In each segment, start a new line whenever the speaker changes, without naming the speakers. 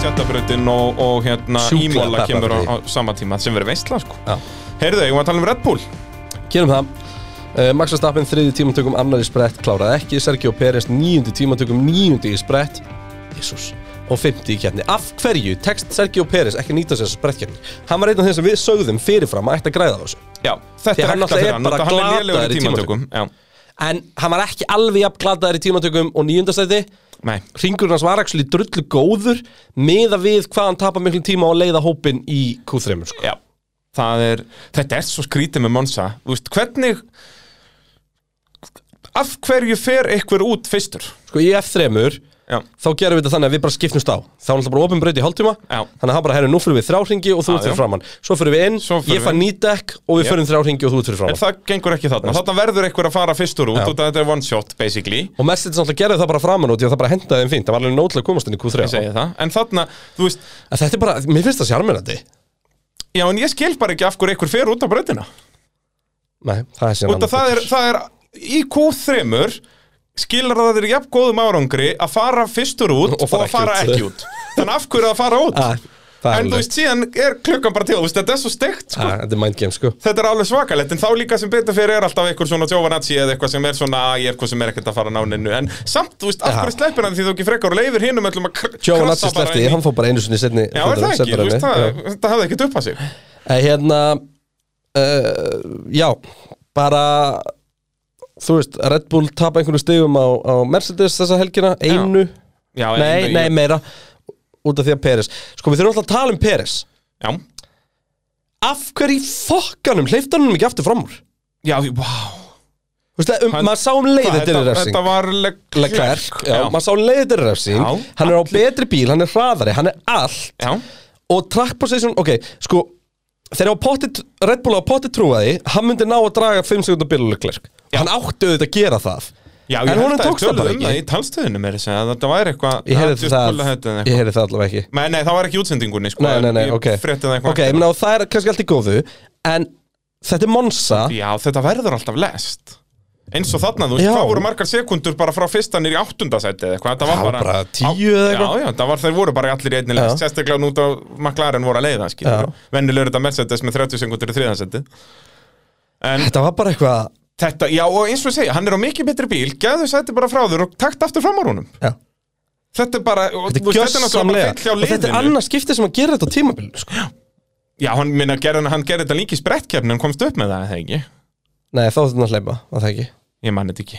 sundabröðin og, og hérna
Sjúklega
ímóla kemur á, á
pepparbrauð.
sama tíma sem verður veistla sko.
Já.
Heyrðu, ég var að tala um Red Bull
Gerum það uh, Max Verstappen þriði tímantökum annar í sprett kláraði ekki Sergio Pérez níundi tímantökum níundi í sprett Jésús og 50 í keppni Af hverju tekst Sergio Pérez ekki að nýta sér þessar sprettkeppni? Hann var einn af þeim sem við sögðum fyrirfram að ætti að græða á þessu
Já, þetta
Því
er
hann
ekla
náttúrulega
fyrir
er
hann
bara
þetta- Hann er lélegur
glataður
í
í
tímatökum Já,
En hann var ekki alveg jafn gladaður í tímantökum og níundastæti
nei,
Ringurinn hans var ekki drullu góður meða við hvað hann tapar miklu tíma á að leiða hópin í Q3 sko.
já Það er, þetta er svo skrítið með Monsa Þú veist, hvernig Af hverju fer einhver út fyrstur?
sko í F3
Já,
þá gerum við þetta þannig að við bara skipnumst á þá er alltaf bara opin braut í hálftíma
Já.
þannig að hann bara herri, nú fyrir við þrjá hringi og þú
Já,
ert fyrir
já.
framann svo fyrir við inn,
Svo förum
ég fann
við.
nýt dekk og við
Já.
fyrir þrjá hringi og þú ert fyrir
en
framann
það gengur ekki þarna Þarna verður einhver að fara fyrstur út
Já.
og þetta er one shot, basically
og Mercedes náttúrulega gerði það bara framann út því að það bara hendaði þeim fínt, það var alveg nótilega að komast inn í Q3
Ég segi það, en þarna, þú veist
en þetta er bara, mér finnst það sjarmirandi
Já, en ég skil bara ekki af hverju einhver fer út á bröðina
nei, það er síðan
Út
annað
að það er,
fólk.
það er í Q3 skilur það þér jafn góðum árangri að fara fyrstur út og,
Og fara
að fara
ekki út.
ekki út Þannig af hverju að fara út
Ah,
En
það er
þú
alveg,
veist, síðan er klukkan bara til þú veist, Þetta er svo steikt sko
Ah, þetta er mindgame sko
Þetta er alveg svakalegt, en þá líka sem betur fyrir er alltaf einhver svona tjófanatsi eða eitthvað sem er svona að ég er hvað sem er ekkert að fara náninu En samt, þú veist, af
Já.
hverju sleppir hann því þú ekki frekar og leifir hinum öllum að kr-
Jóhann Atsi
bara
Ah. sleppti,
inn í-
hann fór bara einu sinni setni
Já, er það ekki, þú veist, það, það hafði ekkert upp að sig
En hérna uh, Já, bara Þú veist, Red Bull tapa einhverju stigum á, á Mercedes þessa helgina Einu,
Já, en-
nei, nei, meira Út af því að Peres Sko, við þurfum alltaf að tala um Peres
Já,
Af hverju í fokkanum hleyftan hann ekki aftur fram úr?
já, vá
Þú veist, um,
Hann-
maður sá um leið
Hvað,
þetta er refsing
Þetta var
Leclerc, já,
já.
maður sá um leið þetta er refsing
Já,
Hann er á betri bíl, hann er hraðari, hann er allt
já,
og track position, ok, sko þegar á pottit, Red Bull á pottit trúaði hann myndi ná að draga 5 sekundar biluleglerk hann átti auðvitað að gera það
já
En
ég
honum
held að
tókst það bara
um það
ekki.
í talstöðinu meiri segja að þetta væri eitthvað
ég heyrði
just
það,
pull ahead eða eitthvað.
ég heyrði það allavega ekki
Nei, nei, það var ekki í útsendingunni sko,
nei, nei, nei,
ég
ok
frétti það eitthvað
ok, ég meina og það er kannski allt í góðu en þetta er Monza
Já, þetta verður alltaf lest eins og þarna, þú veist,
Já.
hvað voru margar sekundur bara frá fyrsta nýr í áttundasæti eða eitthvað, þetta
Það
var
var
bara,
bara 10 eða eitthvað.
Já, já, það var, þeir voru bara allir í einni lest, sérstaklega nút að McLaren voru að leiða, skilur, vennilegur þetta Mercedes með 30 sekundur í þriðansæti En
þetta var bara eitthvað
þetta, já, og eins og ég segja, hann er á mikið betri bíl, gæðu sæti bara frá þér og takt aftur fram á honum
já.
Þetta er bara, og,
þetta
þú
er
veist, þetta er náttúrulega
gjössamlega
bara fyll hjá
og
liðinu
þetta er annað skiptið sem að gera þetta á tímabilinu sko.
Já, hann, minna, gerði, hann gerði þetta líki sprettkeppni hann komst upp með það, eða ekki
nei, þá þetta er að hleypa, var það ekki
Ég man þetta ekki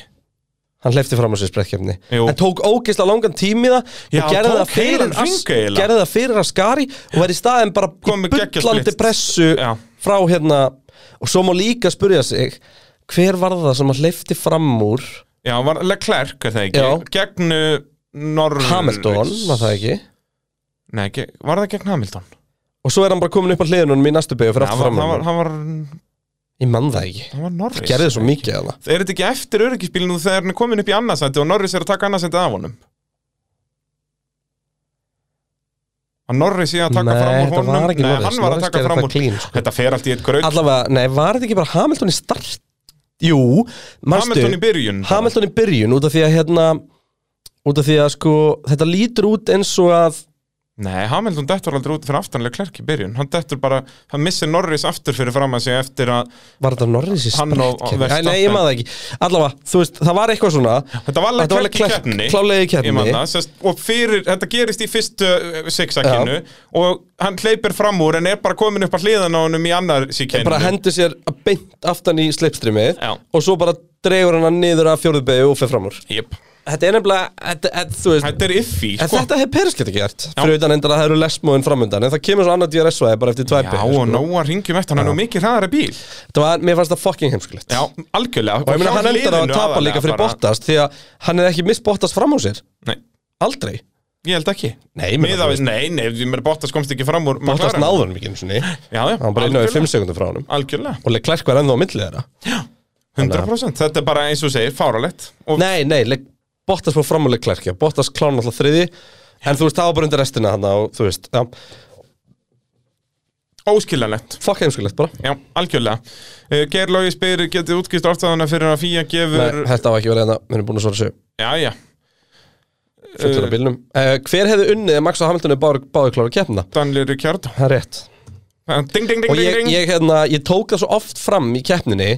hann hleyfti fram á sér sprettkefni
Jú.
en tók ógeðslega langan tími það
Já,
og gerði
tók
það, fyrir
heilan hring
As-
eiginlega.
gerði það fyrir að skari og var í staðin bara
Kom með
í
geggjað
bullandi
split.
pressu
Já.
frá hérna og svo má líka spurja sig hver var það sem hann hleyfti fram úr
Já, var Leclerc, er það ekki
Já.
Gegn uh, Norris
Hamilton, var það ekki
Nei, ge var það gegn Hamilton?
og svo er hann bara komin upp á hliðunum í næstu byggju fyrir
Já,
aftur
var,
fram
hann, var,
úr
hann, var,
ég mann það ekki
hann var Norris
gerði það svo mikið að það
Er þetta ekki eftir öryggisbílinu þegar hann er komin upp í annarsæti og Norris er að taka annarsæti af honum? Var Norris í að taka
nei,
fram úr
þetta
honum?
var ekki
Nei,
Norris,
hann var að
Norris
taka
gerði
fram
það
úr
clean, sko.
Þetta fer allt í eitt gröð
allavega, nei, var þetta ekki bara Hamilton í start jú, manstu
Hamilton í byrjun bara.
Hamilton í byrjun út af því að hérna út af því að sko þetta lítur út eins og að
Nei, Hamilton dettur aldrei út fyrir aftanlega klerk í byrjun Hann dettur bara, hann missir Norris aftur fyrir fram að sig eftir að
var þetta Norris í
Hann og- og
sprettkeppni? Æ,
Verstappen.
Nei, ég maður það ekki Allavega, þú veist, það var eitthvað svona
Þetta var
Þetta var
alveg klerk í
Leclerc
keppni
klárlega í keppni.
Ég man það, sest, Og fyrir, þetta gerist í fyrstu uh, sigsakinu Og hann hleypir fram úr en er bara komin upp að hliðan á honum í annar síkinu
bara hendi sér beint aftan í slipstreamið
Já.
og svo bara dregur hann hann niður af fjórðubegu og fer fram úr
yep.
Þetta er nefnilega, þetta, þetta, þú veist
Þetta er iffi
En
sko.
þetta hefur Peres getið gert, fyrir utan endur að það eru lesmóðin framöndan En það kemur svo annað DRS-væði bara eftir tvær
Já,
beygjur,
og
sko.
Nóa ringjum um eftir, hann er nú mikið hraðari bíl
Þetta var, mér fannst það fucking heimskulegt
Já, algjörlega
Og ég meina, hann endar á að tapa líka fyrir Bottas Því að hann er ekki mist Bottas fram úr sér
Nei,
Aldrei
ég held ekki
Nei, ég meina,
Miðað
þú
við- Nei, nei, ég meina, Bottas komst ekki fram úr
Bottas
McLaren.
náður hann ekki eins og ný
Já, já,
Hann bara inn á í
algjörlega.
5 sekundum frá honum
Algjörlega
Og Leclerc var ennþá á millið þeirra
100% Þetta er bara eins og þú segir, fáralegt og,
Nei, nei, Le Bottas fór fram á Leclerc já. Bottas klána alltaf þriði En þú veist, það var bara undir restina hann og þú veist, já,
Óskiljanlegt
fuck heimskulegt bara
Já, algjörlega uh, Geirlógi spyr, getið útskýst orðstæðana fyrir að fíja gefur
Nei, þetta var ekki verið hérna, við erum búin að svara sér
Já, já
fullur
Eh,
af bílnum uh, Hver hefði unnið að Max og Hamilton er báður klára að keppna?
Daniel Ricciardo Eh,
Það er rétt
Ding, ding, ding,
Og
ding,
ég,
ding
ég, hérna, ég tók það svo oft fram í keppninni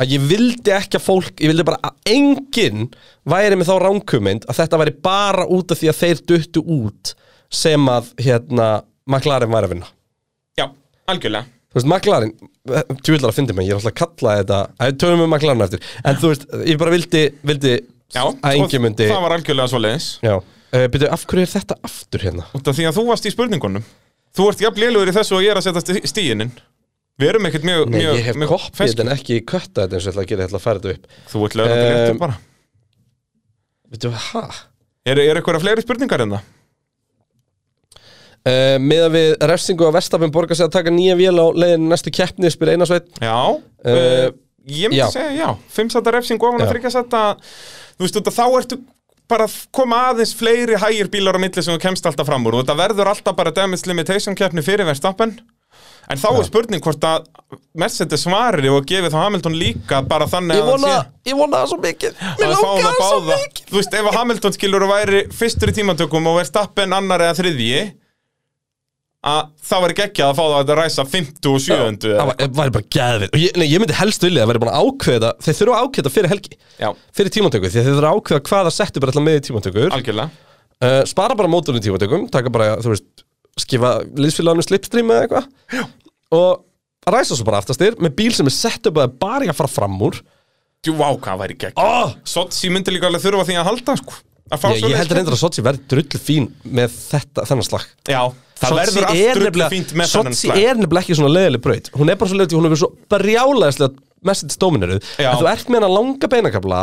að ég vildi ekki að fólk, ég vildi bara að enginn væri með þá ránkumind að þetta væri bara út af því að þeir duttu út sem að hérna, McLaren væri að vinna
Já, algjörlega
Þú veist, McLaren, tjúvillar að fyndi mig, ég er alltaf að kalla þetta að tölum við McLaren eftir en þú veist, ég bara vildi, vildi
Já,
að enginn myndi
Það var algjörlega svoleiðis
Já, uh, byrju, af hverju er þetta aftur hérna?
Út af því að þú varst í spurningunum Þú ert jafn lélugur í þessu og ég er að setja stíinin Við erum ekkert mjög
Nei,
mjög,
ég hef
mjög
koppið
fersk.
þetta en ekki kötta þetta eins og ég ætla að gera, ég ætla að færa þetta upp
Þú ert lögur um,
Um,
réttu bara
Veitu, hæ?
Er, er eitthvað fleiri spurningar hérna? en það?
Uh, meðan við refsingu að Verstafinn borgar sig að taka nýja vél á leiðinu næstu keppni spyr Einar Sveit
Já
Eh,
uh, Ég myndi
já.
segja já Fimm setta refsing og hann
Já.
að þryggja setta Þú veist, þetta, þá ertu bara að koma aðeins fleiri hægir bílar á milli sem þú kemst alltaf fram úr og þetta verður alltaf bara damage limitation keppni fyrir verðstappen en þá er spurning hvort að Mercedes svarir og gefið þá Hamilton líka bara þannig
ég
að hann
vona,
sé-
ég vona það svo mikið mér
að fá
langar
það
það svo
báða
mikið
Þú veist, ef að Hamilton skilur og væri fyrstur í tímatökum og Verstappen annar eða þriðji að þá væri geggjað að fá það að ræsa 50 og 70
það var- það væri bara gæðvir ég, nei, ég myndi helst vilja að væri bara að ákveða þeir þurfa að ákveða fyrir helgi
Já,
fyrir tímantöku því að þeir þurfa að ákveða hvaða settu bara alltaf með í tímantökur
algjörlega
uh, spara bara mótunum í tímantökum taka bara, þú veist, skifa liðsfélagunum slipstream eða eitthvað og ræsa svo bara aftastir með bíl sem er sett upp að bara í að fara fram úr
Jú, vá, hvað væri geggjað
oh,
Sotsi myndi líka alveg þurfa á því að halda sko. að fá
ég, ég
svoleiðis
heldur endur að Sochi verði drullu fín með þetta, þennan slag
Já, það
Sotsi
verður
er
aftur
nefnilega-
öllu fínt með þennan
Sotsi
slag
er nefnilega ekki svona leiðileg braut Hún er bara svo leiðileg, hún er verið svo brjálæðislega message dominaruð
Já. Mhm.
En þú ert með hennar langa beinakabla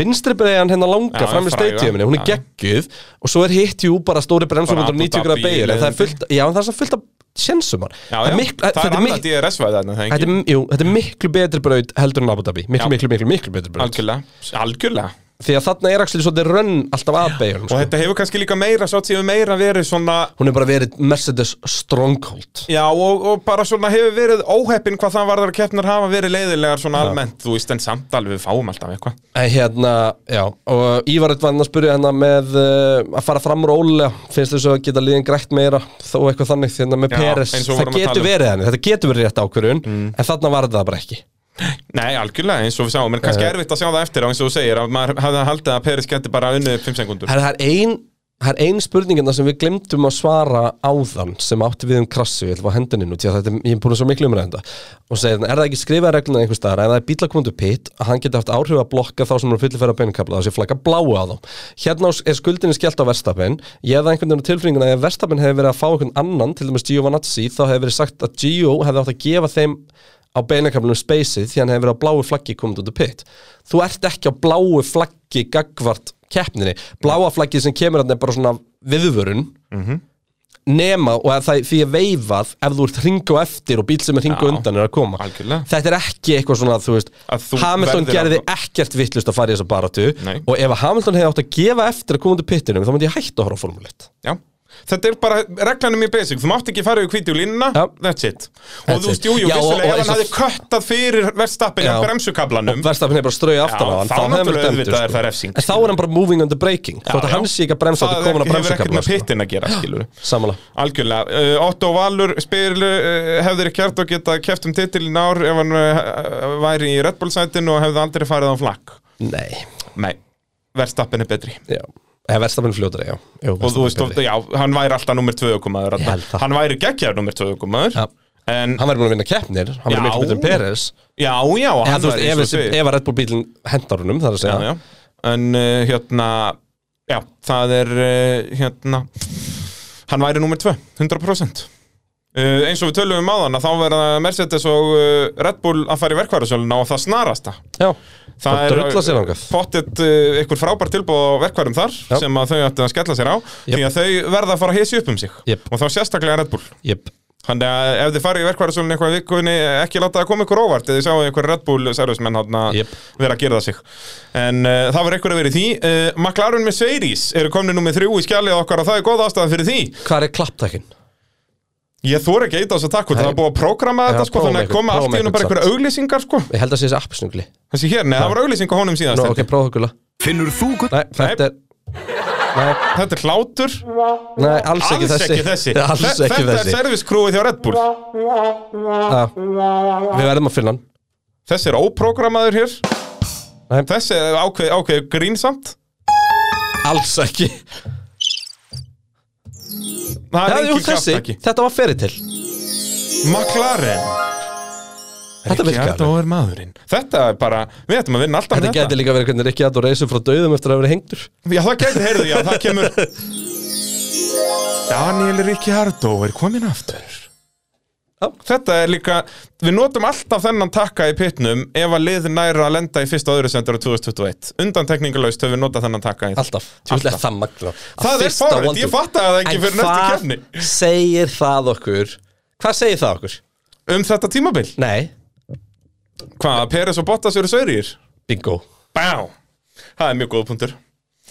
Vinstri beinan hennar langa
Já,
fram í
fræga.
steytíuminni Hún er
Já.
geggjuð Og svo er hitt jú bara stóri bremsum
Bara
190
Abu
grað
Dhabi
beigir En það er
leiðindi.
fullt, já en það er svo fullt af sjensumar
Já, já, það er annað DRS-væði þarna, það
Þetta
ekki
er, jú, þetta er miklu betri braut heldur en Abu Dhabi Miklu,
Já.
miklu, miklu, miklu betri braut
Algjörlega, algjörlega sko.
Því að þarna er axlið svolítið rönn alltaf að sko. beigjum
Og þetta hefur kannski líka meira, Sotsi hefur meira verið svona
Hún er bara verið Mercedes Stronghold
Já, og, og bara svona hefur verið óheppin hvað það varðar að keppnir hafa verið leiðilegar svona almennt, þú veist, en samt alveg við fáum alltaf eitthvað.
En hérna, já, og Ívarut var hann að spyrja hennar hérna með uh, að fara fram rólega, finnst þessu að geta liðin grætt meira, þó eitthvað þannig, hérna með
Já,
Peres,
eins og
það
vorum að tala
getur
um. Mm.
verið henni, þetta getur verið rétt ákvörun, en þarna var þetta bara ekki.
Nei, algjörlega, eins og við sáum, en kannski erfitt að sjá það eftir á eins og þú segir, að maður hafði haldið að Peris geti bara unnið upp 5 sekundur.
Her, það er ein, það er ein spurningina sem við glemdum að svara áðan sem átti við um krassu, ég ætla að fá hendinni nú, því að þetta, er- ég er búin að svo miklu umræða þetta, og segja, er það ekki skrifað regluna einhvers staðar, ef það er bíla komandu pitt, að hann geti haft áhrif að blokka þá sem eru fullir fyrir að beinukabla, þá sé flagga bláu á þá. Hérna á- er skuldinni skellt á verstapin, ég hefði einhvern veginn á tilfinninguna að ef verstapin hefði verið að fá einhvern annan, til dæmis Giovanazzi, þá hefði verið sagt að Gio hefði átt að gefa þeim á beinakaflunum spaceið því hann hefur verið á bláu flaggi komið út af pitt þú ert ekki á bláu flaggi gagvart keppninni, bláa flaggið sem kemur hann er bara svona viðvörun
Mhm.
nema og að það, því er veifað ef þú ert hringu eftir og bíl sem er hringu
Já,
undan er að koma
algjörlega.
þetta er ekki eitthvað svona þú veist,
Að þú
Hamilton
verðir að-
gerði ekkert vittlust að fara í þessa baratu
Nei.
og ef að Hamilton hefði átt að gefa eftir að koma út af pittinum þá myndi ég hætta að horfa á formuleitt
Já. Þetta er bara, reglan er mjög basic, þú mátt ekki fara yfir hvíti og línuna,
Já.
that's it. Og
That's
þú veist,
it.
jú, jú,
Já, og-
vissulega, ef
og eins
hann hafði
og-
köttað fyrir verðstappin
Já.
á bremsukablanum,
verðstafin er bara strauði aftan á
Já,
hann
þá
hefði verið
náttúrulega
dæmdur,
auðvitað er
sko.
það refsing,
en þá er hann bara moving under braking þótt að
já.
hann sé ekki að bremsa
það
þetta komin sko. að
hefur ekkert
bremsakabla
með pittin að gera, skilur
Samanlega
Algjörlega, uh, Otto Valur spyr uh, hefðir ekki hægt að geta keft um titil í nár ef hann uh, væri í Red Bull sætinu og hefði aldrei farið á flakk
Nei,
Nei, verðstappin er betri
já Eða verðstafinn fljótari, já Jú,
og þú veist, of, já, hann væri alltaf nummer 2 komaður
Ég held það.
hann væri geggjaður nummer 2 komaður
Já.
en
Hann verður búin að vinna keppnir Hann verður
Já.
miklu betur en Peres
já, já,
Eða
hann
þú veist,
væri
ef,
eins og
þessi-
segir
ef að Red Bull bílinn hendar honum Það er að
já,
segja
já. en uh, hérna já, það er uh, hérna hann væri nummer 2, 100% Uh, eins og við tölum um áðan að þá verða Mercedes og uh, Red Bull að fara í verkværasöluna og það snarasta
já.
Það
Og
er
drulla sér þangað.
pottet uh, einhver frábær tilbúð á verkværum þar
Já.
sem að þau ættu að skella sér á því að þau verða að fara að hysja upp um sig
Jep.
og þá sérstaklega Red Bull
Jep.
Þannig að ef þið farið í verkværasölun eitthvað í vikunni eh, ekki láta það koma ykkur óvart eða þið sjáu einhver Red Bull servismenn hann að
Jep.
vera að gera það sig en uh, það var einhver að vera í því uh, McLaren með Sveiris eru komni nú með þrjú í skjalið okkar og það er góð ástæða fyrir því
Hvar er klapptækin?
ég þóra ekki að eita þess að takk og það
Nei.
er búið að prógrama
Já,
þetta sko,
prófum
þannig að
eitthvað-
koma allt
prófum
í hennu bara
eitthvað
einhverja auglýsingar sko.
Ég held að sé þessi appsnugli
þessi hér, neða það var auglýsing á honum síðast
Nú,
held
ok,
ég.
prófa okkur
Finnur þú gull?
Nei, þetta er Nei,
Þetta er hlátur
nei, alls ekki
Alls
þessi
ekki þessi
Ja, Alls
Þe-
ekki
Þetta er
þessi
servicekrúið hjá Red Bull
ja. Við verðum að finna hann
Þessi er óprogrammaður hér
Nei.
Þessi er ákveð, ákveð grínsamt
Alls ekki
Það
Já,
er
jú,
engin
þessi,
kraftaki
þetta var feritil
McLaren
Þetta
Ricciardo
virkar alveg.
er maðurinn Þetta er bara, við ættum að vinna alltaf
Þetta
með
gæti líka verið hvernig Rikki Adó reisum frá döðum eftir að hafa verið hengdur
Já, það gæti, heyrðu, já, það kemur Daniel Ricciardo er komin aftur
Já.
Þetta er líka, við notum alltaf þennan takka í pitnum ef að lið næra að lenda í fyrsta og öðru sendur á 2021 Undantekningalaust höfum við notað þennan takka í
Alltaf, tjóðlega það magna
Það er fárið, ég fatta það ekki fyrir næstu kefni
En hvað segir það okkur? Hvað segir það okkur?
Um þetta tímabil,
Nei,
hvað, Peres og Bottas eru saurýr?
bingo
Bá, það er mjög góð punktur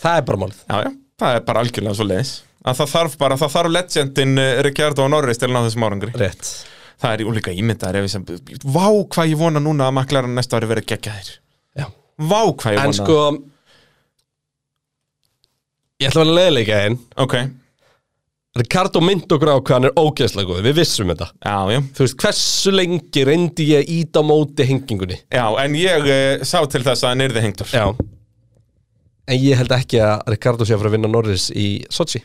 Það er bara málið
Já, já, það er bara algjörlega svo leiðis að það þarf bara, það þarf legendin Ricciardo og Norris til að ná þessum árangri
Rétt
það er úlíka ímyndar ef ég sem, vá hvað ég vona núna að maklarinn næsta ári verið geggjaðir
Já.
vá hvað ég
En
vona
sko Ég ætla að vera leiðleika einn
ok,
Ricardo myndi okkur á hvað hann er ógeðslega góð Við vissum þetta
já, já,
Þú veist, hversu lengi reyndi ég að íta á móti hengingunni
já en ég uh, sá til þess að hann yrði hengtur
Já En ég held ekki að Ricardo sé að fara að vinna Norris í Sochi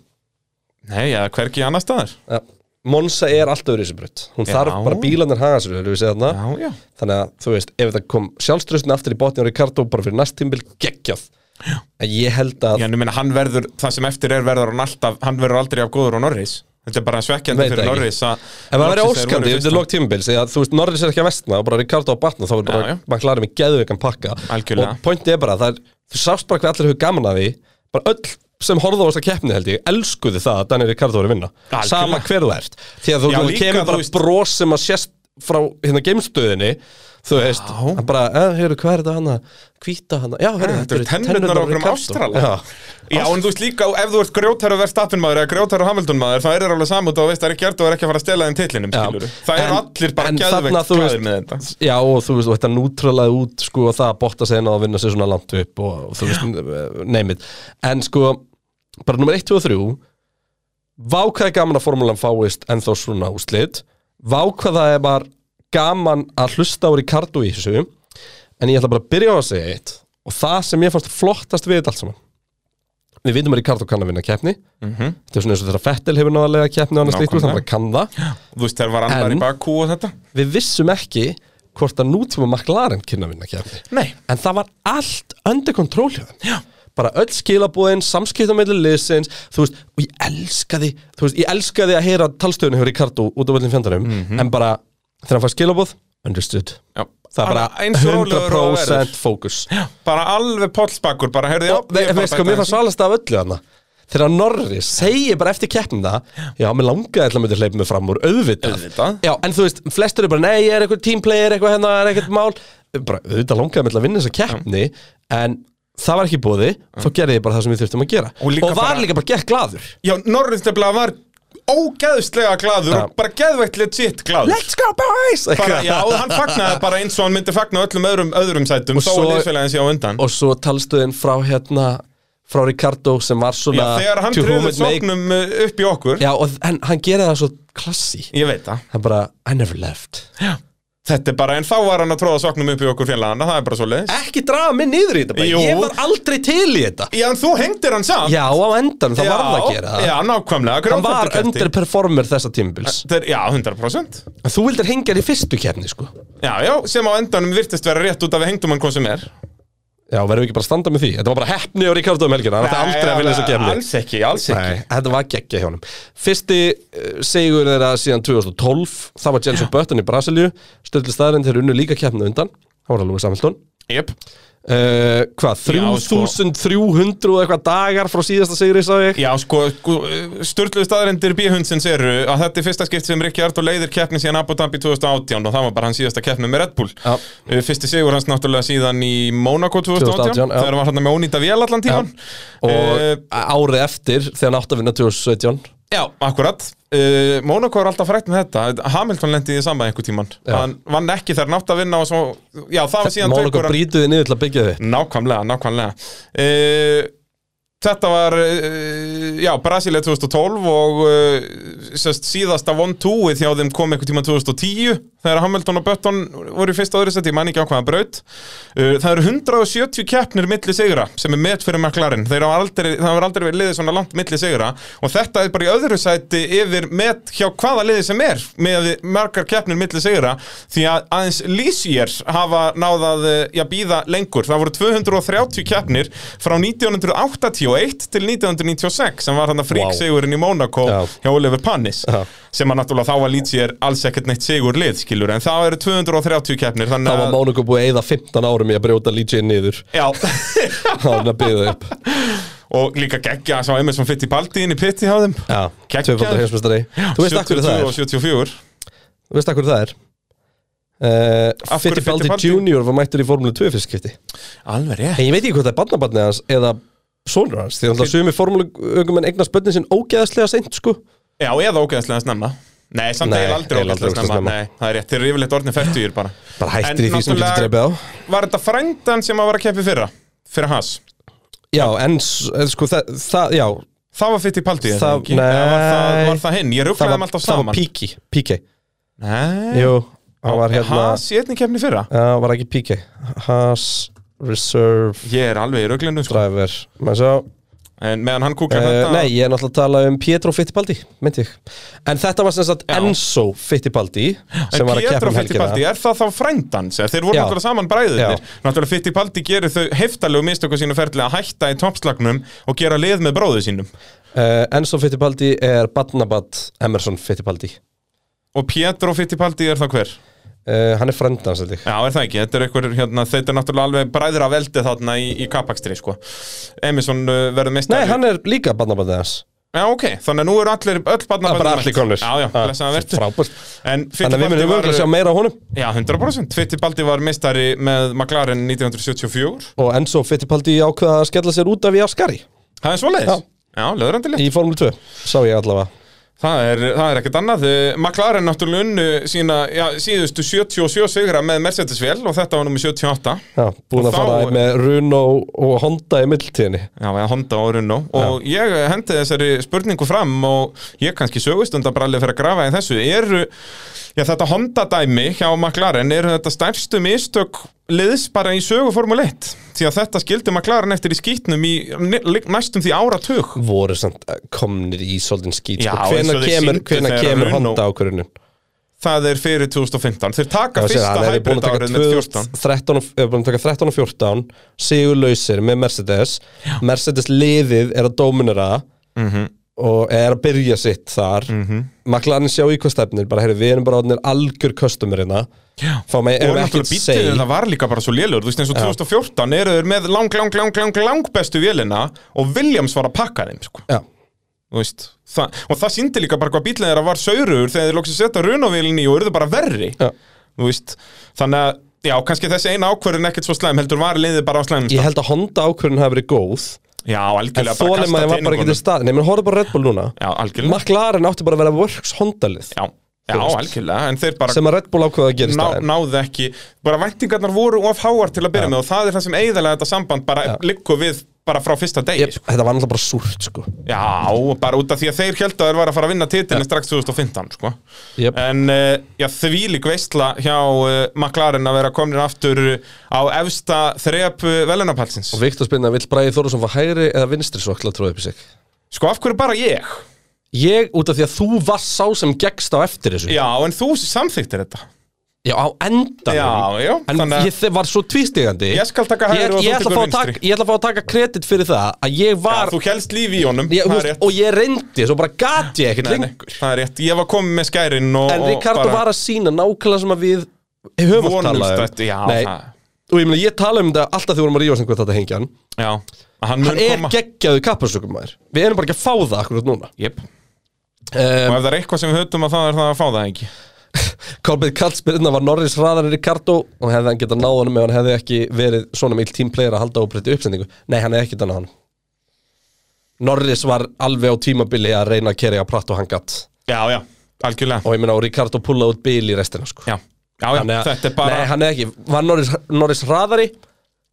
nei, já, hvergi annar staðar
ja. Monsa er alltaf öðru þessu brutt Hún
Já.
þarf bara bílanir haga sér erum við segja þarna.
já, já,
Þannig að þú veist, ef það kom sjálfströstin aftur í botni á Ricardo bara fyrir næst tímbil geggjað En ég held að
já, en ég meina hann verður það sem eftir er verður hann alltaf hann verður aldrei af góður á Norris þetta er bara svekkjandi
Veit
fyrir
ekki.
Norris að
Ef maður verið
loksins þeir voru
óskandi
fyrst.
yfir lók tímabils eða þú veist, Norris er ekki að vestna og bara Ricardo á batna þá er
Já,
bara,
já.
maður klarið með geðveikan pakka
Algjörlega.
og pointið er bara, það er, þú sást bara hvað allir hefur gaman að því, bara öll sem horfðu á þess að keppni held ég, elskuðu það að Daniel Ricardo voru að vinna,
Algjörlega.
sama hver þú ert því að þú,
Já,
þú
líka,
kemur
þú
bara
veist-
bros sem að sést frá hérna geimstöðinni þú veist, hann bara, eh, heyrðu, hvað er þetta hana hvíta hana, já,
Já,
heyrðu,
Eh, þetta eru tennurnar á okkur um Ástrala
Já.
Já, en þú veist líka, ef þú ert grjótarðu verðstappin maður eða grjótarðu Hamilton maður, þá er það alveg samútt og veist að Ríkjardó er ekki að fara að stela þeim titlinum,
Já.
skilur Það eru
En-
allir bara
en þarna,
geðveikt
þú
glæðir
veist-
með þetta
Já og þú veist og þetta nútralaði út sko og það að botta sig inn á að vinna sig svona langt upp og, og þú veist neymið en sko bara nummer 1, 2 og 3 vá hvað er gaman að formúlan fáist en þá svona úslit vá hvað það er bara gaman að hlusta á Ricardo í þessu en ég ætla bara að byrja á að segja eitt og það sem ég fannst flottast við þetta allt saman við vitum að Ricardo kann að vinna keppni þetta er svona eins og þegar Fettel hefur náðarlega keppni og annars líkt úr
Nákvæmlega.
þannig að kann það
Þú veist, þegar var annar
En-
í Bakú og þetta
við vissum ekki hvort að nútíma McLaren kynna að vinna kefni
Nei,
en það var allt under control hjá þeim Já. bara öll skilabúðin, samskiptamillir liðsins, þú veist, og ég elskaði þú veist, ég elskaði að heyra talstöðunni hjá Ricardo út af öllum fjandarum
Mhm.
en bara, þegar hann fær skilabúð understood,
já
það er bara
Eins og rólegur og verður.
100% fókus
Bara alveg pollsbakkur, bara heyrðu já,
og
ég er bara
veist sko,
að
mér
bæta
fannst svalast af öllu þarna þegar Norris segir bara eftir keppnina já, mér langaði ætla að myndi hleypa mig fram úr auðvitað.
Auðvitað.
já, en þú veist, flestur er bara, nei, ég er eitthvað teamplayer, eitthvað hérna, er eitthvað mál bara, auðvitað langaði mig til að vinna þessa keppni en það var ekki búði þá gerði ég bara það sem við þurftum að gera
Mm. Og líka
var
bara-
líka bara gekk glaður
Já, Norris nefnilega var ógeðslega glaður
Já.
og bara geðveikt legit glaður
let's go boys
Bara, já, hann fagnaði bara eins og hann myndi fagna öllum öðrum, öðrum sætum,
Og
þó
svo-
að liðsfélagin sé á undan
og svo talstöðin frá hérna frá Ricardo sem var
Já,
svona
þegar hann
Hérna, to whom
tröðu
it may-
sóknum uh, upp í okkur
já, og, en hann gerði það svo klassi
Ég veit það
hann bara, I never left
Þetta er bara, en þá var hann að tróða soknum upp í okkur félagana, það er bara svo leiðis.
ekki draga mig niður í þetta bara.
Jú.
ég var aldrei til í þetta
Já, en þú hengdir hann samt.
já, á endan, það varð að gera það
Já, nákvæmlega. hver á
hann var
þetta kæfti?
underperformer þessa tímbils
Þetta er- Já, 100%.
þú vildir hengja hann í fyrstu kefni sko
Já, já, sem á endanum virtist vera rétt út af við hengdum hann hvað sem er.
já, verðum við ekki bara að standa með því þetta var bara heppni á Ríkardu um helgina hann ætti aldrei að vilja þessa kefni
Alls ekki, alls ekki.
Nei, þetta var geggja hjá honum Fyrsti eh, sigur þeirra síðan 2012 Það var Jenson Button í Brasilíu Stöldli staðarinn þeir unnu líka keppni á undan Það var alveg samhildun
Jep.
uh, Hvað,
Já, sko.
3300 og eitthvað dagar frá síðasta sigri sá ég
Já, sko, sturluðu staðarindir bíhundsins eru að þetta er fyrsta skipti sem Rikki Ardó leiðir keppni síðan Abu Dhabi 2018 og það var bara hans síðasta keppni með Red Bull.
Já.
Eh, Fyrsti sigur hans náttúrulega síðan í Monaco 2018,
2018, já.
þegar hann var hann með ónýta vél allan tíman.
og
Eh,
árið eftir þegar hann átt að vinna 2017
Já, akkurat uh, Monaco er alltaf frækt með þetta Hamilton lendi í því samba einhver tíman Hann vann ekki þegar nátt að vinna og svo Já, það var síðan
Mónaco
Tveikóran-
brýtuði niður til að byggja þið
Nákvæmlega, nákvæmlega uh, Þetta var, eh, já, Brasilia 2012 og eh, sest, síðasta 1-2-ið hjá þeim kom einhvern tíma 2010 þegar Hamilton og Button voru í fyrsta og öðru seti, ég man ekki á hvaða braut. Eh, Það eru 170 keppnir milli sigra sem er met fyrir McLaren. Þeir hafa aldrei, það hafa aldrei verið liðið svona langt milli sigra og þetta er bara í öðru seti yfir met hjá hvaða liðið sem er með margar keppnir milli sigra því að aðeins Lísier hafa náðað, eh, já, býða lengur. Það voru 230 keppnir frá 1981 til 1996 sem var hann að frík
Vá.
sigurinn í Monaco
Já.
hjá Oliver Pannis
Já.
sem að náttúrulega þá var Lítier alls ekkert neitt sigur lið skilur en það eru 230 keppnir
Þá
þannig
var
að
Mónuko búið að eyða 15 árum í að brjóta Lee Jane niður
Já,
Það var hann að byggja upp
og líka geggja að sá Emerson Fittipaldi inn í pitti hjá þeim
Já,
Geggjaður.
tvöfaldar heimsmeistari Þú veist akkur það
72
er
og 74
Þú veist akkur það er uh,
Af hverju
Fittipaldi
Fittipaldi?
Junior var mættur í Formule 2 fyrst skipti
Alveg rétt
En ég veit ekki hvort það er barnabarnið hans eða sonur hans Því þannig að sumi formúlugum en eignast börnin sinn ógeðaslega seint sko
Já, eða ógeðslega snemma Nei, samt
Nei,
eiginlega aldrei
eiginlega aldrei
ógeðslega snemma
ógeðslega
Nei, það er rétt, þeir eru yfirleitt orðin færtugir bara
Bara
En
hættir í því sem getur
náttúrulega-
dreipið á
Var þetta frændan sem að var að keppi fyrra? Fyrir hans?
Já, en s- en sko það, það já
Það var Fittipaldi, er
Það-
það, ekki? Eða var það,
nei.
var það hinn? Ég ruglaði
Það
þeim
var,
alltaf
það var E.
saman
Piki, Piki
Nei,
Jú, hann var hérna
Haas í einni keppni fyrra
Það var ekki Piki Haas Reserve
Ég er alveg í ruglinu sko.
Driver Menn svo
En meðan hann kúkar
Uh,
þetta
nei, ég er náttúrulega að tala um Pietro Fittipaldi, myndi ég En þetta var sem sagt Enzo Fittipaldi sem
En
var að keppa
Pietro
um helgina
Fittipaldi, er það þá frændans? Þeir voru
Já.
náttúrulega saman bræðinir
Já.
Náttúrulega Fittipaldi gerir þau heftalegu mistöku sínu ferli að hætta í toppslagnum og gera lið með bróðu sínum
uh, Enzo Fittipaldi er Badnabat Emerson Fittipaldi
Og Pietro Fittipaldi er þá hver?
uh, Hann er frendans, held ég
Já, er það ekki, þetta er einhver, hérna, þetta er náttúrulega alveg bræðir af eldi þarna í, í kapakstri, sko Emerson uh, verður mistari
Nei, hann er líka Badnabat hans
Já, ok, þannig að nú eru allir, öll barna
Það er bara allir komnir
Já, já, blessaðan verður
Frábært
En
Þannig að við
Fittipaldi
munum
var,
umhverfið að sjá meira á honum
já, 100% Fittipaldi var mistari með McLaren 1974
Og Enzo Fittipaldi ákveða að skella sér út af í Ascari
Það er svoleiðis
Já.
Já, löðrandi
Í Formule 2, sá ég allavega
Það er, það er ekkert annað. Eh, McLaren náttúrulega unnu sína, já, síðustu 77 sigra með Mercedes-vél og þetta var nummer 78.
Já,
Og
búin að
þá-
fara með Runo og Honda í milltíðinni
Já, eða Honda og Renault. Og ég hendi þessari spurningu fram og ég kannski sögustandabralli fyrir að grafa í þessu. Eru, já, þetta Honda-dæmi hjá McLaren, eru þetta stærstu mistök liðs bara í sögu Formule 1? Því að þetta skildi McLaren eftir í skýtnum í ni- li- næstum því áratug.
voru samt eh, komnir í soldin skýt
Já,
sko.
eins
hvenær
og þeir
kemur,
sýndu
hvenær
þegar
kemur
Renault-
Honda ákvörðunum
Það er fyrir 2015. Þeir taka fyrsta
hann er
hybrid
búin að taka
árið með 14.
13 og- er búin að taka 13 og 14 sigurlausir með Mercedes Mercedes liðið er að dóminera
Mhm.
og er að byrja sitt þar mm -hmm. McLaren sjá í hvað stefnir bara, heyri, við erum bara orðinir algjör köstumurina
Já.
fá mig
og
ef ekkert
náttúrulega bíllinn hérna.
segi
það var líka bara svo lélur þú veist eins og 2014 eru þeir með lang, lang, lang, lang, lang bestu vélina og Williams var að pakka þeim sko.
Já,
Þú veist, það, og það síndi líka bara hvað bíllinn þeirra var saurugur þegar þeir lóksið setja runavílinni og eru bara verri
Já.
Þú veist, þannig að já, kannski þessi eina ákvörðin ekkert svo slæm heldur var liðið bara á slæm
ég held að Honda ákvörðun hafi verið góð
já,
en
algjörlega bara
þólemaði var bara ekki til
peningunum.
stað Nei, menn horfðu bara á Red Bull núna
já, algjörlega
McLaren átti bara að vera works Honda-lið
já, já,
Þú veist.
algjörlega, en þeir bara
sem að Red Bull ákveða að gera í
ná,
staðinn
náði ekki bara væntingarnar voru of háar til að byrja
Já.
með og það er það sem eigðalega þetta samband bara liggur við bara frá fyrsta degi sko.
Ég, þetta var alltaf bara súrt sko
Já, bara út af því að þeir held að þeir var að fara að vinna titilin strax 2015 sko.
yep.
En uh, já, þvílík veistla hjá uh, McLaren að vera komnir aftur eh, á efsta þrep uh, velunapalsins
Og Viktor spynna, vill Bræði Þórsson fá hægri eða vinstri sokla tróði upp í sig?
Sko, af hverju bara ég?
Ég, út af því að þú varst sá sem gekkst á eftir þessu
Já, en þú samþyktir þetta
Já, á endan
Já, já,
En
þannig að-
ég þe- var svo tvístigandi
Ég skal taka hægri
Ég-
og þú
ég ætla að
tekur
fá að
vinstri.
taka- ég ætla að fá að taka kredit fyrir það að ég
Já,
var
þú helst lífi í honum það
ég, þú
er
veist,
rétt.
Og ég reyndi, svo bara gat ég ekkert
Nei, nei,
lengur
það er rétt, ég var komið með skærin og,
En
og
Ricardo var að sína nákvæmlega sem að við höfum að tala
vonumst
um
þetta Já,
Nei,
það-
og ég meina, ég tala um þetta alltaf þegar við vorum að rífa sem hvað þetta hengjan
já Hann,
Hann
mun
er
koma.
geggjaðu kappasökum maður Við erum bara ekki að fá það akkurat núna
Jep.
um,
Og ef það er eitthvað sem við höfum að það er það að fá það ekki
Kolbeinn Kallspyrna var Norris hraðar en Ricardo og hefði hann getað náð honum ef hann hefði ekki verið svona mikil tímplayer að halda óbreytti uppsendingu Nei, hann hefði ekki getað náð honum Norris var alveg á tímabili að reyna að kerja pratt og hann gatt
Já, já, algjörlega
og ég meina og Ricardo pullaði út bíl í restina sko.
Já, já, já
Þannig að-
þetta er bara
Nei, hann hefði ekki, var Norris, Norris hraðari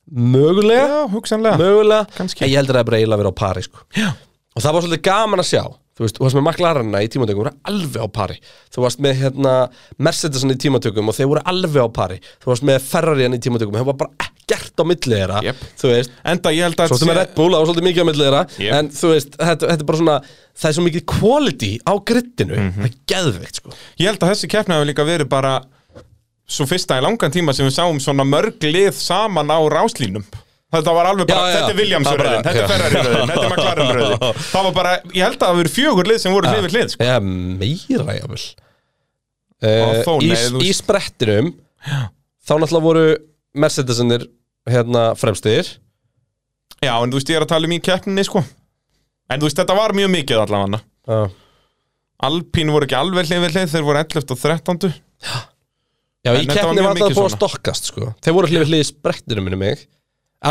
mögulega
Já, hugsanlega
mögulega,
Ah, Kannski.
en ég heldur að það er bara eiginlega að vera á pari sko. og það var svolítið gaman að sjá þú veist, þú varst með maklarana í tímatökum voru alveg á pari, þú varst með hérna, Mercedesan í tímatökum og þeir voru alveg á pari, þú varst með Ferrarian í tímatökum það var bara ekkert á milli þeirra
Jep.
þú veist,
Enda ég held að
svo sem
sé-
er Red Bull það var svolítið mikið á milli þeirra
Jep.
en þú veist, þetta, þetta er bara svona það er svo mikið quality á grittinu
Mhm.
það er geðveikt sko
Ég held að þessi keppni hefur líka verið bara svo fyrsta í langan tíma sem við sáum svona mörg lið saman á ráslínum Þetta var alveg bara,
Já,
þetta er
já, já. Það var bara-
Williams-röðin, þetta er
já.
Ferrari-röðin, þetta er McLaren-röðin Það var bara, ég held að það hafi verið fjögur lið sem voru hlið við hlið sko.
eða meira jáfnvel
Og
uh,
þó,
í,
nei, þú
í
veist-
sprettinum þá náttúrulega voru Mercedesinir hérna fremstir
Já, en þú veist, ég er að tala um í keppninni, sko En þú veist, þetta var mjög mikið allavega
uh.
Alpín voru ekki alveg hlið við hlið, þeir voru 11 og 13
já, í
En þetta var
keppni
mjög
var alltaf
mikið
búið að
svona.
stokkast sko. þeir voru hlifið hlið í sprettinum minni mig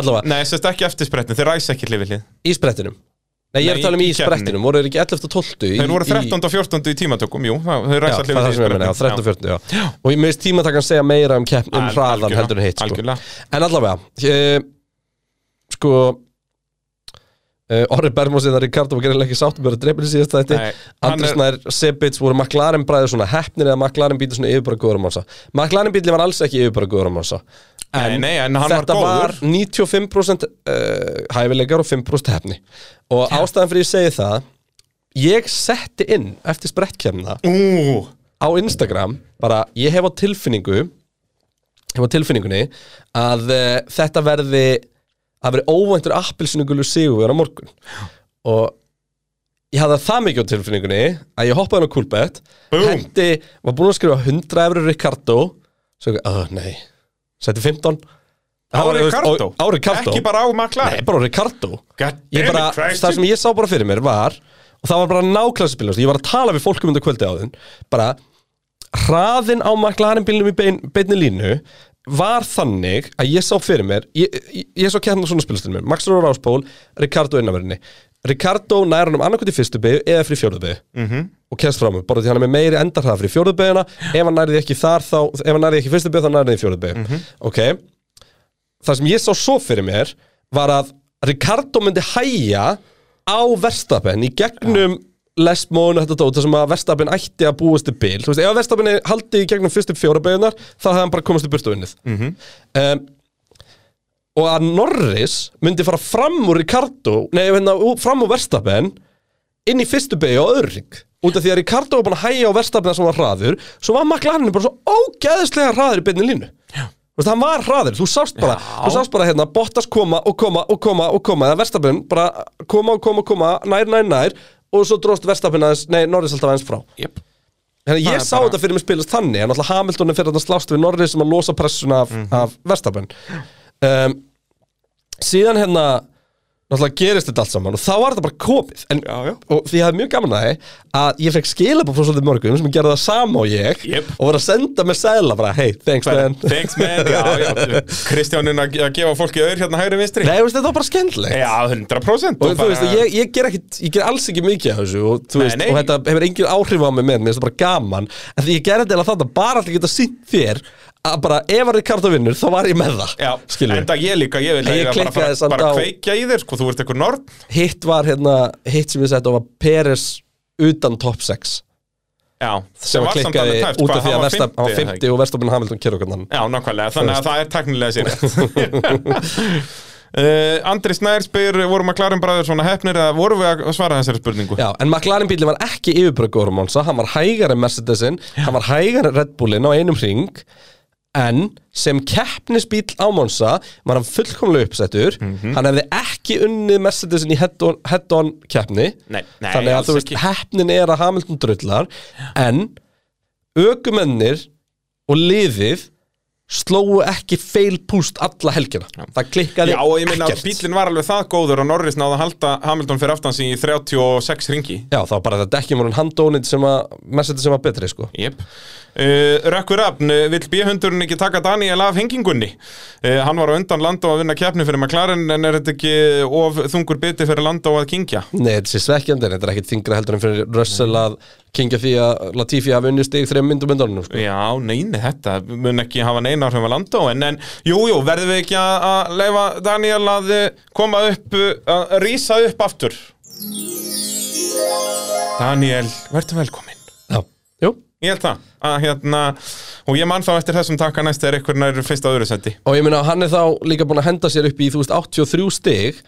allavega,
Nei, sérst ekki eftir sprettin, þeir ræsa ekki hlið við hlið
í sprettinum nei, ég
Nei,
er að tala um
í
í
keppni.
sprettinum, voru þeir ekki 11. og 12.
Þeir voru
í-
13 og 14 í tímatökum, jú, það- þeir
Já,
ræsa
það
hlið
er
við
það
hlið
sem ég meina, já, 13 og 14, já. Og ég meðist tímatakan segja meira um, kepp, um
Al-
hraðan
algjörlega,
heldur en hitt, sko.
algjörlega.
En allavega, ég, sko, uh, Orri Bergman síðan að Ricardo var gerðilega ekki sáttum verið að dreipin í síðast þætti.
Nei, hann
Andri
er-
Snær, Sebits voru McLaren bræðið svona heppnir eða McLaren bílið svona yfirbara góður á mánsa. McLaren bílið var alls ekki yfirbara góður á mánsa.
Nei, nei, en hann var
þetta
góður.
var 95% uh, hæfileikar og 5% hefni. Og ástæðan fyrir ég segi það, ég setti inn eftir sprettkjæmna
Ú,
á Instagram bara ég hef á tilfinningu hef á tilfinningunni að uh, þetta verði að verði óvæntur appilsinugulu sigur á morgun og ég hafði það mikið á tilfinningunni að ég hoppaði hann á Coolbet
Búm.
hendi, var búinn að skrifa 100 efri Ricardo svo ekki, oh nei setti 15
Á
Það var, þú veist,
Ricardo?
Á á Ricardo
Ekki bara á McLaren?
Nei, bara á Ricardo
God
Ég
damn
bara,
it, Christian.
það sem ég sá bara fyrir mér var og það var bara náklassbílum ég var að tala við um fólkum undir kvöldi á þinn bara hraðin á McLaren bílnum í bein, beinni línu var þannig að ég sá fyrir mér ég, ég, ég sá kjarnan svona spilustinu mér Max Róður Ráspól, Ricardo innanverðinni Ricardo nær hann um annarkvæmt í fyrstu beigju eða fyrir fjórðu beigju -hmm. og kemst fram úr, bara því hann er með meiri endarhraða fyrir fjórðu beigjuna ef hann nærði ekki þar þá, ef hann nærði ekki í fyrstu beigju þá nærði hann í fjórðu beigju ok, það sem ég sá svo fyrir mér var að Ricardo myndi hæja á Verstapen í gegnum lesmónu þetta dót, það sem að Verstapen ætti að búast til bil, þú veist, ef Verstapen haldi í gegnum fyrstu fjóra beigunar, þá hefði hann bara komast í burtu og unnið um, og að Norris myndi fara fram úr Ricardo nei, hérna, ú- fram úr Verstapen inn í fyrstu beigju á öðru ring út af því að Ricardo var búin að hæja á Verstapen sem var hraður, svo var McLaren bara svo ógeðslega hraður í beinni línu Já. Þú veist, hann var hraður, þú sást bara þú sást bara hérna, Bottas koma og koma og koma og koma, það Verstapen bara koma og koma og koma, nær, nær, nær og svo dróst Verstapen aðeins, nei, Norris alltaf aðeins frá
Jep.
Þannig að
Það
ég
er
sá
bara-
þetta fyrir mig spilast þannig en alltaf Hamilton er fyrir að slást við Norris sem að losa pressuna af,
Mhm.
af Verstappen um, síðan hérna náttúrulega gerist þetta allt saman og þá var þetta bara komið en,
Já, já.
og því ég hafði mjög gaman að því að ég fekk skilabóð frá svolítið mörgum sem gerði það sama og ég
Jep.
og var að senda mér sæla bara hey, thanks man
Thanks man, já, já Kristjánun að að gefa fólki auður hérna hægri vinstri
Nei, þú veist, þetta var bara skemmtilegt
Já, 100%
og þú veist, ég, ég, ger ekkit, ég ger alls ekki mikið af þessu og, þú
Nei,
veist,
nei.
og þetta hefur engin áhrif á mig með mér finnst það bara gaman, en því ég gerði þetta eiginlega þannig að bara allir geta sínt þér að bara ef að Ricardo vinnur, þá var ég með það
Já,
skilur við,
enda ég líka, ég vil
En
eiga
ég
bara,
klikkaði
bara,
samt
bara
á-
kveikja í þér, sko, þú ert eitthvað norn
hitt var hérna hitt sem ég sett og var Peres utan top 6
Já,
sem að klikkaði út af því að Versta- hann var 50 og Verstafinn Hamilton kyrra okkur
Já, nákvæmlega, þannig að það er teknilega sér uh, Andri Snær spyr, vorum að klarum bræður svona hefnir eða vorum við að svara þessari spurningu?
Já, en McLaren bílinn var ekki yfirbröggur um Monsa, hann var hægar en Mercedesin, hann var hægar en Red Bullin á einum ring, en sem keppnisbíl á Monsa var hann fullkomlega uppsettur,
Mhm.
hann hefði ekki unnið Mercedesin í head-on head on keppni,
Nei, nei,
þannig að
alls
þú veist,
ekki.
heppnin er að Hamilton drullar, en aukumennir og liðið slóu ekki feilpúst alla helgina, það klikkaði
Já, og ég minna að
ekkert.
bílinn var alveg það góður og Norris náði að halda Hamilton fyrir aftans í 36 ringi
Já, það var bara þetta dekkjum voru handónið sem að, Mercedes sem var betri, sko.
Jep. Uh, Rökkur Rafn, uh, vill B-hundurinn ekki taka Daniel af hengingunni? Uh, hann var á undan Landó að vinna keppni fyrir McLaren en er þetta ekki of þungur biti fyrir Landó að kingja?
Nei, þetta sé svekkjandi en þetta er ekkit þingra heldur en fyrir Russell að kingja því að Latifi hafi unnið stig þreim myndum myndunum sko.
Já, neini, þetta mun ekki hafa neina áhrif að landa á en, en jú, jú, verðum við ekki að, að leifa Daniel að eh, koma upp, eh, að rýsa upp aftur Daniel, verður velkominn
Já, jú
Ég held það, að hérna, og ég man þá eftir þessum taka næst er eitthvað nær fyrst á öðru seti
Og ég meina, hann er þá líka búin að henda sér upp í, þú veist, 83 stig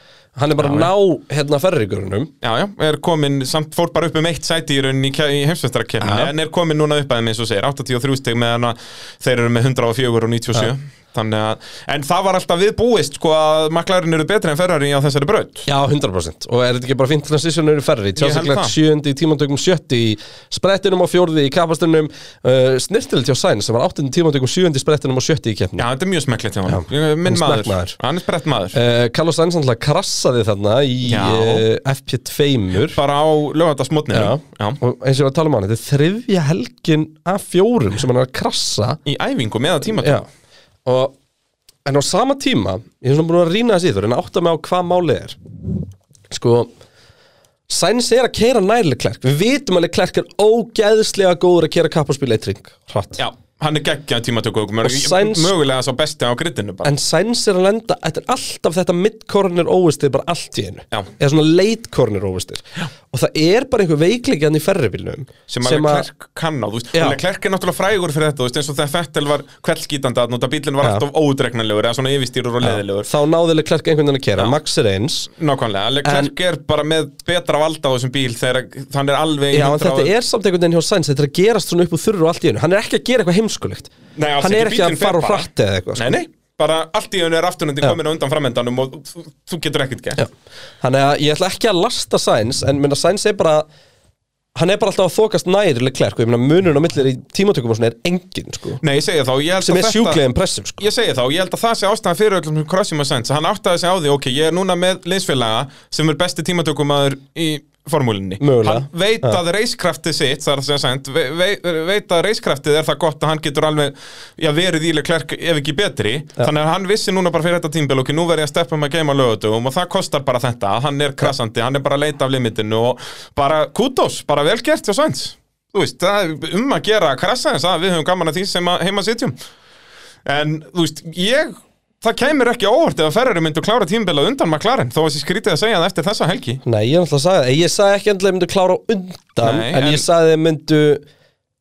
Hann er bara að ná, hérna, ferrigurunum
Já, já, er komin, samt fór bara upp um eitt sæti í rauninni í, ke- í heimsvestarakefni
Já.
en er komin núna upp aðeins eins og segir 83 steg meðan að þeir eru með 104 og 97 Þannig að, en það var alltaf viðbúist sko að maklarinn eru betri en Ferrari á þessari braut
Já, 100% Og er þetta ekki bara fint transitionur í ferri
Ég held
Tjásiklega
það.
sjöndi í tímantökum sjötti í sprettinum og fjórði í kapastunum uh, Snirtilt hjá Sainz sem var áttundi í tímantökum sjöndi í sprettinum og sjötti í keppni
Já, þetta er mjög smekklegt hjá hann, Ég-
hann
minn
er
maður.
smekkmaður.
hann er sprett maður
Uh, Carlos Sainz náttúrulega krassaði þarna í
Já.
uh, FP2-mur
Bara á lögatarsmótninu
Já. og eins og ég var að tala um hann, þetta er þriðja helgin af fjórum sem hann er að krassa
Í æfingu með að tíma
Já, og en á sama tíma, ég er svona búin að rýna þessi íþur en átta mig á hvað málið er sko Sainz er að keira nærlega klerk við vitum að klerk er ógeðslega góður að keira kappaspil eitt ring, hratt
já, hann er geggjað tímatöku
Sainz-
mögulega sá besti á grittinu bara
en Sainz er að lenda, þetta er alltaf þetta mid-corner óvistir bara allt í einu
Já.
eða svona late-corner óvistir og það er bara einhver veikleiki hann í ferribilnum
sem að Leclerc kann á, þú veist,
Já.
og Leclerc er náttúrulega frægur fyrir þetta, þú veist, eins og þegar Fettel var kveldskítandi að nota bílinn var
Já.
alltaf ódregnanlegur eða svona yfirstýrur og leðilegur
þá náðilega klerk einhvern veginn að keira, Max er eins
Nákvæmlega, Leclerc er bara með betra valda á þessum bíl þegar hann er alveg í
Já, en
100
þetta er samt einhvern veginn hjá Sainz Þetta er að gerast svona upp úr þurru og allt í einu Hann er ekki að gera eitthvað heimskulegt
Nei, alls
Hann er
ekki,
ekki að
bíllinn
fara
fer
og
bara.
hratta eða eitthvað sko.
Nei, nei, bara allt í einu er afturhundi komin á undan framendanum og þú, þú getur ekkert gert
Já. Þannig að ég ætla ekki að lasta Sainz En minna Sainz er bara Hann er bara alltaf að þokast nærileg klærk Og ég minna munurinn á millir í tímatökum og svona er engin sko,
Nei, ég segi þá, ég held
Sem
að
er sjúklega impressum sko.
Ég segi þá, ég held að það sé ástæðan fyrir öllum crossjum og sens, hann áttaði sig á því, ok, ég er núna með liðsfélaga sem er besti tímatökumæður í formúlinni.
Mögulega.
Hann veit að reiskraftið sitt, það er að segja sent, ve ve veit að reiskraftið er það gott að hann getur alveg, já, verið ílega klerk ef ekki betri, þannig að hann vissi núna bara fyrir þetta tímbil, ok, nú verð ég að steppa um að geima lögutum og það kostar bara þetta, að hann er krassandi, hann er bara að leita af limitinu og bara kudos, bara vel gert hjá sens. Þú veist, það er um að gera að krassa þess að við höfum gaman að því sem að heima sitjum. En þú veist, ég Það kæmir ekki á óvart ef að Ferrari myndu klára tímbilað undan McLaren þó að þessi skrítið að segja það eftir þessa helgi
Nei, ég er alltaf að sagði Ég sagði ekki endilega myndu klára á undan
Nei,
En
en-
ég sagði þeir myndu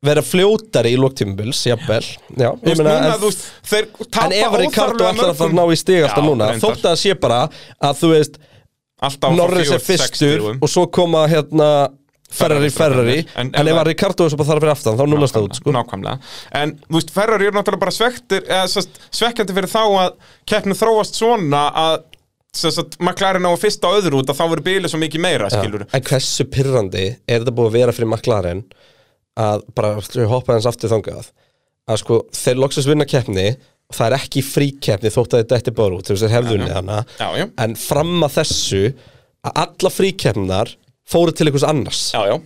vera fljótari í lóktímubils, jafnvel Já,
Þú
ég
veist,
meina
núna,
en-
þú veist, þeir
En
tapa
ef Ricardo
óþarflega
ætlar að fara að
mörgum-
ná í stig alltaf
Já,
núna
reyndar.
Þótt að það sé bara að þú veist
Alltaf
Norris er fyrstur og svo koma hérna
Ferrari,
Ferrari, Ferrari
en-
en,
en-
ef að Ricardo er svo bara þar fyrir aftan þá núnast það út sko
Nákvæmlega En þú veist, Ferrari eru náttúrulega bara svektir eða, sest, svekkjandi fyrir þá að keppni þróast svona að sest, McLaren á að fyrsta og öðru út að þá verður bilið svo mikið meira skilur
En hversu pyrrandi er þetta búið að vera fyrir McLaren að bara þau hoppa hans aftur þangað að sko þeir loksins vinna keppni og það er ekki fríkeppni þótt að þetta eftir bara út þú veist þeir hefðunni hana
Já, já.
en fram að þessu að alla fríkeppnar fóru til einhvers annars
Já, já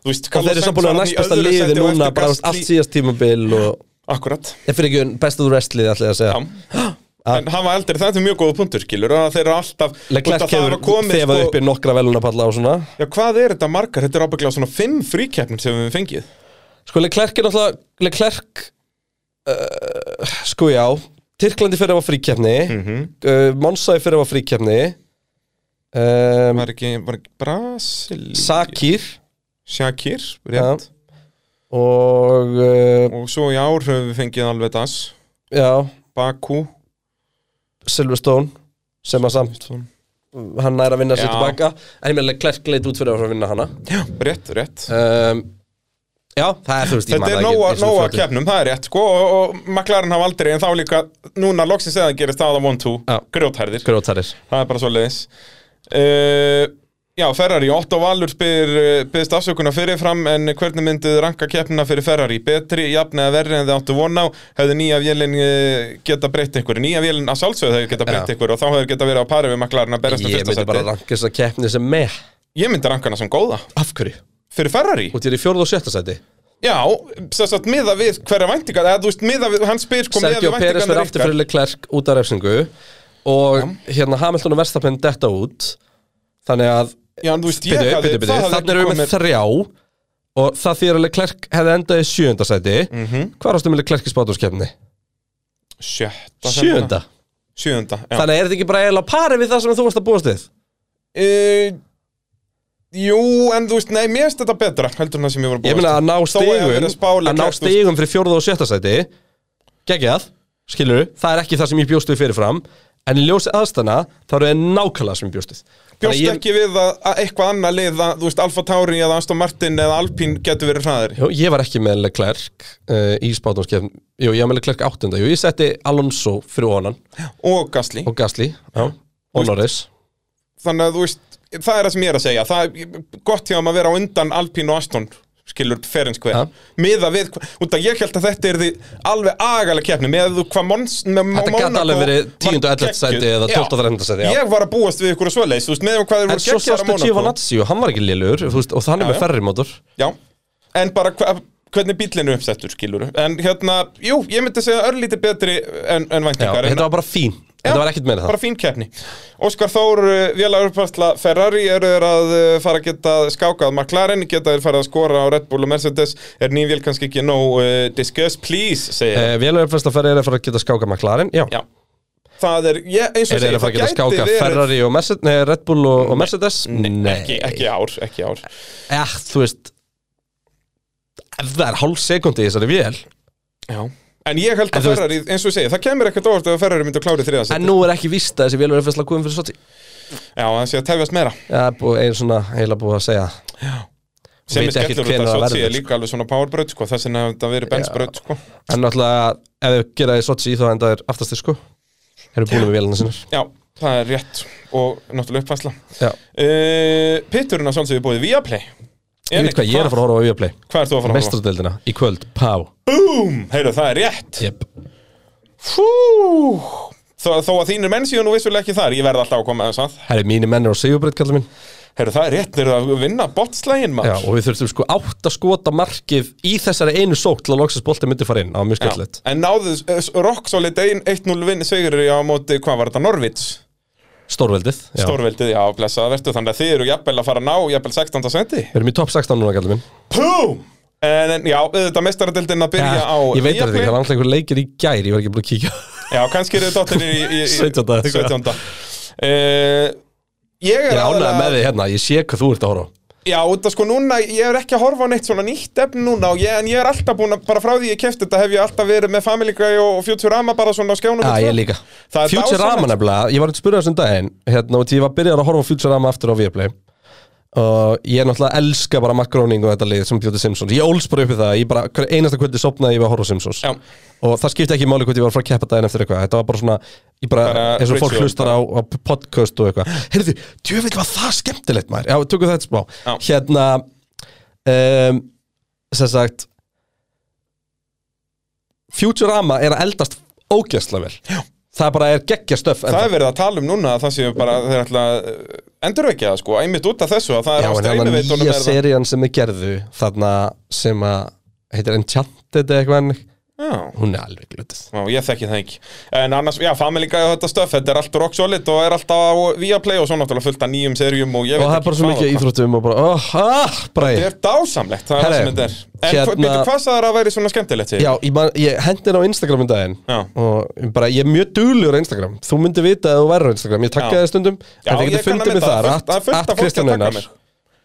Þú veist,
og
Carlos
þeir eru
Sainz
saman búin
var
að
þarna í
næstbesta
öðru
liði
sæti á
núna
eftir
bara
Gasly.
allt síðast tímabil og
Akkúrat.
ég fyrir ekki best of the rest liði ætla ég að segja
Já. En hann var eldri, þetta er mjög góða punktur, skilur og að þeir eru alltaf
Leclerc
út af það
hefur
hafa komið,
þefað
sko-
uppi nokkra velunapalla og svona
Já, hvað er þetta margar? Þetta er ábygglega svona fimm fríkeppnum sem við höfum fengið
Sko Leclerc er náttúrulega Leclerc uh, Sko já Tyrklandi fyrir að var fríkjafni mm -hmm. uh, Monsaði fyrir að var fríkjafni um,
Var ekki, var ekki Brasil
Sakir
Shakir, rétt
Og uh,
Og svo í ár höfum við fengið alveg das
já
Baku
Silverstone Sem að samt Hann er að vinna sér
Já.
tilbaka En ég meðlega Leclerc leit út fyrir að fara að vinna hana
Já, rétt, rétt
um, Já, það er þú veist ég man
Þetta er
það ekki,
nóga,
eins og
nóga
fljótið.
keppnum, það er rétt sko, og, og maklarinn hafa aldrei en þá líka núna loksins eða gerist það að 1-2
Já.
grjóthærðir
Grjótarir
Það er bara svo leiðis uh, Já, Ferrari, Otto Valur spyr, uh, byggðist afsökunar fyrirfram en hvernig mynduð ranka keppnina fyrir Ferrari betri, jafn eða verri en þið áttu von á hefðu nýja vélinn uh, geta breytt ykkur nýja vélinn að sálsöðu hefur geta breytt
Já.
ykkur og þá hefur geta verið á pari við maklarinn að berast um
Ég
fyrsta
myndi bara
seti
ranka þess að keppni sem með
Ég myndi rankana sem góða
Af hverju?
fyrir Ferrari
Út ég er í fjórð og sjötta sæti
Já, sem sagt, miða við hverja væntingar eða þú veist, miða við, hann spyr sko miðað
Sergio
við
Pérez
væntingarnar
verður aftur fyrir Leclerc út af refsingu og hérna Hamilton og Verstappen detta út þannig að
Já, en þú veist, ég
byrju,
hefði-
byrju, byrju,
það hefði
þannig erum
ekki
við með
komið-
þrjá og það þýðir að Leclerc hefði endað í sjöunda sæti mm -hmm.
Mhm.
hvað ástum með Leclerc í spátumskeppni?
Sjötta sem
Sjöunda?
bara- Sjöunda, já
Þannig að er þetta ekki bara eiginlega pari við það sem þú varst að búast við?
uh, Jú, en þú veist, nei, mér finnst þetta betra heldur en það sem ég var að búa
Ég meina að ná
að,
stigum
spála,
að ná stigum fyrir fjórða og sjötta sæti geggjað, skilur það er ekki það sem ég bjóst við fyrirfram en í ljósi aðstana þá eru það nákvæmlega sem ég bjóst við Þannig að
Bjóst
ég,
ekki við að, að eitthvað annað lið að, þú veist, Alfa Tauri eða Aston Martin eða Alpine getur verið hraðari
Jó, ég var ekki með Leclerc uh, í spátumskefn Jú, ég var með Leclerc áttunda Jú, ég setti Alonso fyrir onan
og Gasly
og Gasly já, og
Veist-
Norris
þannig að þú veist, það er það sem ég er að segja það er gott hjá um að vera á undan Alpine og Aston skilur ferins hver
Ja.
miða við, hva- út að ég held að þetta er því alveg agalega keppni með þú hvað Mons, með
Þetta
Monaco
gæti alveg verið 10.
var
11. sæti
geggjuð.
eða 12.
Já.
13. sæti já.
ég var að búast við ykkur að svoleiðis þú veist, með um hvað þeir
En
voru
svo
geggjaðar á
sástu
Monaco.
Giovanazzi og hann var ekki lélugur og hann er
Já,
með
já.
ferri mótor
Já, en bara hva, hvernig bíllinu uppsettur skilur En hérna, jú, ég myndi segja örlítið betri en, en
Já,
væntingar en
Þetta var bara fín, þetta var ekkert meira það
bara fín keppni Óskar Þór, Vélag Urpastla Ferrari eru þeir að uh, fara að geta skákað McLaren, geta þeir fara að skora á Red Bull og Mercedes, er nýjum vél kannski ekki nóg uh, discuss, please, segja
Eh, Vélagur fyrst að ferri er að fara að geta skáka McLaren Já,
Já, það er, ég, eins og
Eh. er
segja,
að fara að geta
gæti
skáka
verið-
Ferrari og Mercedes, nei, Red Bull og, og Mercedes Nei,
Ekki, ekki ár, ekki ár
Eh, Þú veist Ef það er hálf sekundi í þessari vél
Já En ég held
En
að
þú veist-
Ferrari, eins og ég segi, það kemur ekkert óvart ef að Ferrari myndi að klára þriðansett
En nú er ekki víst að þessi vél er fyrst að koma fyrir Sochi
Já, það sé að tefjast meira
Já, búið, einn svona heila búið að segja
sem
Veit
er
ekkert
skellur út
hvenær
að
það
Sochi
verður,
er líka alveg svona powerbraut sko, þess vegna hefur þetta verið bensbraut sko.
En náttúrulega, ef þau gera því Sochi þá enda er aftastir sko Eru búin með vélina sinnar
já, það er rétt og náttúrulega uppfæsla
Já,
uh, Pitturinn að sjálfsögðu búið Viaplay
ég veit hvað, ég er að fara að horfa á Viaplay
Hvað ert þú að fara að horfa?
Mestradeldina, í kvöld, pá
Búm, heyrðu, það er rétt
yep.
Fú Þó, þó að þínir menn síðan nú vissulega ekki þar, ég verð alltaf að koma aðeins að
Herri, mínir menn er á Sigurbreyt, kallar minn
Heyrðu, það er rétt, þeir eru að vinna botslægin
Já,
maður
og við þurftum sko átt að skota markið í þessari einu sók til að loksins bolti myndi fara inn, það var mjög skemmtilegt
En náðu uh, Rock Solid 1-0 vinn sigur á móti, hvað var þetta, Norvits
Stórveldið, já
Stórveldið, já, blessaða vertu Þannig að þið eru jafnvel að fara að ná, jafnvel 16. senti
Við erum í top 16 núna, kallar minn
Pum! En, en já, þetta mestaradeldin að byrja á
Ég veit þetta
Viaplay.
ekki, það er alltaf einhver leikir í gær, ég var ekki búin að kíkja
Já, kannski eru þetta í, í, í
17. eða eitthvað.
17. Uh, Ég
sko. Ég
er
er ánægð
aðallega-
með þig hérna, ég sé hvað þú ert að horfa á.
Já, út af sko núna, ég er ekki að horfa á neitt svona nýtt efn núna og ég, en ég er alltaf búin að, bara frá því ég kefti þetta hef ég alltaf verið með Family Guy og, og Futurama bara svona á skjánum
Já,
og
ég
tvö.
líka
Það er
Futurama
dásamlegt.
nefnilega, ég var eitthvað spurðið þessum daginn hérna, og því ég var byrjar að horfa á Futurama aftur á Viaplay og ég náttúrulega elska bara Mark Groening og þetta lið sem bjóti Simpsons ég óls bara uppið það, ég bara, hver einasta kvöldi sopnaði ég var að horfa á Simpsons
Já.
og það skipti ekki máli hvort ég var að fara að keppa daginn eftir eitthvað þetta var bara svona, ég bara,
Bara
eins og fólk
ritual,
hlustar á, á podcast og eitthvað heyrðu, djöfitt var það skemmtilegt maður já, tökum þetta smá
Já.
hérna, um, sem sagt Futurama er að eldast ógæsla vel já. það bara er geggja stöf
Það er verið að tala um núna að það séu bara, þeir ætla að endurvekja það sko, einmitt út af þessu að það er
Já,
á
en hann
streymi
að
veitunum
nýja serían sem þið gerðu þarna sem að heitir Enchanted eða eitthvað en
Já,
hún er alveg glötuð
Já, ég þekki það ekki En annars, já, Family Guy og þetta stöf Þetta er allt rock solid og er alltaf á Viaplay Og svo náttúrulega fullt af nýjum serjum Og ég
og
veit
það er
ekki
bara svo
hvað
mikið
og
af
hvað.
íþróttum og bara, oh, ah,
Þetta
bræði
er dásamlegt, það er það
Herre,
sem þetta er En
hérna-
hérna... býttu, hvað sagðar að væri svona skemmtilegt til?
Já, ég, man, ég hendi henni á Instagram um daginn
Já.
og bara, ég er mjög duglegur á Instagram þú myndir vita að þú væri á Instagram, ég takka
Já.
þið stundum
Já,
en þið
ég kann
getur
að
fundið mig
mynda það.
þar
Fullt- það er fullt af
at
fólki að
Kristján
tagga
Einar
mig.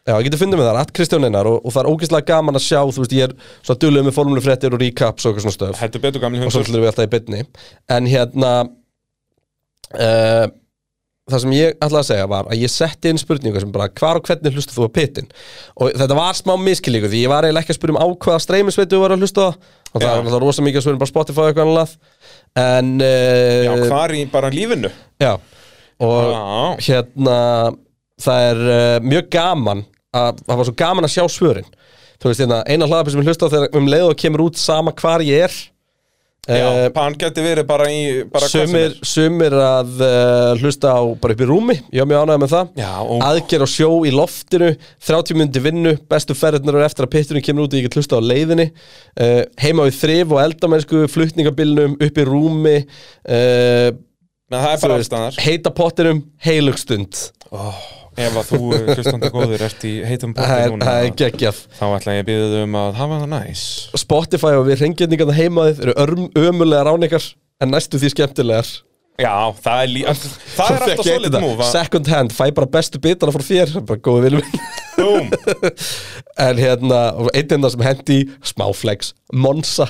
Já, ég getur fundið mig þar, at Kristján Einar og, og það er ógeðslega gaman að sjá, þú veist, ég er svona duglegur með formulefréttir og recaps og eitthvað svona stöf
Heldur betur gamli
og svo
hundur
ætlum við alltaf í byrni en hérna uh, það sem ég ætlaði að segja var að ég setti inn spurningu sem bara hvar og hvernig hlustu þú á pittin og þetta var smá miskilíku því ég var eiginlega ekki að spyrja um á hvaða streymisveitu þú var að hlusta á, og það
Já.
var alltaf rosa mikið að spyrja um bara Spotify og eitthvað annað en uh,
Já, Ah. hvar í bara lífinu?
Já, og
Já.
hérna það er uh, mjög gaman að, það var svo gaman að sjá svörin þú veist, hérna, eina hlaðarpið sem ég hlusta á þegar um leið og kemur út sama hvar ég er
Já,
eh,
hann geti verið bara í bara hvað sem
sumir,
er.
sumir að uh, hlusta á bara upp í rúmi, ég var mjög ánægð með það
Já, og
aðgerð á sjó í loftinu 30 myndi vinnu, bestu ferðnar eftir að pitturinn kemur út og ég get hlusta á leiðinni uh, heima við þrif og eldamennsku flutningabilnum, upp í rúmi uh,
Nei, það er
þú
bara
veist,
allstaðar
heita pottinum heilugstund
oh, ef að þú, eh, hlustandi góður, ert í heitum
Það
bóti
er-
núna
það er geggjað
þá ætla ég að byrja þau um að hafa það næs
Spotify og við reyngjendingarna heimaðið eru örm, ömulegar án ykkar en næstu því skemmtilegar
Já, það er, lí... það er
Svo
alltaf
fékk ég
solid
þetta.
move að-
Second hand, fæ bara bestu bitana frá þér bara góði viljum minn
Boom.
En hérna, og einn hérna sem hendi í, smáflex, Monsa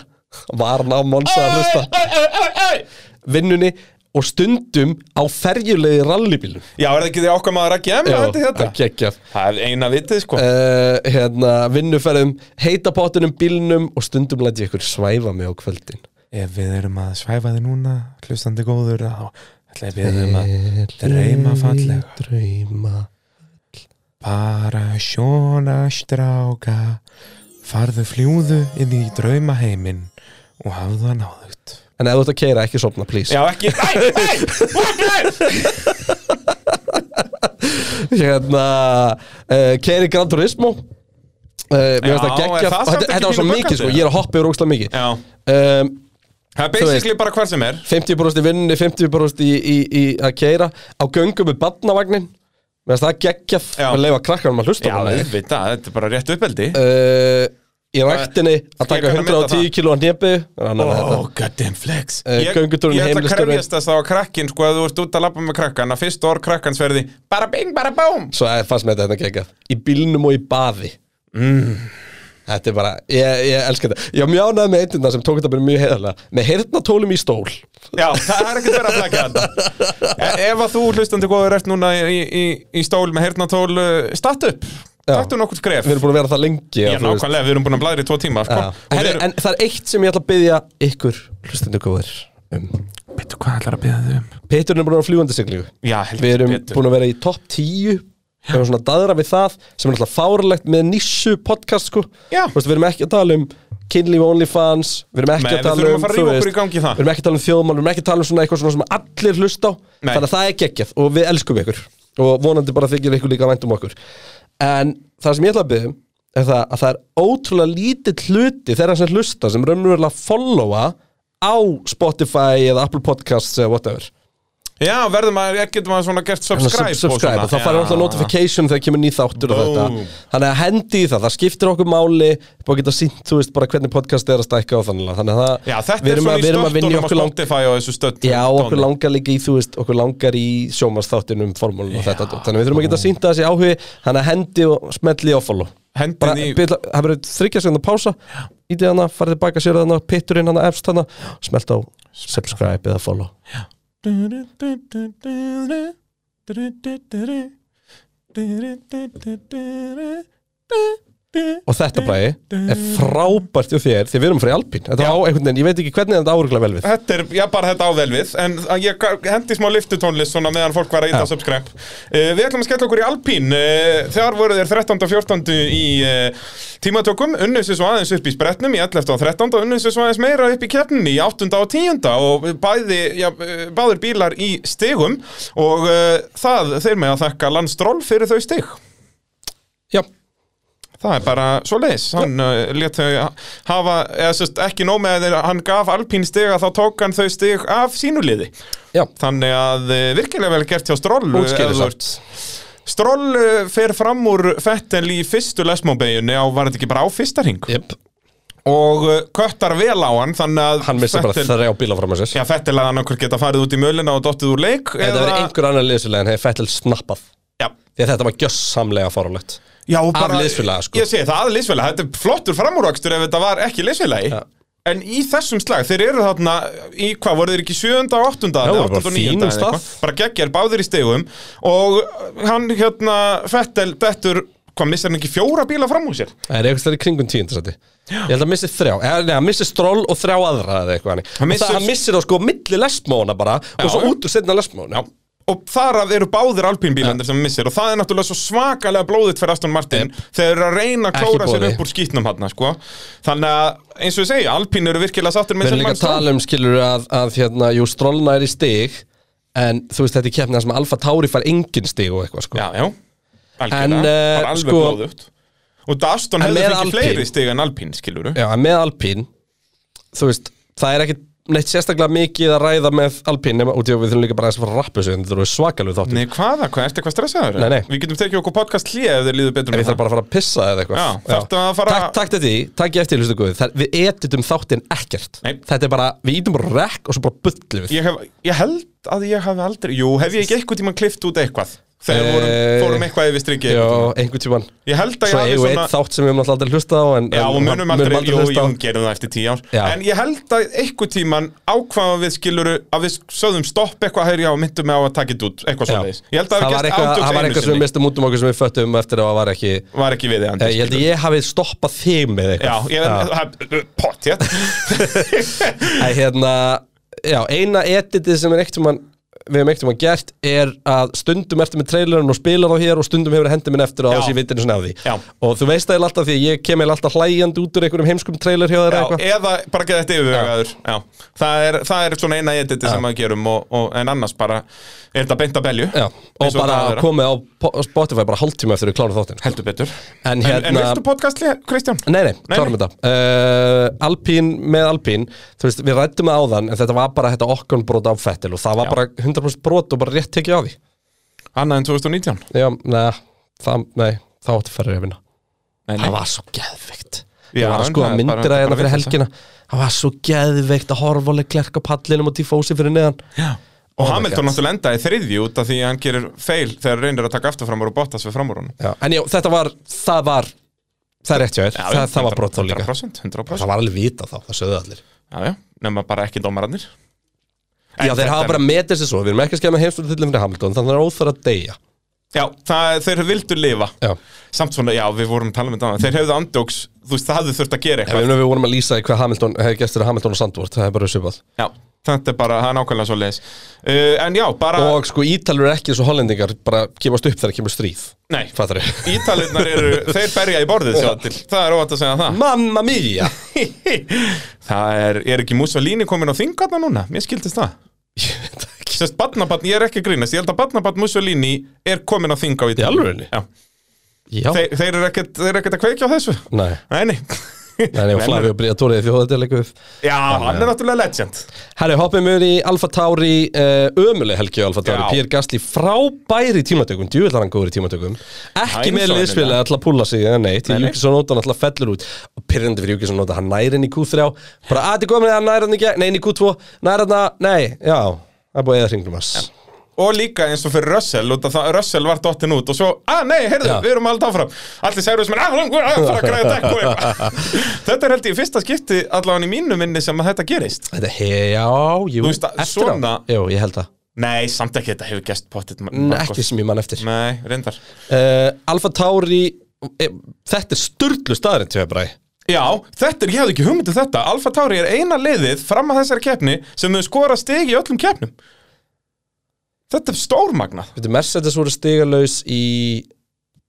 var hann á Monsa að hlusta
Ei, ei, ei, ei, ei.
vinnunni og stundum á ferjulegi rallybílum
Já, er það ekki því okkar maður að gemma
Já,
þetta
það er
þetta?
geggjað
Það er eina vitið, sko
uh, hérna, vinnuferðum, heitapottunum, bílnum og stundum læt ég ykkur svæfa mig á kvöldin
Ef við erum að svæfa þið núna, hlustandi góður þá ætla ég að byrja þau um
Eh.
að dreyma fallega
Dreyma
Bara sjóna stráka Farðu fljúðu inn í draumaheimin Og hafðu það náðugt
En ef þú ert að keira ekki sopna, please
Já, ekki Æ, æ, what the-
Hérna, uh, keiri Gran Turismo uh,
Já,
Mér finnst það
er
geggjað
það
Þetta
samt ekki
þetta var svo
pínu
mikið,
böggandi?
sko, ég er að hoppa yfir ógslag mikið
Já,
um,
það er basically bara hvað sem er
50% í vinnunni, 50% í, í, í að keira Á göngum með badnavagnin Mér finnst það geggjað
Já.
að leifa krakkanum að hlusta
Já,
á hana.
auðvitað, þetta er bara rétt uppeldi
uh, í ræktinni að taka
Ég kann að meta
110
það.
kíló að nebu þannig að þetta
goddamn flex
Eh,
Ég, ég
göngutúrinn
ætla að
heimilisstörfin.
krefjast þess að á krakkin sko að þú ert út að labba með krakkan að fyrst orð krakkans verði bara bing, bara bám
svo að fannst mér þetta hérna geggjað í bílnum og í baði mm. þetta er bara, ég, ég elska þetta ég var mjög ánægð með einna sem tók þetta bara mjög heiðarlega með heyrnatólum í stól
Já, það er ekkert verið að flagga þetta E- Ef að þú hlustandi góður ert núna í, í, í stól með heyrnatól uh, statt upp,
Já.
taktu nokkur skref
við erum búin að vera það lengi
Já,
að þú veist.
nákvæmlega, við erum búin að blæðra í tvo tíma sko.
Já.
Og við
Herri,
erum-
en það er eitt sem ég ætla að byggja ykkur hlustendur góður um.
Bittu, hvað ætlar að byrja þau um?
Peturinn er búin að vera fljúandi siglingu
Já, heldur
við erum
betur.
búin að vera í topp 10 við erum svona að daðra við það sem er alltaf fárlegt með nissu podcast sko
Já.
Þú veist, við erum ekki að tala um kynlíf og onlyfans við erum ekki
Nei,
að
við
tala
þurfum
um
að fara að rífa
þú
okkur
veist,
í gang í það.
við erum ekki að tala um þjóðmál við erum ekki að tala um svona eitthvað svona sem allir hlusta á
Nei.
þannig að það er geggjað og við elskum ykkur og vonandi bara þykir ykkur líka vænt um okkur en það sem ég ætla að byggja er það að það er ótrúlega lítill hluti þeirra sem hlusta sem raunverulega followa á Spotify eða Apple Podcasts eða whatever
Já, verðum að, getum að svona gert
Þannig að
subscribe,
Hérna, sub- subscribe og þá fara alltaf notification þegar kemur nýð þáttur og þetta
Boom.
þannig að hendi í það, það skiptir okkur máli bara geta sínt, þú veist, bara hvernig podcast er að stækka og þannig að- þannig að það,
Já, þetta
við
er
erum
svona
að,
í
við erum að vinja
stöttunum á
okkur langt
Spotify og þessu stöttunum
já, okkur langar líka í, þú veist, okkur langar í sjómasþáttinum, formúlun og þetta dót. þannig að við þurfum að geta sínt að þessi áhugi þannig að hendi og smelli og follow bara,
Hendin í
byrla, það verður þryggja sekundar pása í því hana, farið tilbaka sér hana, pitturinn hana, efst hana, smelt á subscribe eða follow
Og
og þetta bræði er frábært hjá þér því við erum frá Alpín þetta á einhvern veginn, ég veit ekki hvernig þetta áruglega vel við
Þetta er, já bara þetta á vel við En að ég ga- hendi smá liftutónlist svona meðan fólk var að ýta
Já.
að subscribe uh, Við ætlum að skella okkur í Alpín uh, Þegar voru þeir 13. og 14. í uh, tímatökum Unnuð sér svo aðeins upp í spretnum í 11. og 13. og Unnuð sér svo aðeins meira upp í keppninni í 8. og 10. Og bæði, já, eh, báðir bílar í stigum Og uh, það þeir með að þakka landstról fyrir þau stig
já,
Það er bara svo leis, hann uh, let þau hafa, eða sérst ekki nóg með að hann gaf alpín stig að þá tók hann þau stig af sínuliði.
já,
Þannig að eh, virkilega vel gert hjá Stroll. eh,
útskýri
ef þú ert-
samt
Stroll eh, fer fram úr Fettel í fyrstu lesmóbeginni á, var þetta ekki bara á fyrsta ring?
yep.
Og eh, köttar vel á hann, þannig að
hann missi bara
Vettel-
þrjá bíla fram að sér
Já, Fettel að hann okkur geta farið út í mölina og dottið úr leik.
ef það verið einhver annar liðsfélagi en hefði Fettel snappað
Já,
því að þetta var gjössamlega fórulegt
Já, og
Af
bara,
liðsfélaga, sko.
Ég segi það, af liðsfélaga, þetta er flottur framúrvakstur ef þetta var ekki liðsfélagi
Ja.
En í þessum slag, þeir eru þarna í hvað, voru þeir ekki 7. og 8.
Já,
eða
voru bara
8. og 9.
fínum
eða
stað.
eitthvað? bara geggjar báðir í stegum og hann hérna Fettel dettur, hvað missar hann ekki fjóra bíla fram úr sér?
það er eitthvað stærri kringum tíundasæti ég held að missi þrjá, eða nei, hann missi stról og þrjá aðra eða eitthvað þannig.
Hann
Og það-
missir-
hann missir þá sko milli lesmóna bara og svo
já.
út úr setna lesmóna
Og þar af eru báðir alpínbílandir sem hann missir og það er náttúrulega svo svakalega blóðið fyrir Aston Martin þegar þeir eru að reyna að
Ekki
klóra sér
boði.
upp úr skýtnum hann sko. Þannig að eins og ég segi, alpín eru virkilega sáttir
Við
með
erum
sinn
líka að
mann Stroll.
tala um, skilur að, að hérna, jú, strólna er í stig En þú veist, þetta er keppnið þar sem Alfa Tauri fær engin stig og eitthvað, sko
Já, já Algjörlega,
En, eh,
bara alveg
sko-
blóðugt Og þetta Aston
En
hefði
með
fengið
Alpine-
fleiri stig en Alpín, skilur
Já, en með Alpín, þú veist, það er ekkit neitt sérstaklega mikið að ræða með Alpine nema út í að við þurfum líka bara aðeins að fara að rappa þessu en þetta eru svakalegu þáttur
Nei, hvaða, hvað, ertu eitthvað stressaður?
Nei, nei.
Við getum tekið okkur podcast hlýja ef þið líður betur
En
með
ég þarf bara að fara að pissa eða eitthvað
Já, þarftu að fara-
Takk, takk þetta í, takk ég eftir, hlustu guð Það- Við editum þáttinn ekkert
Nei.
Þetta er bara, við ítum bara rekk og svo bara bullum við
ég, hef, ég held að ég hafi aldrei Jú, hef ég ekki eitthvað tíma klift út eitthvað Þegar við vorum,
Eh,
fórum eitthvað yfir strikki
Já, einhvern tímann
Ég held að
Svo
ég
eigum við
hafi
eitt
svona
þátt sem við höfum alltaf aldrei hlusta á en,
Já,
en-
og munum aldrei, jú,
hlusta á.
jú, gerum það eftir tíu ár
Já.
En ég held að eitthvað tíman ákvaða við skiluru að við sögðum stopp eitthvað hægri á og myndum með á að taka þetta út, eitthvað
Já.
svoleiðis Ég held að
Það
hafi
var
gerst
eitthvað, það var
átjóks
eitthvað sem við
einu sinni
mistum út um okkur sem við föttum eftir að það var ekki
Var ekki við
Eh, Ég held að ég hafi stoppað þig með
Já,
eitthvað
ég hef, pott, já
Æ, hérna, já, eina editið sem er eitt um hann við hefum eitt um hann gert er að stundum eftir með trailerinn og spilar þá hér og stundum hefur hendi minn eftir
Já.
á þess að ég vitinu svona af því
Já.
og þú veist það er alltaf því að ég kem eða alltaf hlægjandi út úr einhverjum heimskum trailer hjá þér eða
Já, e-
eitthvað
eða bara geta þetta yfirvegaður já. Það, er, það er svona eina editi sem við gerum og, og, en annars bara er þetta beint að belju
Já, og bara komið á po- á Spotify bara hálftíma eftir við klárum þáttinn
heldur betur
En
en, en
hérna
viltu podcastli, Kristján?
Nei, nei,
Nei,
klárum
nei.
þetta uh, Alpín með Alpín Þú veist, við rættum það áðan En þetta var bara þetta okkon brot af Fettil Og það
Já.
var bara 100% brot og bara rétt tekið á því
Annað en 2019
Já, neða, það, nei, þá átti ferri að vinna
nei,
Það var svo geðveikt
Já,
Ég var að
en
sko
það er bara-
að myndir að
bara
hérna fyrir
vitleysa.
helgina Það var svo geðveikt að horfa alveg klerk á pallinum og tífósi fyrir neðan
Já. Og
Oh my
Hamilton
God.
náttúrulega endaði í þriðju út af því að hann gerir feil þegar reynir að taka afturframur og Bottas við framur honum
Já, en já, þetta var, það var Það er rétt hjá þér, það, það var brot þá líka
100%, 100%.
Það var alveg vita þá, það sögðu allir
Já, já, nema bara ekki dómararnir En
Já, þeir
þetta
hafa
er-
bara metið sér svo, við erum ekki að skemma heimsvöldutillum fyrir Hamilton, þannig að það er óþar að deyja
Já, það, þeir vildu lifa
Já,
Samt svona, já, við vorum að tala um þetta áðan. Þeir hefðu andjóks, þú veist, það hafðu þurft að gera
Ef
eitthvað
við, við vorum að lýsa í hvað Hamilton hefði gert fyrir Hamilton og Sandvort, það er bara svipað
Já, þetta er bara, það er nákvæmlega svo leiðis En já, bara,
Og sko Ítalur er ekki eins og hollendingar bara gefast upp þegar kemur stríð
nei
Fattar
Ítalinnar eru, þeir berja í borðið sjá til Það er óvænt að segja það
Mamma mia
Það er, er ekki Mussolini komin á þingarna núna? Mér skildist það
Ég veit það ekki
Sérst, badnabatn, ég er ekki að grínast Ég held að badnabatn Mussolini er komin á þing á
Í
Ítalíu
alvörunni?
Já,
Já,
þeir, þeir eru ekkert, þeir eru ekkert að kveikja á þessu
nei
Nei, nei
Nei, nei, og Flavio Briatore þjóðatelegur
Já, hann er náttúrulega legend
Herri, hoppum við í Alfa Tauri uh, ömuleg helgi á Alfa Tauri,
Já.
Pér Gastli frábæri í tímatökum, djúvillar hann góður í tímatökum ekki
Hæ,
með
svo
liðsfélag alltaf að púlla sig eða neitt,
Nei, nei.
Júkisson Óta alltaf fellur út og pyrrandi fyrir Júkisson Óta, hann næri henni í Q3 bara "Ah, að þið komin að hann næri henni í gegn, nei, inn í Q2 næri henni að, nei, já það er búið eða hringnum hans
Og líka eins og fyrir Russell, út af það Russell var dottin út og svo, að nei, heyrðu,
Já.
við erum alltaf áfram Allir særu sem er, að langur, að fara að græða dekk og eitthvað Þetta er held ég fyrsta skipti allavega í mínu minni sem að þetta gerist
þetta, he, já, jú,
Þú veist að
eftir á
svona-
jú, ég held það,
Nei, samt ekki þetta hefur gest pottit
N- ekki sem ég man eftir
Nei, reyndar
uh, Alfa Tauri eh, þetta er sturdlu staðarinn til Hebræ
Já, þetta er, ég hafði ekki hugmynd um þetta Alfa Tauri er eina liðið fram að þessari keppni sem hefur skorað stig í öllum keppnum Þetta er stórmagnað
Veitu, Mercedes voru stigalaus í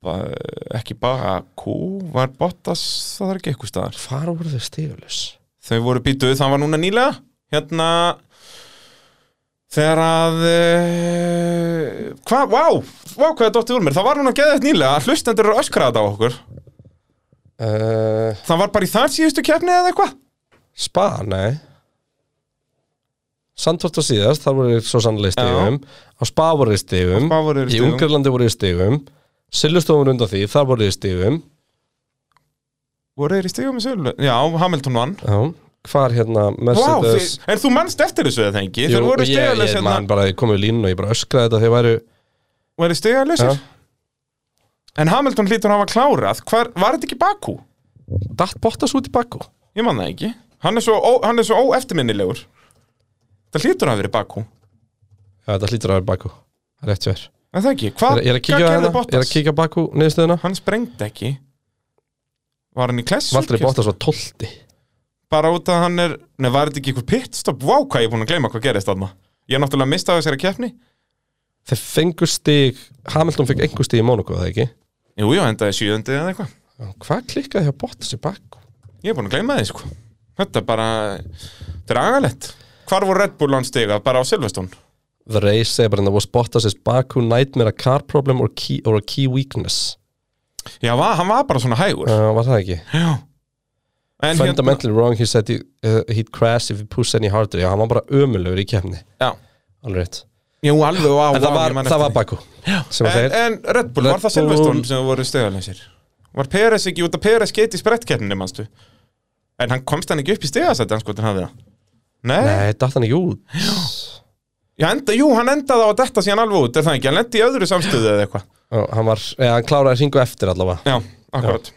Ba- eh, Ekki bara Q var Bottas, það er ekki eitthvað staðar
Hvar voru þau stigalaus?
Þau voru býtuð, það var núna nýlega Hérna Þegar að uh, Hvað, vá, vá hvað er dottið úr mér Það var núna geðið nýlega, hlustendur eru öskraðið á okkur
Uh,
Það var bara í þar síðustu keppni eða eitthvað
spa, nei Sandvort á síðast, þar voru þeir svo sannlega í stigum Á Spa voru þeir í stigum
Á Spa voru þeir í
Í
stigum.
Ungarlandi voru þeir í stigum Sillustof voru undan því, þar voru þeir í stigum
Voru þeir í stigum í sölu? Já, Hamilton vann
Já, hvar hérna
Vá,
Mercedes
þið, en þú mannst eftir þessu eða það ekki? Þeir voru
ég, ég,
stegalaus
ég
hérna,
man bara, ég kom í línu og ég bara öskraði þetta þegar væru
voru stegalausir? En Hamilton hlýtur að hafa klárað, Hvar, var þetta ekki Bakú?
Datt Bottas út í bakku
Ég man það ekki. Hann er svo, ó, hann er svo óeftirminnilegur. Það hlýtur að hafa verið Bakú.
Já, þetta hlýtur að vera bakku Rétt hjá þér
En það ekki, hvað
Ég er að kíkja
hvað
á
gerði
hérna, ég er að
Bottas?
kíkja bakku niðurstöðuna
Hann sprengdi ekki. Var hann í klessu?
Valdri Bottas var 12
Bara út að hann er, nei, var þetta ekki einhver pitstop? Vá, hvað ég er búin að gleyma hvað gerist þarna. Ég er náttúrulega mistað þessari keppni.
Þeir fengu stig, Hamilton fekk einhver stig í Monaco, eða ekki?
Jú, jú, endaði sjöðundi eða eitthvað.
Já, Hvað klikkaði hjá Bottas í bakku?
Ég er búin að gleyma því sko Þetta er bara, þetta er agalett Hvar voru Red Bull hans stiga? Bara á Silveston
The race segir bara, that was Bottas' Baku nightmare a car problem or, key, or a key weakness.
Já, va, hann var bara svona hægur
Uh, var það ekki?
Já, En hérna-
fundamentally wrong, he said he, uh, he'd crash if he pushed any harder já, hann var bara ömulegur í kefni,
já.
alveg rétt
Jú, alveg, wow,
en það
wow,
var,
ég man
það
eftir
var
því.
Baku sem að
en,
þeir,
en Red Bull, var
Red
það Silveston
Bull-
sem voru stegalansir? Var Peres ekki út að Peres geti í sprettkeppninni, manstu? En hann komst hann ekki upp í stegasætti, hann skotin hafði það Nei,
nei, datt hann ekki út
Já, enda, jú, hann endaði á að detta síðan alveg út, er það ekki? Hann endi í öðru samstöðu eða eitthvað
Já, hann var, eða hann kláraði hringu eftir allavega
Já, akkurat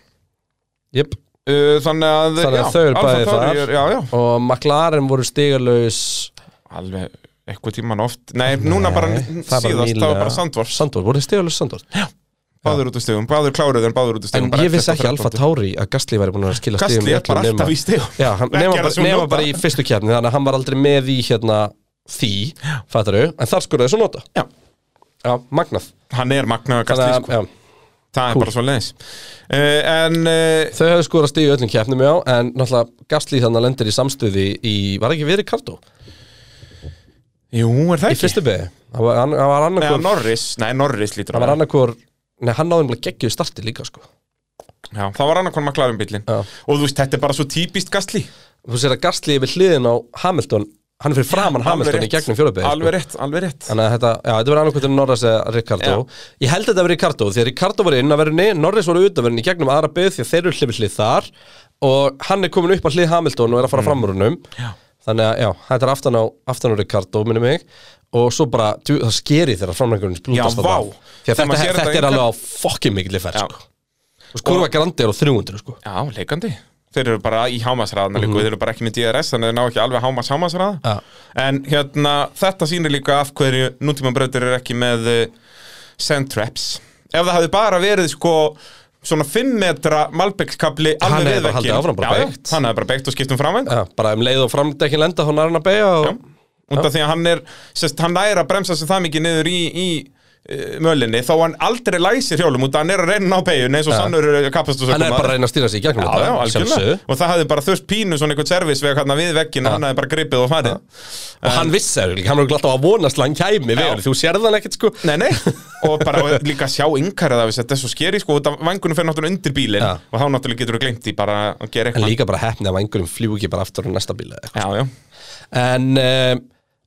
Jöp.
Uh, Þannig að,
Þannig að
já,
þau eru
Alfa
bæði
Tauri
þar.
er- Já, já,
og McLaren voru stigalauðis
alveg eitthvað tíman oft Nei, núna bara síðast, það var bara Sandvors
Sandvors, voru stigalauðis Sandvors
Báður út úr stegum, báður kláruð en báður út úr
en
stegum bara
ég
eftir
vissi
þetta
ekki Alfa
þrettánda.
Tauri að Gastli væri búin að skila stigum
Gasly er bara
öllum nema-
alltaf í stegum
Já, hann-
Ekki
nema,
er það
bara,
svo
nema
nota.
bara í fyrstu kefni þannig að hann var aldrei með í hérna því, fattaru, en þar skurði þessu nota
Já.
Já, magnað
Hann er magnaður Gasly,
Þannig
sko
að, já,
Það er
Cool.
bara svo leiðis uh, En uh,
Þau hefðu skurðast í öllum kefnum já en náttúrulega Gastli þannig að lendir í samstöði í, var ekki verið Kardó?
Jú, er það
Í
ekki?
fyrstu beði, hann var, hann
Nei,
var annarkor
Norris, nei, Norris lítur
hann
að
var
vera.
annarkor, nei hann náðum bara geggjuð starti líka sko
Já, Það var annarkon maklarinn bílinn
Já.
Og þú veist, þetta er bara svo típist Gasly
Þú sér að Gastli er við hliðin á Hamilton hann er fyrir framan Hamilton í gegnum sko. fjórabeði
Alveg rétt, alveg rétt
Þannig að þetta, já, þetta verður annað hvort en Norris eða Ricardo Ég held að þetta verið Ricardo því að Ricardo var inn að verðinni, Norris var út að verðinni í gegnum aðra byggð því að þeir eru hlifið hlið þar og hann er komin upp að hlið Hamilton og er að
Mm.
fara fram úr húnum Þannig að, já, þetta er aftan á, aftan á Ricardo, minni mig og svo bara, djú, það skeri þegar framlægurinn splútast
Já,
þarna.
vá.
Því að
Þegar
þetta,
maður sér
þetta,
þetta
er
einhvern-
alveg á fokkin mikil ferð,
Já.
sko Og skurfa grandi er á 300, sko
Já, leikandi Þeir eru bara í hámasraðan mm Þeir eru bara ekki með DRS Þannig að þeir ná ekki alveg hámas hámasraða
Mhm. Já.
En hérna, þetta sýnir líka af hverju Nútíma breytir er ekki með uh, Sand traps Ef það hafði bara verið sko Svona 5 metra Malbekskabli
Hann
alveg við
hefði bara
vekkinn.
haldið áfram, bara
Já, já,
beygt.
Hann hefði bara beikt og skipt um framvænd
já, Bara um leið og framdekkin lenda, hún er hann að beigja og...
Út af því að hann er, sérst, hann næri að bremsa sig það mikið niður í, í uh, mölinni Þó hann aldrei læsir hjólum út að hann er að reyna á peyjun eins og sannur kapastus
Hann er bara að reyna að stýra sig í gegnum
Já, já, algjörlega
sjálfsögðu.
Og það hafði bara þurft pínu svona eitthvað servis við, hérna, við veggin og hann hafði bara gripið og farið
og hann vissi það, örugglega, hann var örugglega alltaf að vonast að hann
Já.
kæmi við, þú sér þann ekkert sko
Nei, nei Og bara og líka sjá yngarið af þess að þetta er svo skeri sko og vangunum fer náttúrulega undir bílinn
Já.
og þá náttúrulega getur þú gleymt því bara að gera
en sko.
eitthvað
líka bara hefni af einhverjum fljú ekki bara aftur á næsta bíl eða eitthvað.
Já, já
en uh,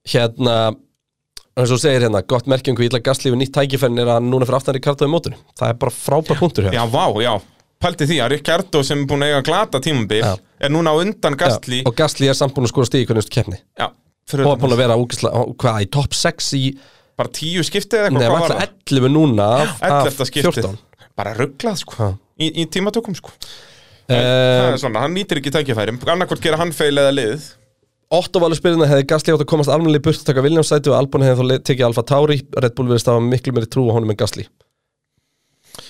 hérna eins og þú segir hérna, gott merkjum hvað illa gaslífi nýtt tækifenn er að hann núna fyrir aftan Ricardo í mótunum það er bara frábær punktur hér
Já, vá, já Pælti því að Ricardo sem er búin að eiga glata tímabil
Já.
er núna á undan Gastli
og gaslífi er samt búin að skora stíði hvernig keppni
Já, fyrir
og er
utan
búin að vera úkislega, hvað, í top 6 í
bara tíu skipti eða
neða,
eitthvað, hvað var
vantla
það?
11 núna af,
11.
af
skipti
14
Bara rugglað sko
Já.
í, í tímatökum sko Það
uh,
er svona, hann nýtir ekki tækifærim Annarkvort gera hann feil eða lið
Otto Valur spyrirna hefði Gasly átt að komast almennilega í burt að taka Williams sæti og Albon hefði þá le- tekið Alfa Tauri Red Bull verðist að hafa miklu meiri trú á honum en Gasly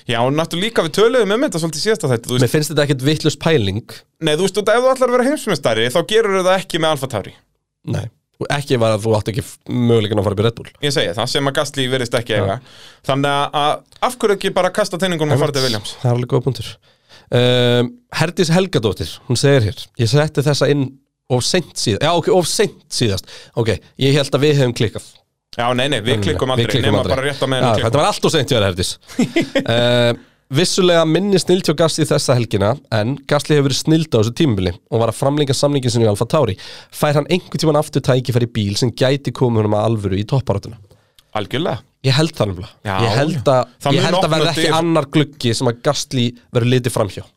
Já, og náttúrulega líka við töluðum um þetta svolítið síðasta þetta þú veist,
Mér finnst þetta ekkert vittlust pæling
Nei, þú veist, og ef þú ætlar að vera heimsmyndstari þá gerur það ekki með Alfa Tauri
Nei Og ekki var að þú átt ekki möguleikin að fara upp í Red Bull
Ég segi það, sem að Gastli verðist ekki eiga Þannig að af hverju ekki bara kasta teiningunum og fara til Williams
Það er alveg góða punktur um, Herdís Helgadóttir, hún segir hér Ég setti þessa inn of seint síðast Já, ok, of seint síðast Ok, ég held að við hefum klikkað
Já, nei, nei, við klikkum
Mm, Við
aldrei, nema bara rétt á meðan
Já,
við
Þetta
klikkum
var allt og seint hjá þér, Herdís uh, Vissulega minni snild hjá Gassi þessa helgina en Gassi hefur verið snild á þessu tímabili og var að framlinga samlingin sinni í Alfa Tauri fær hann einhvern tíman aftur tækifæri í bíl sem gæti komið honum að alvöru í topparátuna
Algjörlega
Ég held það nefnilega
Já.
Ég held að,
Það mun
ég held að
opna
verði ekki
dyr.
annar gluggi sem að Gassi verður litið framhjá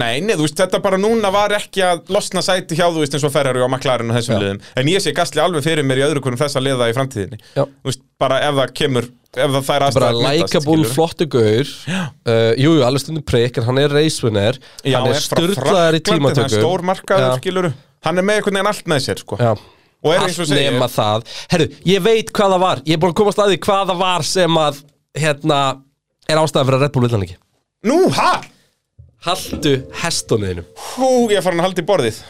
Nei, nei, þú veist, þetta bara núna var ekki að losna sæti hjá, þú veist, eins og Ferrari og McLaren og þessum
Já.
liðum En ég sé Gastli alveg fyrir mér í öðru hvernig þess að liða í framtíðinni
Já.
Þú veist, bara ef það kemur, ef það þær
Bara
aðstæður myndast,
likeable,
skilurðu.
flottu gaur uh, Jú, jú, alveg stundum prik en hann er racewinner
Já,
Hann er
frá
sturdlaðar í
Frakklandi,
tímatökum
Það er stór
Já.
markaður, skilurðu Hann er með einhvern veginn allt með sér, sko
Já.
Og er eins og
Allt
segir-
nema það Herru, ég veit hvað það var Ég er búin að komast að því hvað það var sem að hérna, er ástæðan fyrir að Red Bull villan ekki
Nú, ha?
Haltu hestónuðinum
Hú, ég er farin að halda í borðið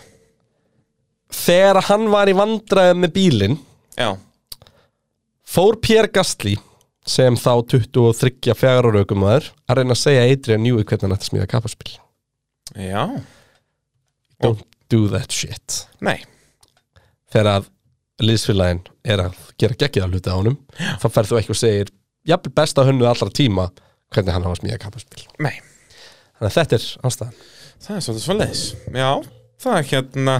Þegar hann var í vandræðum með bílinn
Já,
fór Pierre Gasly sem þá 23 fjagar og raukum maður að reyna að segja Adrian Newey hvernig hann ætti að smíða kappaspil
já,
Don't do that shit
nei
Þegar að liðsfélagin er að gera geggið að hluta á honum þá ferð þú ekki og segir jafnvel besta hönnu allra tíma hvernig hann hafa smíða kappaspil
Nei,
Þannig að þetta er ástæðan.
Það er svolítið svoleiðis. Já, það er hérna...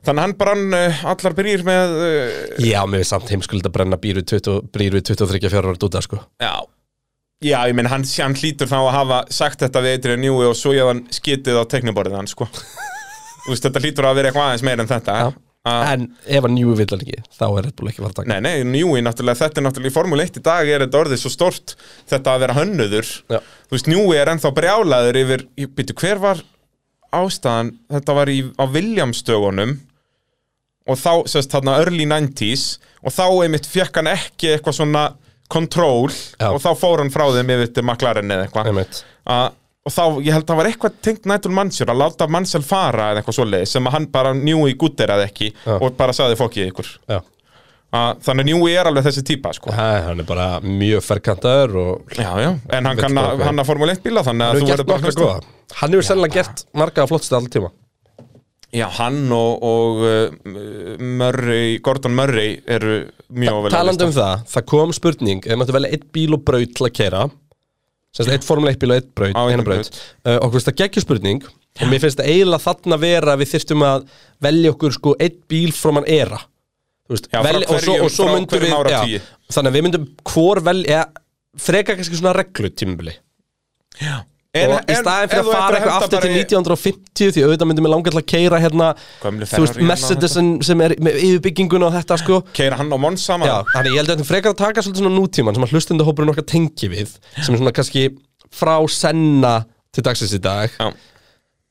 Þannig að hann brann uh, allar brýr með... Uh,
Já, mér er samt heimskuld að brenna brýr við 20 brýr við 23-24 ára dúta, sko.
já. Já, ég minn, hann, hann hlýtur þá að hafa sagt þetta við Adrian Newey og svo ég hann skitið á tekniborðið hann, sko. Þú veist, þetta hlýtur að vera eitthvað aðeins meir en þetta.
Já.
Að-
En ef hann njú vill hann ekki, þá er Red Bull ekki fara að taka.
Nei, nei, Newey, náttúrulega, þetta er náttúrulega í Formule 1 í dag er þetta orðið svo stort þetta að vera hönnuður.
Já.
Þú veist, Newey er ennþá brjálaður yfir, ég byrju, hver var ástæðan, þetta var í, á Williamstögunum og þá, sérst, þarna early 90s og þá einmitt fekk hann ekki eitthvað svona control
Já.
og þá fór hann frá þeim yfir til McLaren eða eitthvað
Einmitt.
að og þá, ég held að það var eitthvað tengt nættul mannsjör að láta mannsjál fara eða eitthvað svoleiðis sem að hann bara njú í gutteraði ekki
Já.
og bara sagði fokkið ykkur
Já.
að, þannig að Newey er alveg þessi típa sko.
Hæ, hann er bara mjög ferkantaður og
já, já, en hann
Veit
kann
bara
að
hvað.
hann að Formule 1 bíla þannig að
hann hefur
þú
gert
verður bara að
nokkra
hlusta.
góða. Hann hefur sennilega gert marga af flottstu allir tíma.
já, hann og, og uh, Murray, Gordon Murray eru mjög vel
Talandi um það, það kom spurning ef maður velja eitt bíl og braut til að keira sem sagt eitt formule 1 bíl og eitt braut,
Á,
eina
eina
braut. Uh, okkur finnst það geggjur spurning og mér finnst það eiginlega þarna vera að við þyrftum að velja okkur sko eitt bíl frá mann era Þú veist,
Já, frá
velja, og svo,
hverjum-
og svo
frá
myndum
hverjum
við
áratugi.
þannig að við myndum hvor velja freka kannski svona reglu tímubili
en,
um- og í staðin
ef þú
fyrir að
ættir
fara eitthvað
henda
aftur til
bara í-
1950 því auðvitað myndum við langa til að keira hérna
Gömlu
þú veist,
Ferrari-una og
Mercedesin sem er með yfirbyggingun og þetta sko
keira hann og Mons saman
Já, þannig ég held að þetta er frekar að taka svolítið svona nútíman sem að hlustendahópurinn okkar tengi við sem er svona kannski frá senna til dagsins í dag
Já.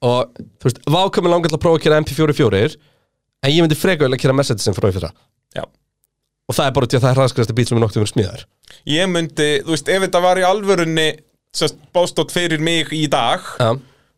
og þú veist, vákvæmi langar til að prófa að kera MP44 en ég myndi frekar vel að kera Mercedes sem frá í fyrra
Já.
og það er bara út í að það er hraðskræðasti bíl sem er nokkuð verið smíðar
ég myndi, þú veist, ef þetta var í alvörunni sérst, bóstótt fyrir mig í dag
Já,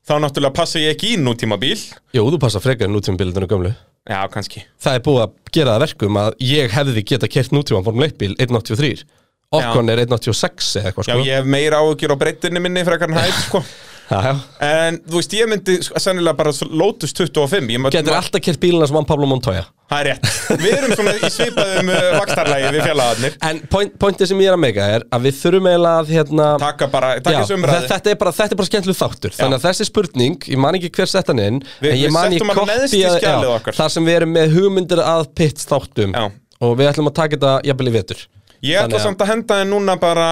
þá náttúrulega passa ég ekki í nútíma bíl
jú, þú passa frekar en nútíman bílutinu gömlu
já, kannski
Það er búið að gera það verkum að ég hefði geta kert nútíman fórum leikbíl 183 Okkon er 186 eða eitthvað
já,
sko
ég hef meira áhugjur á breytinni minni frekar en hæð, sko
Já, já.
En þú veist, ég myndi sko, sennilega bara svo- Lotus 25 ég myndi-
Getur alltaf kert bílina sem hann Pablo Montoya
Það er rétt Við erum svona í svipaðum uh, vakstarlægi við fjallaðarnir
En point, pointið sem ég er að meika er að við þurfum eiginlega að hérna,
Taka bara, taka þessu
þe-
umræði
þetta, er bara, þetta er bara skemmtileg þáttur Þannig að þessi spurning, ég man ekki hver sett hann inn
Við-
en ég
við
man ég
settum hann neðst í
kopíaði-
skjalið
já,
okkar.
Þar sem við erum með hugmyndir að pitt þáttum
Já.
Og við ætlum að taka þetta jafnvel í vetur
Ég ætla
Þannig að-
samt að henda þið núna bara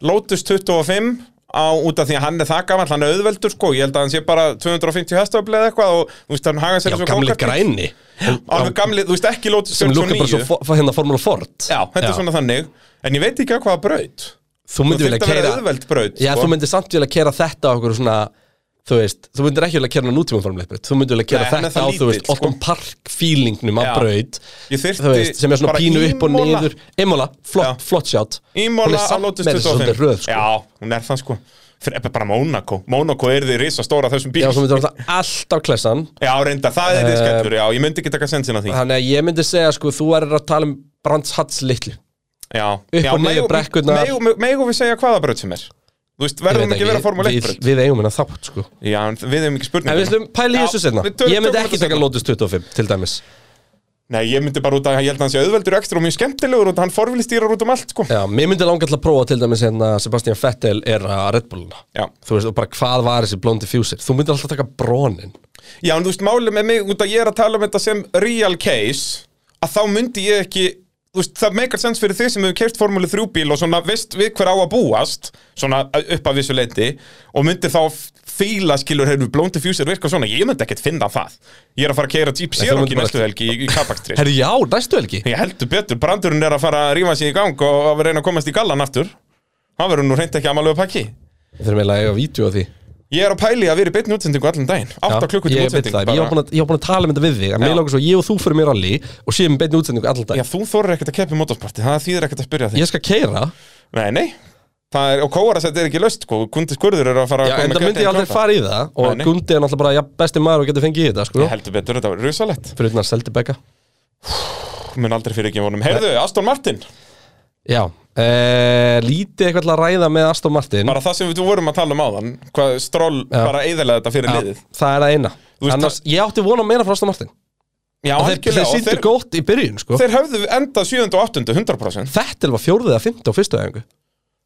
Lotus 25 á, út af því að hann er það gamall, hann er auðveldur sko Ég held að hann sé bara 250 hestafli eða eitthvað og þú veist, hann haga sér
Já,
eins og
gamli
go-karti.
græni
Alveg gamli, þú veist, ekki Lotus
Sem lúkar bara svo
49
fo- fo- hérna Formula Ford
Já, þetta er svona þannig En ég veit ekki að hvaða braut
Þú myndir
Þetta
vilja
verið
keira
auðveld braut
Já,
sko.
þú myndir samt vilja kera þetta á okkur svona Þú veist, þú myndir ekki vilja kera nútíma formleipitt Þú myndir vilja kera
Nei, hann er
þetta á,
það
þú
lítill,
veist,
sko.
Otton Park fílingnum af
Já.
braut
Ég þyrfti
Þú veist, sem er svona
bara
pínu upp og
ímola.
niður Imola, flott, flott sjátt
Ímóla á Lotus 25
röð, sko.
Já, hún er það sko Fyrir eppið bara Mónakó Mónakó er því risastóra þessum bíl
Já,
Já,
svo Eh, myndir það alltaf klessan
reynda, það er því skellur Já, ég myndi ekki taka sensin á því
Þannig að ég myndi segja, sko, þú er að tala um Brands Hats litlu
Já,
upp
já,
og niður
megum-
brekkurnar.
megum- Megum við segja hvaða braut sem er Þú veist,
Ég
verðum
veit
ekki að vera Formule 1
við,
braut
við eigum hennar þátt, sko
Já, en við hefum ekki
En
spurning
við slum pæli í
Já,
þessu setna
við tölum-
Ég myndi
tökum
ekki
þetta
taka
seinna.
Lotus 25, til dæmis
Nei, ég myndi bara út að ég held að hann sé auðveldur ekstra og mjög skemmtilegur út að hann forvilistýrar út um allt sko.
Já, mér myndi langa til að prófa til dæmis hérna Sebastian Vettel er að Red Bulluna
Já.
Þú veist, og bara hvað var þessi blóndi diffuser Þú myndir alltaf taka brónin
Já, en þú veist, málið með mig, út að ég er að tala um þetta sem real case, að þá myndi ég ekki, þú veist, það meikar sens fyrir þig sem hefur keirt Formule 3 bíl og svona veist við hver á að búast, svona upp að vissu leiti, og myndi þá fíla skilur hefur blown diffuser virka svona, ég myndi ekkert finna það. Ég er að fara að keira Jeep
þú
Cherokee
myndir bara-
næstu helgi í, sko. í kapakstri.
Herri, já, næstu helgi
Ég heldur betur, brandurinn er að fara að rífa sig í gang og að reyna að komast í gallan aftur. Það verður nú reynd ekki amalögu pakki.
Við þurfum eiginlega að eiga vídeo á því
Ég er að pæli að vera í beinni útsendingu allan daginn. 8 klukkutíma
Ég veit
útsending.
það, ég var
bara.
búin að, ég var búin að tala um þetta við þig En mér
Já.
langar svo, að ég og þú fyrir mér rally Og séum beinni útsendingu allan dag
Já, þú þorir ekkert að keppi motorsporti, það þýðir ekkert að spyrja þig
Ég skal keira
Nei, nei, það er, og kóarasett er ekki löst, sko, kundi skurður eru að fara
Já,
að
en
koma
það myndi ég aldrei fara í það Og
Nei, nei.
Gundi er náttúrulega bara ja, besti maður og getur fengið í þetta, sko
Ég heldur betur, þetta var rusalett
Fyrir utan að Seldibekka
Mun aldrei fyrir ekki vonum Heyrðu, Aston Martin,
Já, e, lítið eitthvað til að ræða með Aston Martin
bara það sem við vorum að tala um áðan Hvað stról bara eðalega þetta fyrir
Já,
um liðið
Það er það eina
Þú veist,
Annars, ég átti vona meira frá Aston Martin
Já,
Já, þeir, þeir
algjörlega, og
sýndu
þeir,
gótt í byrjun sko.
þeir höfðu endað 7. og 8. 100%
Þetta var fjórðið að fymta og fyrstu æfingu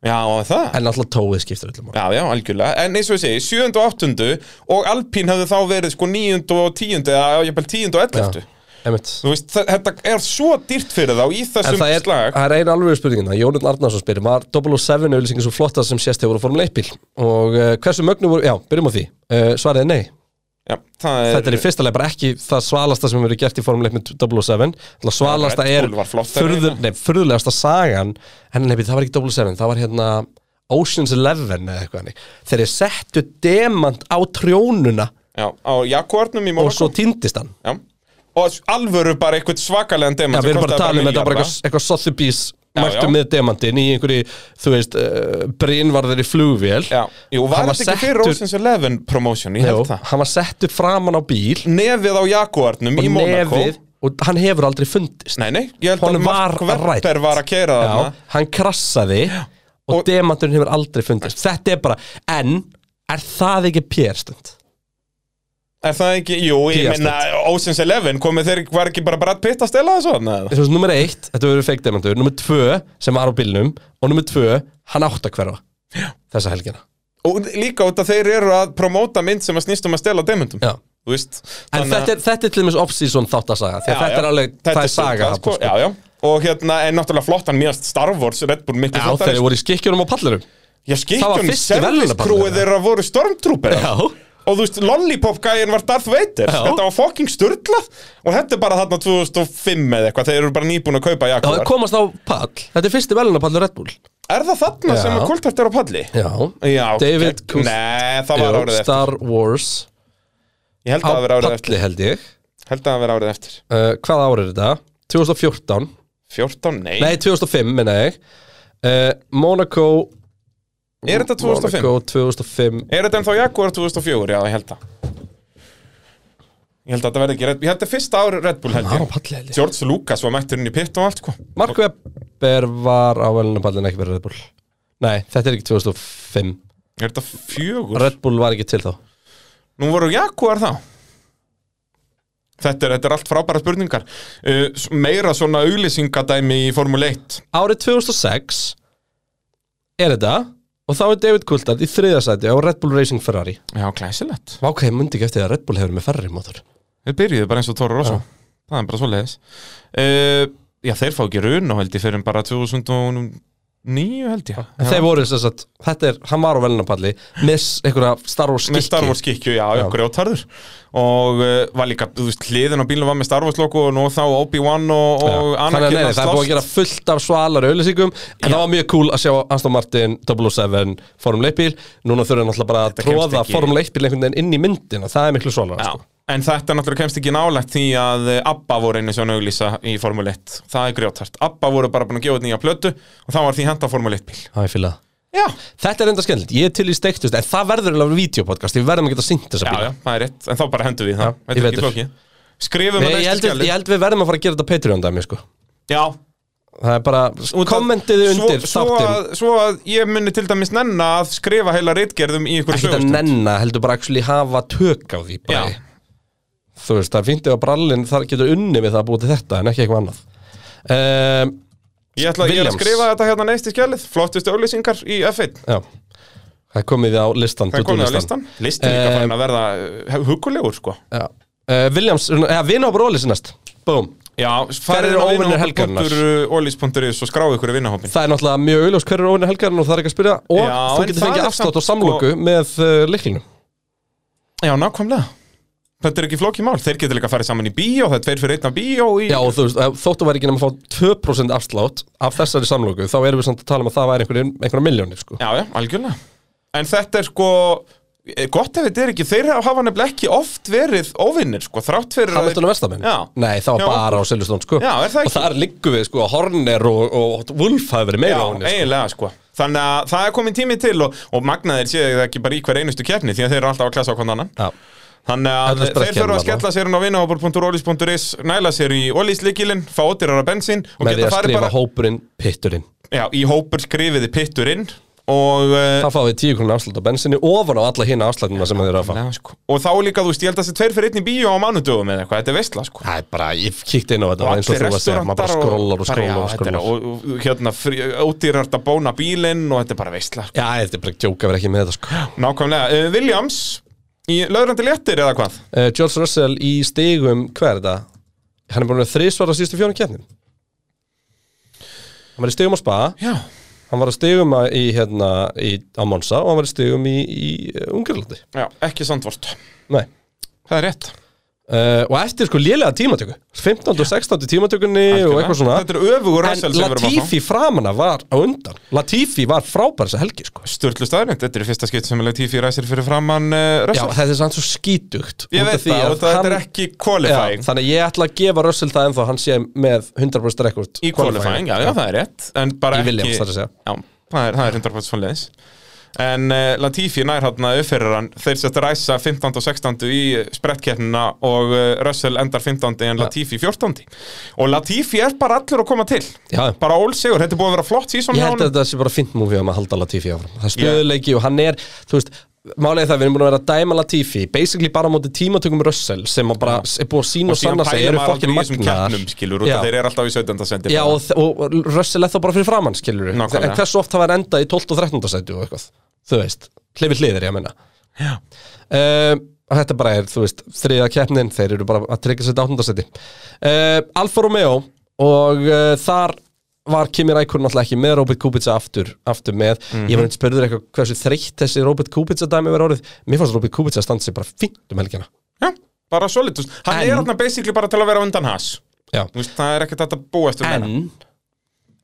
Já, og það
En alltaf tóið skiptir öllum
Já, já, algjörlega, en eins og ég segi, 7. og 8. og Alpín hefðu þá verið sko 9. og 10. eða jafnvel 10. og 11.
Emitt
Þú veist, þa- þetta er svo dýrt fyrir þá í
En
þessum
það er,
slag
það er eina alveg spurningina Jónurn Arnarsson spyrir Var 007 auðlýsingin svo flotta sem sést hefur á Formule 1 bíl Og uh, hversu mögnu voru Já, byrjum á því uh, Svarið er nei
Já, það er,
Þetta er í fyrsta leið bara ekki það svalasta sem hefur verið gert í Formule 1 með 007 Það svalasta
Red
er
Bull var flottari
furður, nei, furðulegasta sagan En nefnir, það var ekki 007 Það var hérna Ocean's Eleven eða eitthvað hannig Þeir eru settu demant á trjónuna
já, á Jaguarnum í
Og
Monaco
svo týndist hann
Já, og alvöru bara eitthvað svakalegan
Já,
demant
við erum bara að tala um þetta bara eitthvað, eitthvað Sotheby's
Já,
mættu
já.
með demantin í einhverju, þú veist, uh, brinvarðir í flugvél
Já, jú, var
Hann var
þetta ekki fyrir
settur-
Ocean's Eleven promotion, ég
Jú,
held það
hann var sett upp framan á bíl
Nefið á Jaguarnum
og
í Monaco
nefið og hann hefur aldrei fundist
Nei, nei, ég held
Honum
að
var
Mark Webber
rænt.
var að kera
Já,
þarna
hann krassaði og,
Og-
demanturinn hefur aldrei fundist Þetta er bara, en er það ekki pérstund?
Er það ekki, jú, ég
Tíastund.
minna Ocean's Eleven, komið þeir, var ekki bara Brad Pitt að stela þessu hann?
Þú veist, nummer eitt, þetta verður fake demantur Nummer tvö, sem var á bílnum Og nummer tvö, hann átt að hverfa Þessa helgina
Og líka út að þeir eru að promóta mynd sem að snýst um að stela demundum
Já
Þú veist þannig
En
að-
þetta er, þetta er til dæmis off-season þáttasaga Því að
Já,
þetta er
já,
alveg,
þetta
það er saga
stundað,
þarna, sko.
Já, já Og hérna, en náttúrulega flottan mjögast Star Wars, Red Bull, miklu
Já, þegar þeir voru í skikkjunum og pallurum
Já,
það var
skikjunum,
fyrsti
servicekrúið
verðlaunapallurinn.
þeirra voru stormtrooper
Já
Og þú veist, Lollipop-gæin var Darth Vader
Já.
Þetta var fucking sturglað Og þetta er bara þarna 2005 eða eitthvað Þeir eru bara nýbúin að kaupa
Það
Jakobar
komast á pall Þetta er fyrsti velunapallur Red Bull
Er það þarna
Já.
sem að kultart er á palli?
Já
Já,
David
gegn- Nei, það var árið eftir
Star Wars
Ég held
Á
að það vera árið eftir
palli held ég
Held að það vera árið eftir
uh, Hvað ár er þetta? 2014
14, nei,
Nei, 2005 minna ég uh, Monaco
Er þetta 2005?
Monaco 2005
Er þetta ennþá Jaguar 2004? Já, ég held það Ég held að þetta verði ekki Red Bull Ég held að fyrsta ári Red Bull held
Hann var á
ég
palli held ég
George Lucas var mættur inn í pitt og allt sko
Mark Webber var á velunapallin ekki verið Red Bull Nei, þetta er ekki 2005
Er þetta fjögur?
Red Bull var ekki til þá
Nú voru Jaguar þá Þetta er, þetta er allt frábæra spurningar uh, s- Meira svona auglýsingadæmi í Formule 1
Árið 2006 er þetta og þá er David Coulthard í þriðasæti á Red Bull Racing Ferrari
Já, glæsilegt
Vá, ok, ég myndi ekki eftir því að Red Bull hefur með Ferrari mótor
Þeir byrjuðu bara eins og Tóra Rosso
Já.
Það er bara svoleiðis uh, Já, þeir fá ekki run og held ég fyrir um bara 2009 held ég
En
Já.
þeir voru þess að, þetta er, hann var á velunapalli með s- einhverja Star Wars
með Star
skikki
Wars kikju, já, já. grjótarður og uh, var líka, þú veist, hliðin á bílum var með Star Wars logo og nú þá Obi-Wan og,
Já.
og
Þannig að
Anakin
nei, nei, það er búið að gera fullt af svalar auðlýsingum En það var mjög cool að sjá Aston Martin 007 Formule 1 bíl Núna þurfum við náttúrulega bara að
Þetta kemst
tróða
ekki-
Formule 1 bíl einhvern veginn inn í myndina Það sko. er miklu svalar
Já, en þetta náttúrulega kemst ekki nálægt því að eh, ABBA voru einu svona auglýsa í Formule 1 það er grjótart, ABBA voru bara búin að gefa út nýja plötu og það var því henda Formule 1 bíl
Það er fylgða
Já,
Þetta er enda skemmtilegt, ég er til í steiktust En það verður alveg videopodcast, við verðum að geta syngt þessa
já,
bíla
já, það er rétt, en þá bara hendur við
Já,
það Þetta
í
er ekki
vetur.
flókið. Skrifum
Nei,
að
ég held,
næstu
við, ég
skjali
held við verðum að fara að gera þetta Patreon dæmi sko.
Já,
Það er bara,
út af-
kommentiði undir
svo, svo,
þáttinn
að, svo að ég muni til dæmis nenna að skrifa heila reitgerðum í ykkur
Ekki að nenna, heldur bara actually hafa tök á því bara.
Já.
Þú veist, það finnst ég að brallin þar getur unni við það að búið til þetta en ekki eitthvað annað um,
Ég ætla ég er að
Williams.
skrifa þetta hérna neist í skjalið Flottustu auðlýsingar í F1
Já, það er komið á listan
Það er komið á listan
to-do-listan.
Listin líka
Eh,
farin að verða uh, hugulegur sko
Já. Uh, Williams, ja, vinn á bróli sinnast Búm,
Já,
eru óvinir helgarinnar?
Ólís.is og skráðu ykkur í vinnahópin
það er náttúrulega mjög auðljós hverju óvinni helgarinn og það er ekki að spyrja og
Já,
þú
en
getur
það
fengið
er
afstátt
samt sko-
og samlóku með uh, liklinu
Já, nákvæmlega Þetta er ekki flókið mál Þeir getur líka farið saman í bíó Það er tveir fyrir einn af bíó í...
Já og þú veist, ef þóttu væri ekki nema að fá 2% afslátt af þessari samlóku þá erum við samt að tala um að það væri einhverjum- einhverja miljónir sko.
já, já, algjörlega En þetta er sko eh, Gott ef þetta er ekki Þeir hafa nefnilega ekki oft verið óvinnir sko Þrátt fyrir að
Hamilton og Vestamenn?
Já.
Nei, það var
Já.
bara á Silvestón sko.
Já, er það
Og
ekki?
þar liggum við sko, að Horner og, og Wolf hafi verið meira á
Já,
henni sko.
eiginlega sko Þannig að það er komin tími til og, og magnaðir séu það ekki bara í hver einustu keppni því að þeir eru alltaf að klasa á hvern annan
Já.
Þannig að
Þetta er
þeir
sprett
þurfa að
hérna
skella sér inn á vinahopur.ólís.is næla sér í ólíslíkilinn, fá ódýrara bensín og
Með
geta
því að
farið
skrifa
bara
hópurinn pitturinn
já, í hópur skrifiði pittur inn og, eh,
Það fá við 10 krónu afslut á bensinni ofan á alla hina afslutnuna sem þeir eru að fá
Ná, sko. og þá er líka, þú veist, ég held að þessi tveir fyrir einn í bíó á mánudögum eða eitthvað, þetta er veistla sko.
Það er bara, ég kíkti inn á þetta eins og þú að segja, maður
restaurantar
bara skrólar og
bara, já,
skrólar og
þetta er-
skrólar
og, og, og hérna, frí- ódýrart að bóna bílinn og þetta er bara veistla sko.
Já, þetta er bara djóka verið ekki með þetta sko
Nákvæmlega, uh, Williams í löðrandi léttir eða hvað?
uh, George Russell í stigum, hvað er þetta? Hann er búin að þrísvara síðustu fjórum keppnum Hann var í stigum á Spa
Já,
Hann var í stigum að- í, hérna, í, á Monsa og hann var í stigum í, í eh, Ungarlandi
já ekki sandvort
Nei
Það er rétt
Uh, og eftir sko lélega tímatöku 15. og 16. tímatökunni og eitthvað svona
Þetta er öfugur
En
Russell sem við erum að fá.
Latifi framana var á undan Latifi var frábær þessa helgi sko
Sturlu staðrind, þetta er í fyrsta skipt sem Latifi ræsir fyrir framann uh,
Já,
Russell
þetta er samt svo skítugt
Ég
út af
veit
því
það,
að
og þetta er
hann-
ekki
Já,
qualifying
þannig að ég ætla að gefa Russell það ennþá hann sé með 100% rekord
Í qualifying, já, já, það er rétt En bara
Í Williams,
ekki
þar að segja.
Já, það er, það er 100% svoleiðis En uh, Latifi nær hann að uppfyrir hann Þeir sett að ræsa 15. og 16. í eh, sprettkeppnina og uh, Russell endar 15. en Latifi 14. Og Latifi er bara allur að koma til
Já,
Bara ólsegur, þetta er búið að vera flott síðan
ég held að þetta sé bara fint múfi um að halda Latifi áfram Það er stöðuleiki og hann er, þú veist Málega það, við erum búin að vera að dæma Latifi Basically bara á móti tímatökum Russell sem að bara er búið að sína og sanna sig eru fokkin magnaðar
keppnum, skilur, út
Já.
að þeir eru alltaf í 17. sendi
Já, og, þ- og Russell er þá bara fyrir framann, skilur En
Nákvæmlega.
hversu oft það var enda í 12 og 13 sætu og eitthvað Þú veist, hlifir hliðir, ég meina
Já.
um, Þetta bara er, þú veist, þriða keppnin Þeir eru bara að tryggja sér áttundasæti uh, Alfa Romeo Og uh, þar var Kimi Rækur náttúrulega ekki með Robert Kubica aftur, aftur með Ég var neitt spurður eitthvað hversu þreytt þessi Robert Kubica dæmi verið orðið Mér fannst Robert Kubica standa sig bara fínt um helgina
Já, bara svolítið Hann
En-
er þarna basically bara til að vera undan has
Já
Þú veist, Það er ekkert hægt að búast um
en,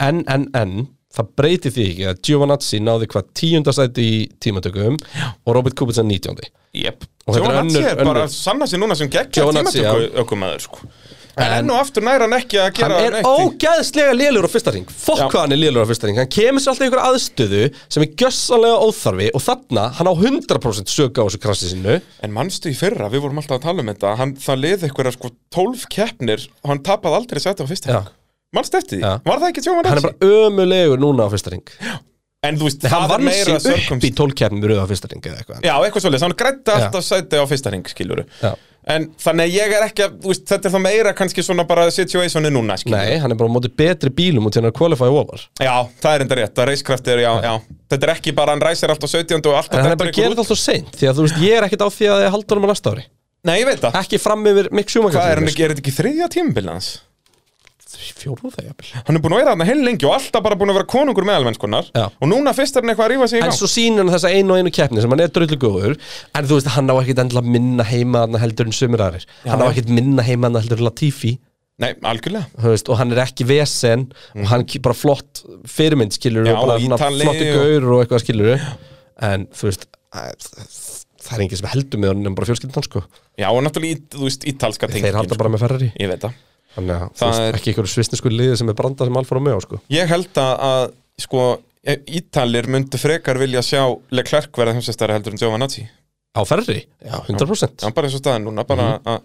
en, en, en það breyti því ekki að Giovanazzi náði hvað tíundasæti í tímatökum og Robert Kubica 19.
Jep.
Og þetta er
Giovanazzi
önnur-
er bara
önnur-
að sanna sér núna sem geggja
Giovanazzi,
tímatöku ökumæður sko. En
En-
enn og aftur næra hann ekki að
Hann
gera
er
neitt í-
ógæðslega lélur á fyrsta ring Fokk
Já.
hvað hann er lélur á fyrsta ring Hann kemur sér alltaf í einhverja aðstöðu sem er gjössanlega óþarfi og þarna hann á 100% sög á þessu krassi sinnu
En mannstu í fyrra, við vorum alltaf að tala um þetta hann, Það liði eitthvað sko 12 keppnir og hann tapaði aldrei sæti á fyrsta
Já.
hring Mannstu eftir því?
Já.
Var það ekki
Hann er
Giovanazzi?
bara ömulegur núna á fyrsta ring
En þú veist,
Nei, Hann
það er
vann
meira
sér upp í
sörgum
tólkjærnum rauð á fyrsta ring eða eitthvað
Já, eitthvað svolítið, hann grætti alltaf sæti á fyrsta hring, skiluru
Já.
En þannig að ég er ekki að, þú veist, þetta er þá meira kannski svona bara situationi núna, skiluru
Nei, hann er bara á móti betri bílum og til hann að qualify over
Já, það er enda rétt, að reiskraft er, já, já Þetta er ekki bara hann ræsir allt á 17 og alltaf
En hann er bara að gera þetta alltaf seint Því að þú veist, ég er ekkert á því að ég halda honum á næsta ári
Nei, ég veit það
Ekki fram yfir Mick Schumacher
Hvað er
til
hann
dæmis.
ekki, er þetta ekki þriðja tímabil hans?
fjóruð það jafnvel
Hann er búin að vera þarna heil lengi og alltaf bara búin að vera konungur meðalmennskunnar
Já.
Og núna fyrst er hann eitthvað að rífa sig í
En
gang
svo sýnir hann þessa einu og einu keppni sem hann er drullu góður En þú veist, hann á ekkit endilega minna heima hann heldur en sömur aðrir Hann á ekkit minna heima hann heldur en Latifi
Nei, algjörlega
þú veist, Og hann er ekki vesen Og hann ki- bara flott fyrirmynd skilur
Já,
Mhm. Og bara
og
svona
Ítali
flottu
og-
gaur og eitthvað skilur En þú veist, að- það er enginn sem heldur með honum en bara fjölskyldan sko
Já, og náttúrulega, í, þú veist, ítalska tengin
Þeir halda bara með Ferrari
Ég veit það
Þannig að þú
Það
veist,
er-
ekki einhverju svistnesku liði sem er brandað sem Alfa Romeo sko
Ég held að, að sko, e- Ítalir myndu frekar vilja sjá Leclerc verða heimsestari heldur en Giovanazzi
Á Ferrari, já, 100%
Hann bara eins og staðan núna, bara að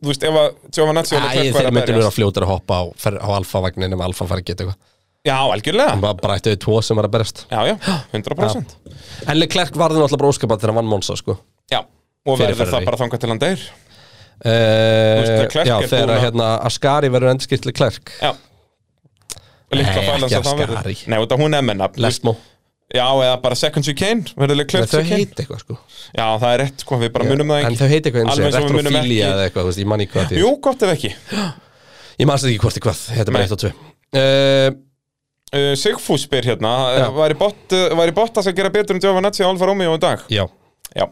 Þú veist, ef að Giovanazzi og
Mhm. Æ,
Leclerc
þeir
verða
myndir
berjast-
vera fljótar að hoppa á, fer- á alfavagnin ef alfa fari að geta eitthvað
Já, algjörlega,
bara, bara ættu þau tvo sem var að berjast
já, já, 100%
En Leclerc varði náttúrulega bara óskapat þegar hann vann Monsa sko.
Já, og
Fyrir
verður
Ferrari.
það bara þangað til hann deyr veist,
uh,
Leclerc
Já,
er
þegar
búin
að
að-
hérna, Ascari verður endurskipt Leclerc
Já Líkla
Nei,
fælan
ekki
sem það
Ascari.
verður Nei, út af hún er menna
Lesmo,
Já, eða bara Second Chicane Verður
Nei,
Leclerc
þau
Chicane
heiti eitthvað sko.
Já, það er rétt, sko, við bara munum það
En
ekki
þau heiti eitthvað eins
Alveg
og
eins og við munum
retrofília
ekki-
eða eitthvað, þú veist, ég manni hvað því
Jú, gott ef ekki
Ég manst ekki hvort þið hvað, þetta er bara
Nei.
1 og 2 uh,
uh, Sigfús spyr hérna
Já.
uh, Var í bott, uh, var í bott að gera betur um Giovanazzi og Alfa Romeo í dag?
Já,
Já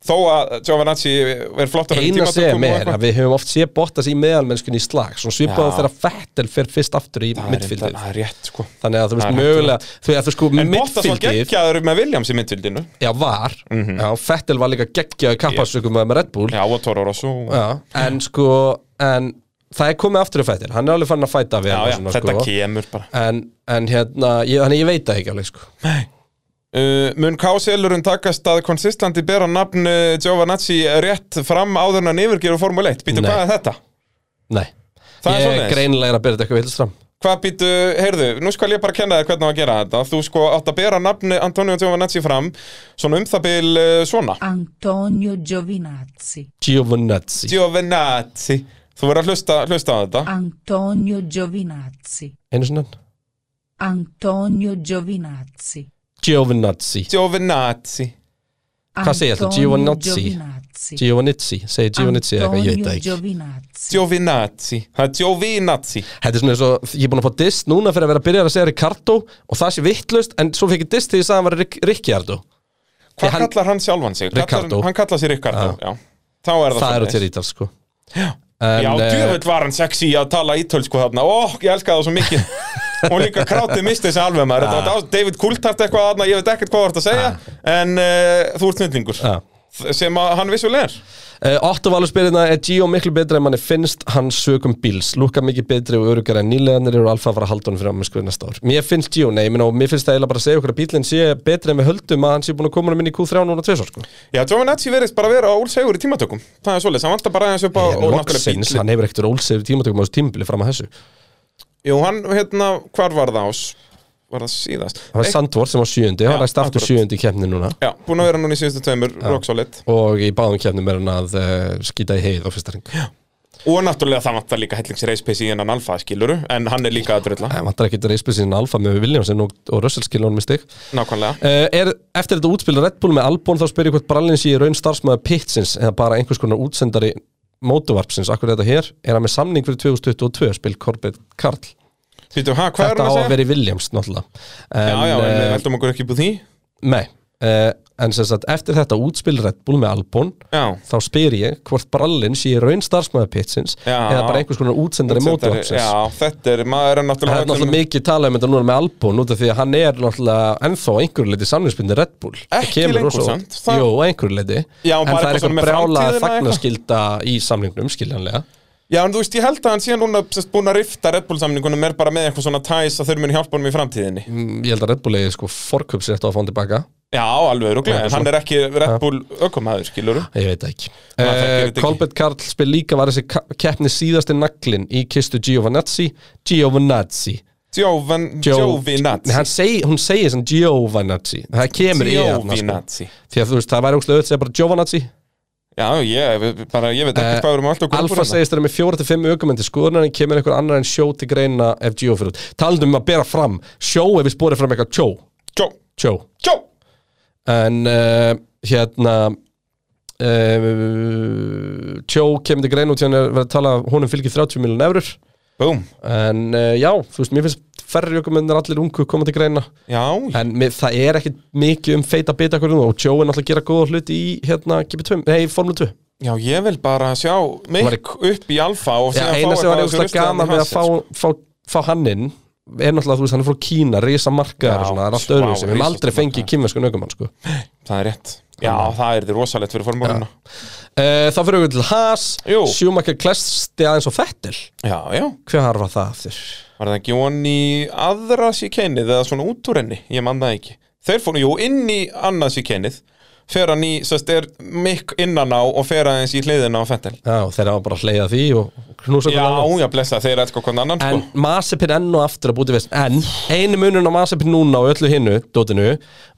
Þó að Giovanazzi er flottur
eina sem er að við höfum oft sé Bottas í meðalmennskunni í slag Svo svipaðu
Já.
þegar Vettel fer fist aftur í
Midfildið
midfildið
Það er rétt, sko
Þannig að þú veist
Það er
mögulega, þú veist, sko,
En Bottas var Mhm.
midfildið
geggjaður með Williams í midfildinu
Já, var Já, Fettel var líka geggjaði kappasökum með Red Bull
Já, og Toro Rosso
Já, En sko, en það er komið aftur í Fettel Hann er alveg fann að fæta
Já,
við hann
já,
svona,
þetta
sko.
kemur bara
En, en hérna, ég, þannig ég veit það ekki alveg sko
Uh, mun K-selurinn takast að konsistanti bera nafn uh, Giovanazzi rétt fram áður en hann yfirgefur Formule 1 Býtu,
Nei.
hvað er þetta?
Nei
Það er
Ég
svoleiðis.
greinilega er að byrja þetta eitthvað vilst fram
Hvað býtu, heyrðu, nú skal ég bara kenna þér hvernig á að gera þetta. Þú sko átt að bera nafni Antonio Giovanazzi fram, svona um það bil eh, svona.
Antonio Giovinazzi,
Giovanazzi
Giovanazzi. Þú verður að hlusta, hlusta á þetta.
Antonio Giovinazzi,
Einu sinna
Antonio Giovinazzi.
Giovanazzi
Giovanazzi.
Hvað segir þetta? Giovinazzi?
Giovinazzi.
Giovanazzi Segir Giovanazzi
ecco,
eða eitthvað, ég veit það
Antonio
ekki
Giovinazzi.
Giovanazzi. Það er Giovanazzi.
Þetta er svona eins og Ég er búin að fá dist núna fyrir að vera að byrja að segja Ricardo Og það sé vittlust En svo fekk ég dist þegar ég sagði að hann var Ric Ricciardo Því
Hvað
hann-
kallar hann sjálfan sig?
Ricardo. Ah.
Kallar, hann kallar sig Ricardo, já. Þá er það
Það eru
svoleiðis.
til ítal sko En,
Já,
eh,
djöfull var hann sexy að tala ítölsku þarna Ó, ég elska það svo mikið Og líka krátið misti þessi alveg maður Þetta var
Ah.
dás- David Kultart eitthvað þarna, ég veit ekkert hvað þú ert að segja En uh, þú ert snillingur
Já.
Sem að hann vissulega er
Uh, Otto Valur spyrir hérna, er Gio miklu betri en manni finnst hann sögum bíls, lúka mikið betri og örugar en nýleganir eru alfa að fara að halda hann fyrir ámennskvið næsta ár. Mér finnst Gio, nei, ég minna, og mér finnst það eiginlega bara að segja okkur að bílinn sé betri en við höldum að hann sé búin að koma hann inn í Q3 núna tvisar, sko.
Já, Giovanazzi verðist bara vera úlsegur í tímatökum Það er svoleiðis, hann vantar bara aðeins upp á og náttúrulega
Loksins,
bíllinn.
hann hefur ekkert rólsefur tímatökum á þessu tímbili fram að þessu.
Jú, hann, hérna, hvar var það ás? Var það síðast?
Það var
Eitt-
Sandvort sem var sjöundi, hann
Já,
læst aftur
akkurat.
sjöundi í keppni núna
Já, búin að vera núna í síðustu tveimur,
Ah.
rock solid
og í báðum keppnum er hann að uh, skýta í heið á fyrsta ring.
Og náttúrulega það vantar líka hellings reispeysi í hennan alfa, skiluru En hann er líka að drölla,
Það vantar ekki að reispa síðan alfa með Viljámsen og, og Russell skilja honum í stig.
nákvæmlega
Uh, er, eftir þetta útspil Red Bull með Albon þá spyr ég hvort brallin sé í raun starfsmæða Pitsins eða bara einhvers konar útsendari mótuvarpsins, akkur er þetta hér er hann með samning fyrir 2022 spil Corbett Karl
Sýtum, ha, hvað er hann
þetta á
að
að
segja?
vera í Williams náttúrulega
Já, já, en við
en, eh,
veldum okkur ekki upp úr því
uh, nei, uh, en sem sagt eftir þetta útspil Red Bull með Albon
Já,
þá spyr ég hvort brallin sé í raun starfsmæða Pitsins
Já.
eða bara einhvers konar útsendari mótuvarpsins
Já, þetta er, maður er
Það er
náttúrulega
náttúrulega mikið talað um þetta núna með Albon út af því að hann er náttúrulega ennþá á einhverju leiti samlingsbyrni Red Bull Það
Ekki
kemur
lengur
rosa óvart.
samt. Það-
Jú, á einhverju leiti
Já, bara
En
eitthvað
það
svona
er eitthvað
með
brjála
framtíðina eða
þagnarskilda í samlingnum skiljanlega
Já, en þú veist, ég held að hann síðan núna sest, búin að rifta Red Bull samningunum er bara með eitthvað svona tæs að þeir muni hjálpa honum í framtíðinni
Mm, Ég held að Red Bull eigi sko forköpsrétt á að fá hann tilbaka
Já, alveg
Já,
öruglega, en
svona.
hann er ekki Red Bull ökumæður, skiluru
Ég veit það ekki
það gerir
Eh,
þetta ekki.
Kolbett Karl spil líka var þessi ka- keppni síðasti naglin í kistu Giovanazzi Giovanazzi
Jovan,
Gio- Nei,
Jovinazzi
hann seg, Hún segir sem Giovanazzi Það kemur í hann sko.
Jovinazzi
Því að þú veist, það væri ógstlega öll segja bara Giovanazzi
Já, ég, bara, ég veit
Eh,
ekki hvað við erum alltaf okkur
Alfa segist þeirra með 4-5 aukumendi skoðunar en kemur einhver annar en sjó til greina ef Gio fyrir út. Talandum um að bera fram sjó ef við spórið fram eitthvað sjó,
Jó,
sjó.
jó
En uh, hérna uh, sjó kemur til greina út hérna verður að tala að honum fylgir 30 miljón eurur
Búm,
en uh, já, þú veist, mér finnst færri aukumendir allir ungu koma til greina
já,
en mér, það er ekkit mikið um feita bita okkur og sjó er náttúrulega að gera góða hluti í hérna, GP2, nei, Formule 2
já, ég vil bara sjá Mikk upp í Alfa og
Já,
síðan
eina
fá
sem var
eitthvað
ógustlega
ruslið hann
gaman
í
við að
hansinn,
fá, fá, fá hann inn er náttúrulega, þú veist, hann er frá Kína, risa markaðar
Já,
og svona, það er allt
vá,
öðru sem við höfum
risastór
aldrei fengið kymvesku nögumann, sko
Það er rétt Já, það er þið rosalegt fyrir formúluna
uh, Þá fyrir við til Haas,
Jú.
Schumacher klesti aðeins og Fettel
Já, já,
Hver har var það þér?
var það ekki von í aðra síkennið eða svona út úr henni, ég man það ekki Þeir fóru, jú, inn í annað síkennið fer hann í, sérst, er mikk innan á og fer aðeins í hliðina á Fettel
Já, þeir hafa bara að hleyja því og knúsa
Já,
hvernig annan.
já, blessa, þeir elskar hvernig annan
En
sko.
Masipin enn og aftur að búti veist En einu munun á Masipin núna og öllu hinnu, dótinu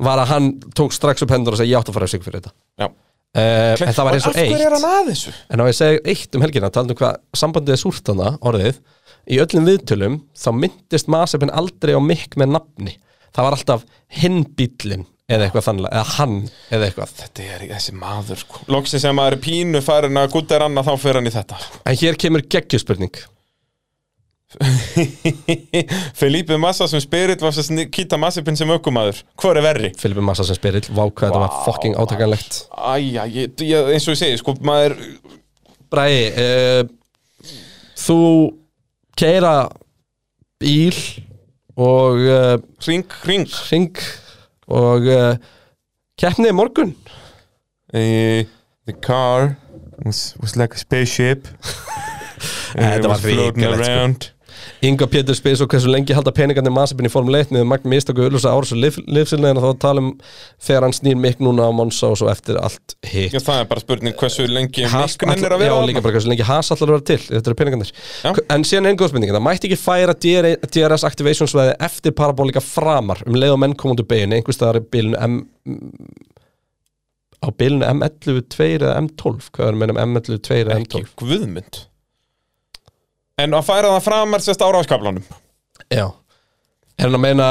Var að hann tók strax upp hendur og segi Ég átt að fara að sig fyrir þetta
Já.
uh, En það var eins
Af
og eitt
hverju er hann að þessu?
En á ég segi eitt um helgina, talandi um hvað sambandið er súrt hana, orðið, í öllum viðtölum þá myndist Masepin aldrei á mikk með nafni. Það var alltaf hinn bíllinn eða eitthvað þannlega, eða hann eða eitthvað.
Þetta er þessi maður sko. Loksin sem maður er pínu farin að gutt er annað þá fer hann í þetta
En hér kemur geggjuspurning.
Felipe Massa sem spirit var sérst Kita Massipin sem ökumaður Hvor er verri?
Filipe Massa sem spyrill, vá hvað þetta var fucking átakanlegt.
Æja, ég, ég, eins og ég segi, sko, maður
Bræði, uh, þú keira bíl og uh,
Ring, ring
ring og uh, keppnið í morgun.
uh, The car was, was like a spaceship
Þetta var hrikalegt, sko. Inga Pétur spyr svo hversu lengi halda peningarnir Masipin í formule 1 með magn mistöku auðlösa ára svo lifsilnaðina þá tala um þegar hann snýr mikk núna á Monsa og svo eftir allt hitt
Já, það er bara spurning hversu lengi
Haas-
miknin er að vera
Já,
þarna.
líka bara hversu lengi Haas allar að vera til Þetta eru peningarnir
Já.
En síðan einn góðspending Það mætti ekki færa E, DR DRS Activation svæði eftir parabolika framar um leið og menn koma út úr beginni einhvers staðar í bilinu M á bilinu M11 2 eða M12 Hvað er meina M11 2 eða
Ekki
M12
guðmynd En að færa það framar sérst á ráskablanum
Já Er hann að meina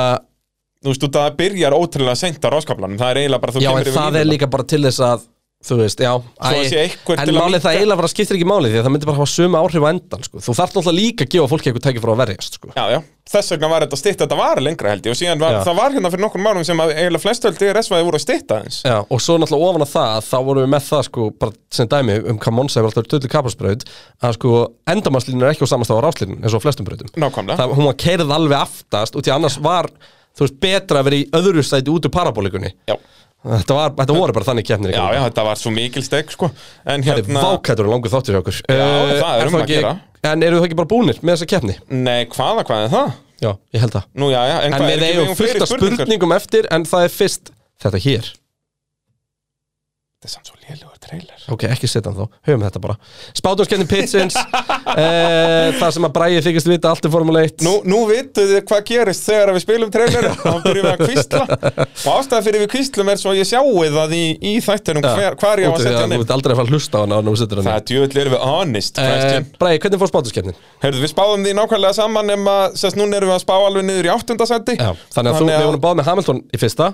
Þú veist, þú það byrjar ótrúlega seint á ráskablanum Það er eiginlega bara þú
Já, en
yfir
það er
línuna.
líka bara til þess að Þú veist, já
Svo að sé einhver
En
til að
málið það
minnka-
eiginlega bara skiptir ekki málið því að það myndi bara hafa sömu áhrif á endan sko. Þú þarf náttúrulega líka að gefa fólki eitthvað tæki frá að verjast sko.
Já, já, þess vegna var þetta stytt Þetta var lengra held ég og síðan var,
Já.
það var hérna fyrir nokkur mánum sem að eiginlega flestöld DRS-væði voru að stytta eins
Já, og svo náttúrulega ofan að það, þá vorum við með það sko, bara sem dæmi um hvað Monsa hefur alltaf tullu kapasbraut, að sko endamannslínu er ekki á samastað á ráslínu, eins og á flestum brautum.
Nákvæmlega,
Það, hún var keirð alveg aftast og því annars var, þú veist, betra að vera í öðru sæti út úr parabolikunni.
já,
Þetta, var, þetta voru bara þannig keppnir. í
já,
gangi.
já, þetta var svo mikil steg sko. En
Það er
hérna,
vákættur og langur þáttur hjá okkur. Já,
það er um að gera.
En eru það ekki bara búnir með þessa keppni?
nei, hvaða, hvað er það?
Já, ég held það.
Nú, já, já, en,
En,
hvað, er
við
ekki-
eigum fullt
fleiri
af spurningum eftir, en það er fyrst þetta hér.
Þetta er samt svo lélugur trailer
Ok, ekki setja hann þá, höfum þetta bara Spátumskenni Pitsins uh, Það sem að Bræði þykist vita allt um er Formule 1
Nú, nú vittu þið hvað gerist þegar við spilum trailer og þá byrjum við að kvistla og ástæða fyrir við kvistlum er svo að ég sjáu það í, í þættinum hver, hvar ég á að setja hann
Þú
inn
veit aldrei að fara að hlusta á hann á hann og setja hann
Það er djöðlega erum við honest
inn
uh,
uh, Bræði, hvernig fór spátumskennin?
Heyrðu, við spáðum því nákvæmlega saman nema, sérst núna erum við að spá alveg niður í áttundasendi
Já, þannig að þú, við vorum báð með Hamilton í fyrsta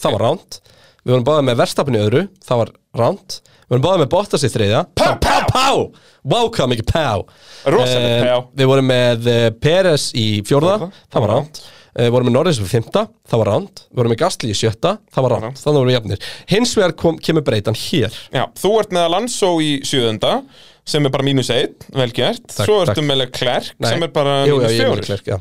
Það var ránt Við vorum báð með Verstappen í öðru Það var ránt Við vorum báð með Bottas í þriðja
Pá, pá, pá
Pá! Vá, hvað mikið pá
Rosalega
Eh,
pá.
Við vorum með eh, Peres í fjórða,
Fjórða,
það var ránt Við vorum með Norris í fymta, það var ránt Við vorum með Gastli í sjötta, það var ránt Þannig vorum við jafnir Hins vegar kom, kemur breytan hér
Já, þú ert með Alonso í sjöðunda sem er bara mínus 1, vel gert
Takk,
Svo
takk.
ertu með Leclerc sem er bara
jú, já,
mínus
ég er
4
með Leclerc, já.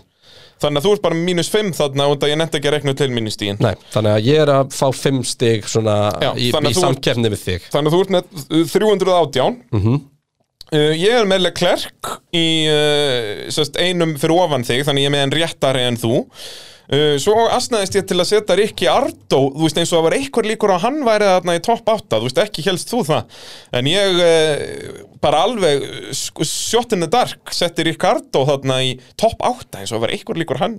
Þannig að þú ert bara mínus 5 þarna og það ég nefndi ekki að rekna til mínus 10
Nei, Þannig að ég er að fá fimm stig svona
Já,
í,
þannig að
í
þú-
samkerni við þig
Þannig að þú ert með uh, 318 uh, Ég er með Leclerc í uh, sest, einum fyrir ofan þig Þannig ég er með enn réttari en þú uh, Svo asnaðist ég til að setja Rikki Ardó Þú veist eins og það var eitthvað líkur á hann væri þarna í topp 8 Þú veist ekki helst þú það En ég uh, bara alveg eh, sko, sjottinu dark Setti Rikki Ardó þarna í topp 8 Eins og það var eitthvað líkur á hann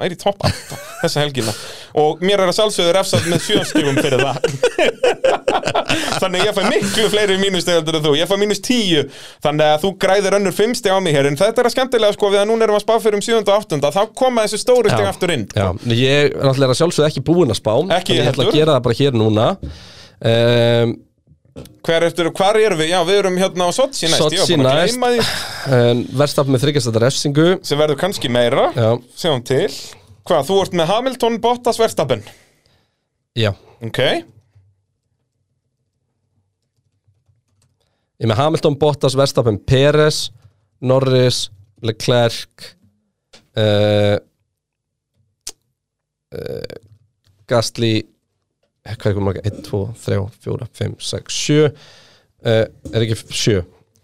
væri í topp 8 þessa helgina og mér er að sjálfsögður efsað með sjöfstífum fyrir það þannig að ég fæ miklu fleiri mínustegaldur en þú, ég fæ mínus tíu þannig að þú græðir önnur fimm steg á mig hér en þetta er að skemmtilega sko við að núna erum að spá fyrir um 7. og 8. þá koma þessu stóru steg aftur inn
Já, ég er náttúrulega sjálfsögð ekki búinn að spá
Ekki
þannig ég ætla
heldur.
að gera það bara hér núna um,
hver eftir, hvar erum við? Já, við erum hérna á Sochi næst ég var
Sochi
búinn að
næst.
gleyma því,
um, Verstaf með þryggjastættar refsingu
sem verður kannski meira
Já,
sjáum til, hvað, þú ert með Hamilton Bottas Verstappen,
já
ok
Ég er með Hamilton, Bottas, Verstappen, Peres Norris, Leclerc uh, uh, Gastli eh, hvað er komið marga? 1, 2, 3, 4, 5, 6, 7 uh, er ekki 7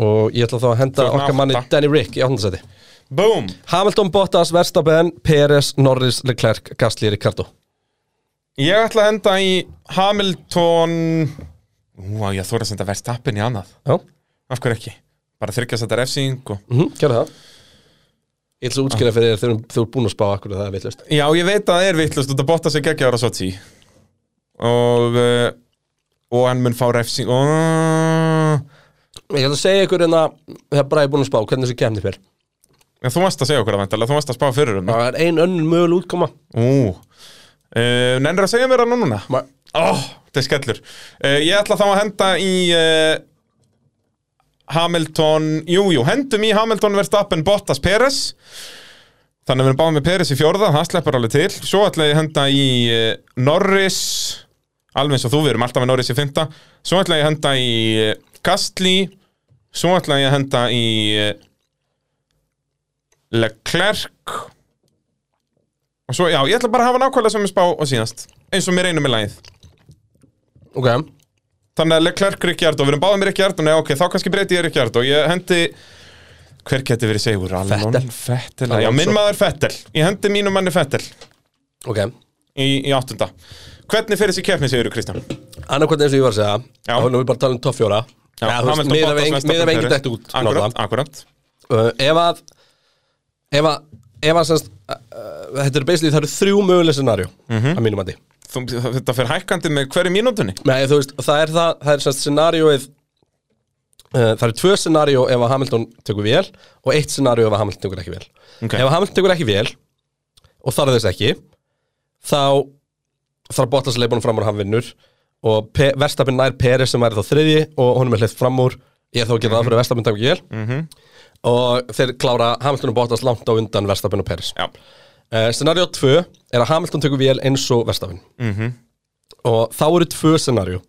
og ég ætla þá að henda
Þú ert með
okkar manni
átta.
Danny Rick í áttundarsæti
boom,
Hamilton, Bottas, Verstappen, Peres, Norris, Leclerc, Gasly, Ricardo
ég ætla að henda í Hamilton ú, á, ég þóra að senda Verstappen í annað
Já,
af hverju ekki, bara þryggjast þetta refsing og
mm gerðu það Ég ætla að útskýra fyrir þér þegar þú er búin að spá akkur það er vitlust
Já, ég veit að það er vittlust út að botta sig ekki ára Sochi og uh, og hann mun fá refsing og...
Ég ætla að segja ykkur en að það er bara ég búin að spá hvernig þessi kemni fyrir
Já, þú varst að segja okkur að væntalega, þú varst að spá fyrir um
Það er ein önnur mögul útkoma
Ú, uh, nennir að segja mér það núna?
Ma-
Ó, þetta er skellur uh, Ég ætla þá að henda í uh, Hamilton Jú, jú, hendum í Hamilton Verstappen Bottas Peres Þannig að við erum báðum með Peres í fjórða, það sleppur alveg til Svo ætla ég að henda í uh, Norris Alveg eins og þú, við erum alltaf með Norris í fymta Svo ætla ég að henda í uh, Gastli Svo ætla ég að henda í uh, Leclerc Og svo, já, ég ætla bara að hafa nákvæmlega sem ég spá og síðast Eins og mér einu með lagið
Ok,
Þannig að Leclerc Ricciardo, við erum báðið með Ricciardo Nei, ok, þá kannski breyti ég Ricciardo Ég hendi Hver geti verið segur? Alon
Vettel.
Fettel
Alonso.
Já, minn maður Fettel Í hendi mínum manni Fettel
Ok,
í, í áttunda Hvernig fyrir þessi keppni, segir þú Kristján?
annarkvæmt eins og ég var að segja
Já.
þá erum við bara að tala um topp fjóra
Já,
Eða, þú veist,
Hamilton,
miðað
Bottas,
við engin-
Verstappen,
miðað við engin
Perez.
dætt út
Akkurat,
náttúrulega.
akkurat
Uh, ef að ef að, ef að semst, uh, uh, þetta eru basically, það eru þrjú möguleg scenario
Mhm.
að mínum andi
Þú, Þetta fyrir hækkandi með hverju mínútunni
Nei, þú veist, það er það, það er semst scenarioið uh, það eru tvö scenario ef að Hamilton tekur vel og eitt scenario ef að Hamilton tekur ekki vel
Ok.
ef að Hamilton tekur ekki vel og þarf þess ekki þá þarf Bottas að leipunum fram úr hann vinnur og Pe- Verstappen nær Peres sem væri þá þriði og honum er hleyft fram úr ég er þá að gera það fyrir að Verstappen tekur ekki vel og þeir klára Hamilton og Bottas langt á undan Verstappen og Peres
Já,
Uh, scenario 2 er að Hamilton tekur vél eins og Verstafinn
Mhm.
og þá eru tvö scenario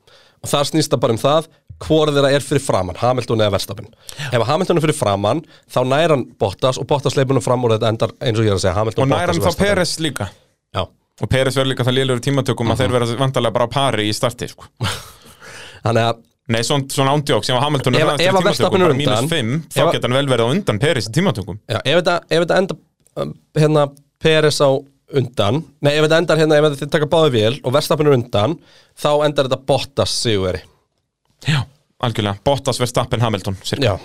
og það snýst það bara um það hvora þeirra er fyrir framann, Hamilton eða Verstafinn ef að Hamilton er fyrir framann þá nær hann Bottas og Bottas leipunum fram úr þetta endar eins og ég er að segja Hamilton,
og
Bottas
næran
og
þá
Verstappen.
Peres líka
Já,
Og Peres verður líka það lélur tímatökum að þeir verða vantarlega bara á pari í starti sko.
þannig að
Nei, svon, svona ándjók sem að Hamilton
Ef-
hraðastur í
ef að Verstappen er
bara
undan-
mínus 5, þá
ef að-
geta hann vel verið á undan Peres í tímatökum
já, ef, þetta, ef þetta endar um, hérna Peres á undan nei, ef þetta endar hérna, ef þetta taka báði vél og Verstafinn er undan, þá endar þetta Bottas sigurveri
Já, algjörlega, Bottas Verstappen Hamilton cirka.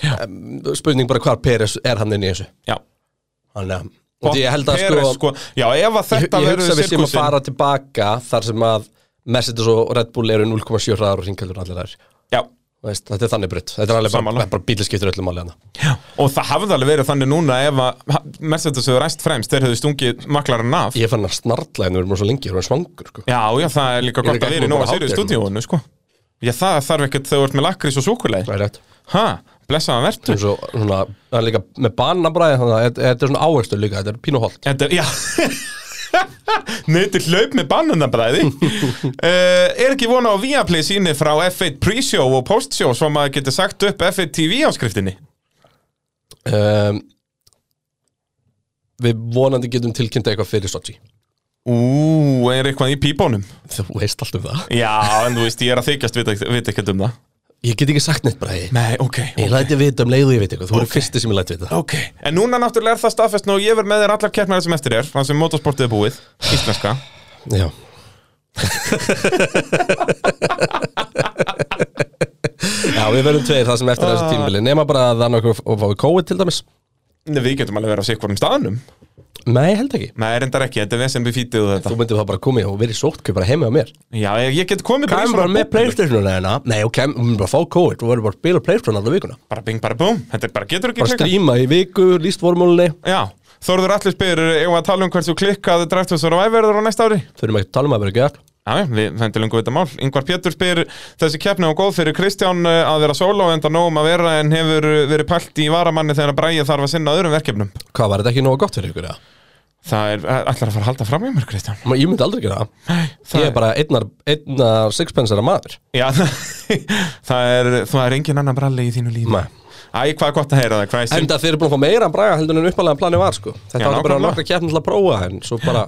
Já, Um, spurning bara hvar Peres er hann inn í þessu
Já.
Þannig að og
Bott-
ég held að
Perez,
sko,
sko, Já, ef að
ég,
þetta
ég hugsa
verður
að við séum að
sirkusinn
fara tilbaka þar sem að Mercedes og Red Bull eru 0,7 hraðar og hringaldur allir þær
Já,
Þú veist, þetta er þannig brutt, þetta er alveg bara,
Sammála.
bara bílaskiptur öllum alveg hana
Já, og það hafði alveg verið þannig núna ef að ha- Mercedes hefur ræst fremst, þeir hefðu stungið maklarinn af.
ég fann að snarla en við erum svo lengi, við erum svangur sko.
Já, já, það er líka
Ég er
gott
ekki
að vera í
búin
Nóa
að
Sirius
hátta hérna.
stúdíónu, sko. Já, það þarf ekkert þegar þú ert með lakrís og súkulegi.
það er rétt
Ha, blessaðan verður.
Svo, svona, það er líka með banabræði þannig að þetta þetta er svona áherslu líka, þetta er pínuholt
Þetta, já. Neytir hlaup með bannunabræði. uh, er ekki vona á Viaplay síni frá F1 pre-show og post-show svo maður getur sagt upp F1 TV áskriftinni?
um, við vonandi getum tilkynnt eitthvað fyrir Sochi
Ú, er eitthvað í pípónum?
þú veist allt um það
Já, en þú veist, ég er að þykjast vita, vita ekkert um það.
ég get ekki sagt neitt bræði
Nei, ok.
ég læti vita um leiðu ég veit eitthvað, þú okay. eru fyrsti sem ég læti vita
Ok, en núna náttúrulega er það staðfest og ég verð með þér allar keppnara sem eftir er þannig sem motorsportið er búið, íslenska
Já Já, við verðum tveir það sem eftir þessu tímbili nema bara að þannig að fá við kóið til dæmis
Nei, Við getum alveg verið á sikvarum staðanum
Nei, held ekki
Nei, reyndar ekki, þetta er vesen við fítið og þetta
Þú myndir það bara komið og verið sótkjöf bara heima á mér
Já, ég, ég get komið
Kæmum bara með
búblu.
Playstationuna hérna Nei, og kæmum við myndum bara að fá kóið Þú verður bara að spila Playstation alla vikuna
Bara bing, bara búm, þetta er bara getur ekki
Bara
klikkað.
stríma í viku, líst vormúlinni
Já, Þorður allir spyrir, eigum við að tala um hversu klikkað Drive to Survive verður á næsta ári?
Þurfum ekki að tala um að vera gert
Já, já, við fendilum góð þetta mál. Yngvar Pétur spyr þessi keppni á góð fyrir Kristján eh, að vera sóló enda nóg um að vera en hefur eh, verið pælt í varamanni þegar að bræja þarf að sinna öðrum verkefnum.
Hvað var þetta ekki nógu gott fyrir ykkur? eða?
Það er, ætlar að fara að halda fram í mér, Kristján.
Ma- Ég myndi aldrei gera það
Nei, það
Ég er bara einnar, einnar sixpensara maður
Já, það er, það er engin annan bralli í þínu lífi
Nei.
Æ, hvað er gott að heyra það, hvað er synd
Enda þeir eru búin að fá meira braga heldur en uppalega planið var sko Þetta
Já,
var bara
nákvæmlega.
nokkra keppni til að prófa en svo bara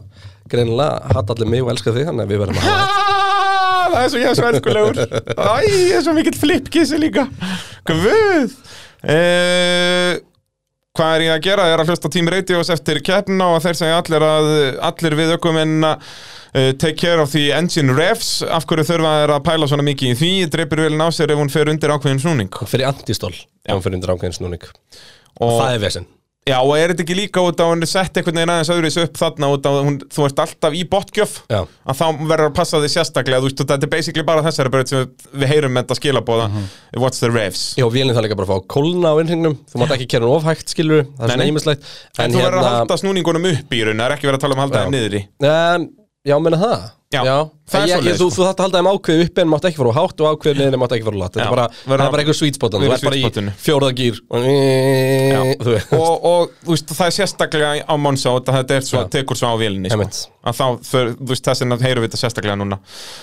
greinilega hatt allir mig og elska þig þannig að við verðum að hafa
Ah, Það er svo ég er svo elskulegur Æ, ég er svo mikill flipkissi líka Guð eh, Hvað er ég að gera? Ég er að hlusta Team Radios eftir keppna og þeir segja allir að allir við ökum en að take care of the engine revs af hverju þurfa þeir að pæla svona mikið í því dreipir vel ná sér ef hún fer undir ákveðin snúning
það fyrir antistól ef hann fyrir undir ákveðin snúning
og
Það er vesinn
Já, og er þetta ekki líka út á að hún er sett einhvern veginn aðeins öðruvis upp þarna út á að hún, þú ert alltaf í botgjöf
Já.
að þá verður að passa þig sérstaklega þú veist, og þetta er basically bara þessari braut sem við- við heyrum með þetta skilabóða
Mhm.
What's the revs?
Já, vélinn það líka bara að fá kólna á innringnum Þú mátt ekki kera hann ofhægt skilur Það er
Nei,
svona hérna-
nei.
ímislegt
En, þú verður að halda snúningunum upp í raun það er ekki verið að tala um að halda
Já.
þeim niður í
en, Já, meina það
Já, það
það
er
ég, ég,
svoleiðis,
þú,
sko.
þú þarft að halda þeim ákveðið upp en mátt ekki fara á hátt og ákveðið niður en mátt ekki fara á látt Þetta
Já,
er bara,
verður
það er
að-
bara eitthvað sweet spot þarna.
verður
Þú ert bara
sweet spotinu.
í fjórðagýr og, þú veist.
og, og þú veist, það er sérstaklega á Monsa og þetta er svo,
Já.
tekur svo á vélinni sko.
Einmitt.
að þá, þau- þú veist, þess að heyrum við þetta sérstaklega núna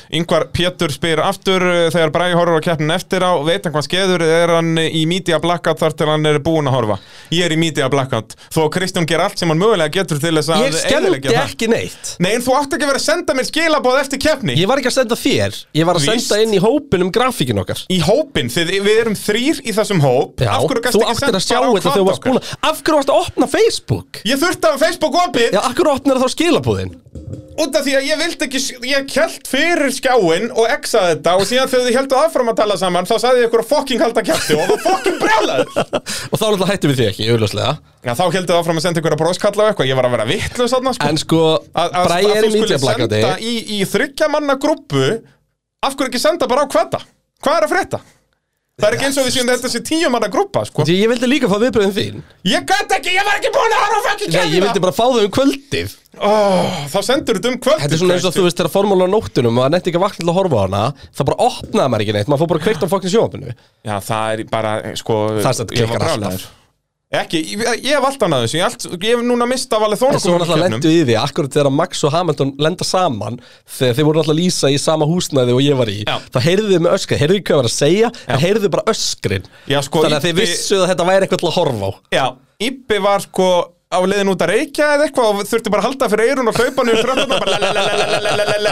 Yngvar Pétur spyr aftur uh, þegar Bragi horfur á keppnin eftir á veit hann hvað skeður, er hann í media blackout þar til hann er búin að horfa ég er í media blackout, þó að Kristján ger allt sem hann mögulega getur til þess að
Ég skemmti
eyðileggja það.
ekki neitt
Nei, en þú átt ekki að vera að senda mér skila skilaboð eftir keppni
Ég var ekki að senda þér, ég var að
Víst.
senda inn í hópin um grafíkin okkar
Í hópinn, þið, við erum þrýr í þessum hóp
Já,
Af hverju gastu
þú
ekki
áttir
sent
að
bara
sjá
á
þetta
hvata
þegar þú varst
okkar?
búin að Af hverju varst að opna Facebook?
Ég þurfti að hafa Facebook opið
Já, af hverju opnar það á skilabúðin?
út af því að ég vildi ekki, ég kjælt fyrir skjáin og exaði þetta og síðan þegar þið heldu aðfram að tala saman þá sagði ég ykkur að fokking halda kjæfti og það fokking brjálaður
Og þá náttúrulega hættum við því ekki, auðljóslega
Já, þá heldu aðfram að senda ykkur að bróskalla og eitthvað, ég var að vera vitlu þarna sko
En sko,
Að- að-
Bræi
að
er í
þú skulir
mídjablakandi
senda í, í þryggja manna grúppu af hverju ekki senda bara á hvata hvað er að frétta? Það er ekki eins og við séum að þetta sé tíu manna grúppa sko.
Ég vildi líka fá viðbröðin þín
Ég gæti ekki, ég var ekki búin að horfa á fækki
Nei, ég vildi
kemina
bara fá þau um kvöldið
oh, Þá sendur þetta um kvöld
Þetta er svona eins og þú veist þegar formúlan á nóttunum og að nefndi ekki að vakna til að horfa á hana það bara opnaði maður ekki neitt, maður fór bara kveikt á fokkni sjónapinu
Já, það er bara, sko
Það er satt
ég var
klikkar allt
brjálaður.
maður
Ekki, ég, ég hef alltaf naður þessu, ég, allt, ég hef núna mistað valið þó
En svo
nokkuð
náttúrulega
mörgum keppnum.
lendu í því, akkurat þegar Max og Hamilton lenda saman þegar þeir voru náttúrulega að lýsa í sama húsnæði og ég var í
Já.
þá heyrðu þau með öskrið, heyrðu þau hvað var að segja en heyrðu þau bara öskrin
Já, sko,
þannig að þeir
Ibbi-
vissu að þetta væri eitthvað til að horfa á
Já, Íbbi var sko á leiðin út að reykja eða eitthvað og þurfti bara að halda fyrir eyrun og hlaupa niður tröndum og bara lalalalalalala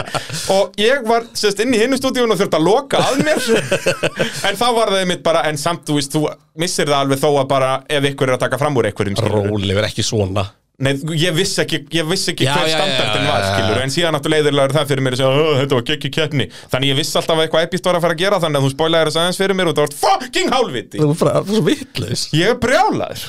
og ég var sérst inn í hinnu stúdíun og þurfti að loka að mér en þá var það einmitt bara, en samt þú veist, þú missir það alveg þó að bara ef ykkur er að taka fram úr einhverjum skilurðu.
Rólegur, ekki svona
Nei, ég vissi ekki, ég vissi ekki
Já,
hver
já, já,
standartin
já,
var,
já, já.
skilur En síðan áttu leiðirlega er það fyrir mér að segja "Ó, Þetta var gekki keppni Þannig ég vissi alltaf að eitthvað epist var að fara að gera Þannig að þú spoilaðir þess aðeins fyrir mér og það var fucking hálviti
Þú er bara þú er svo vitlaus
Ég er brjálaður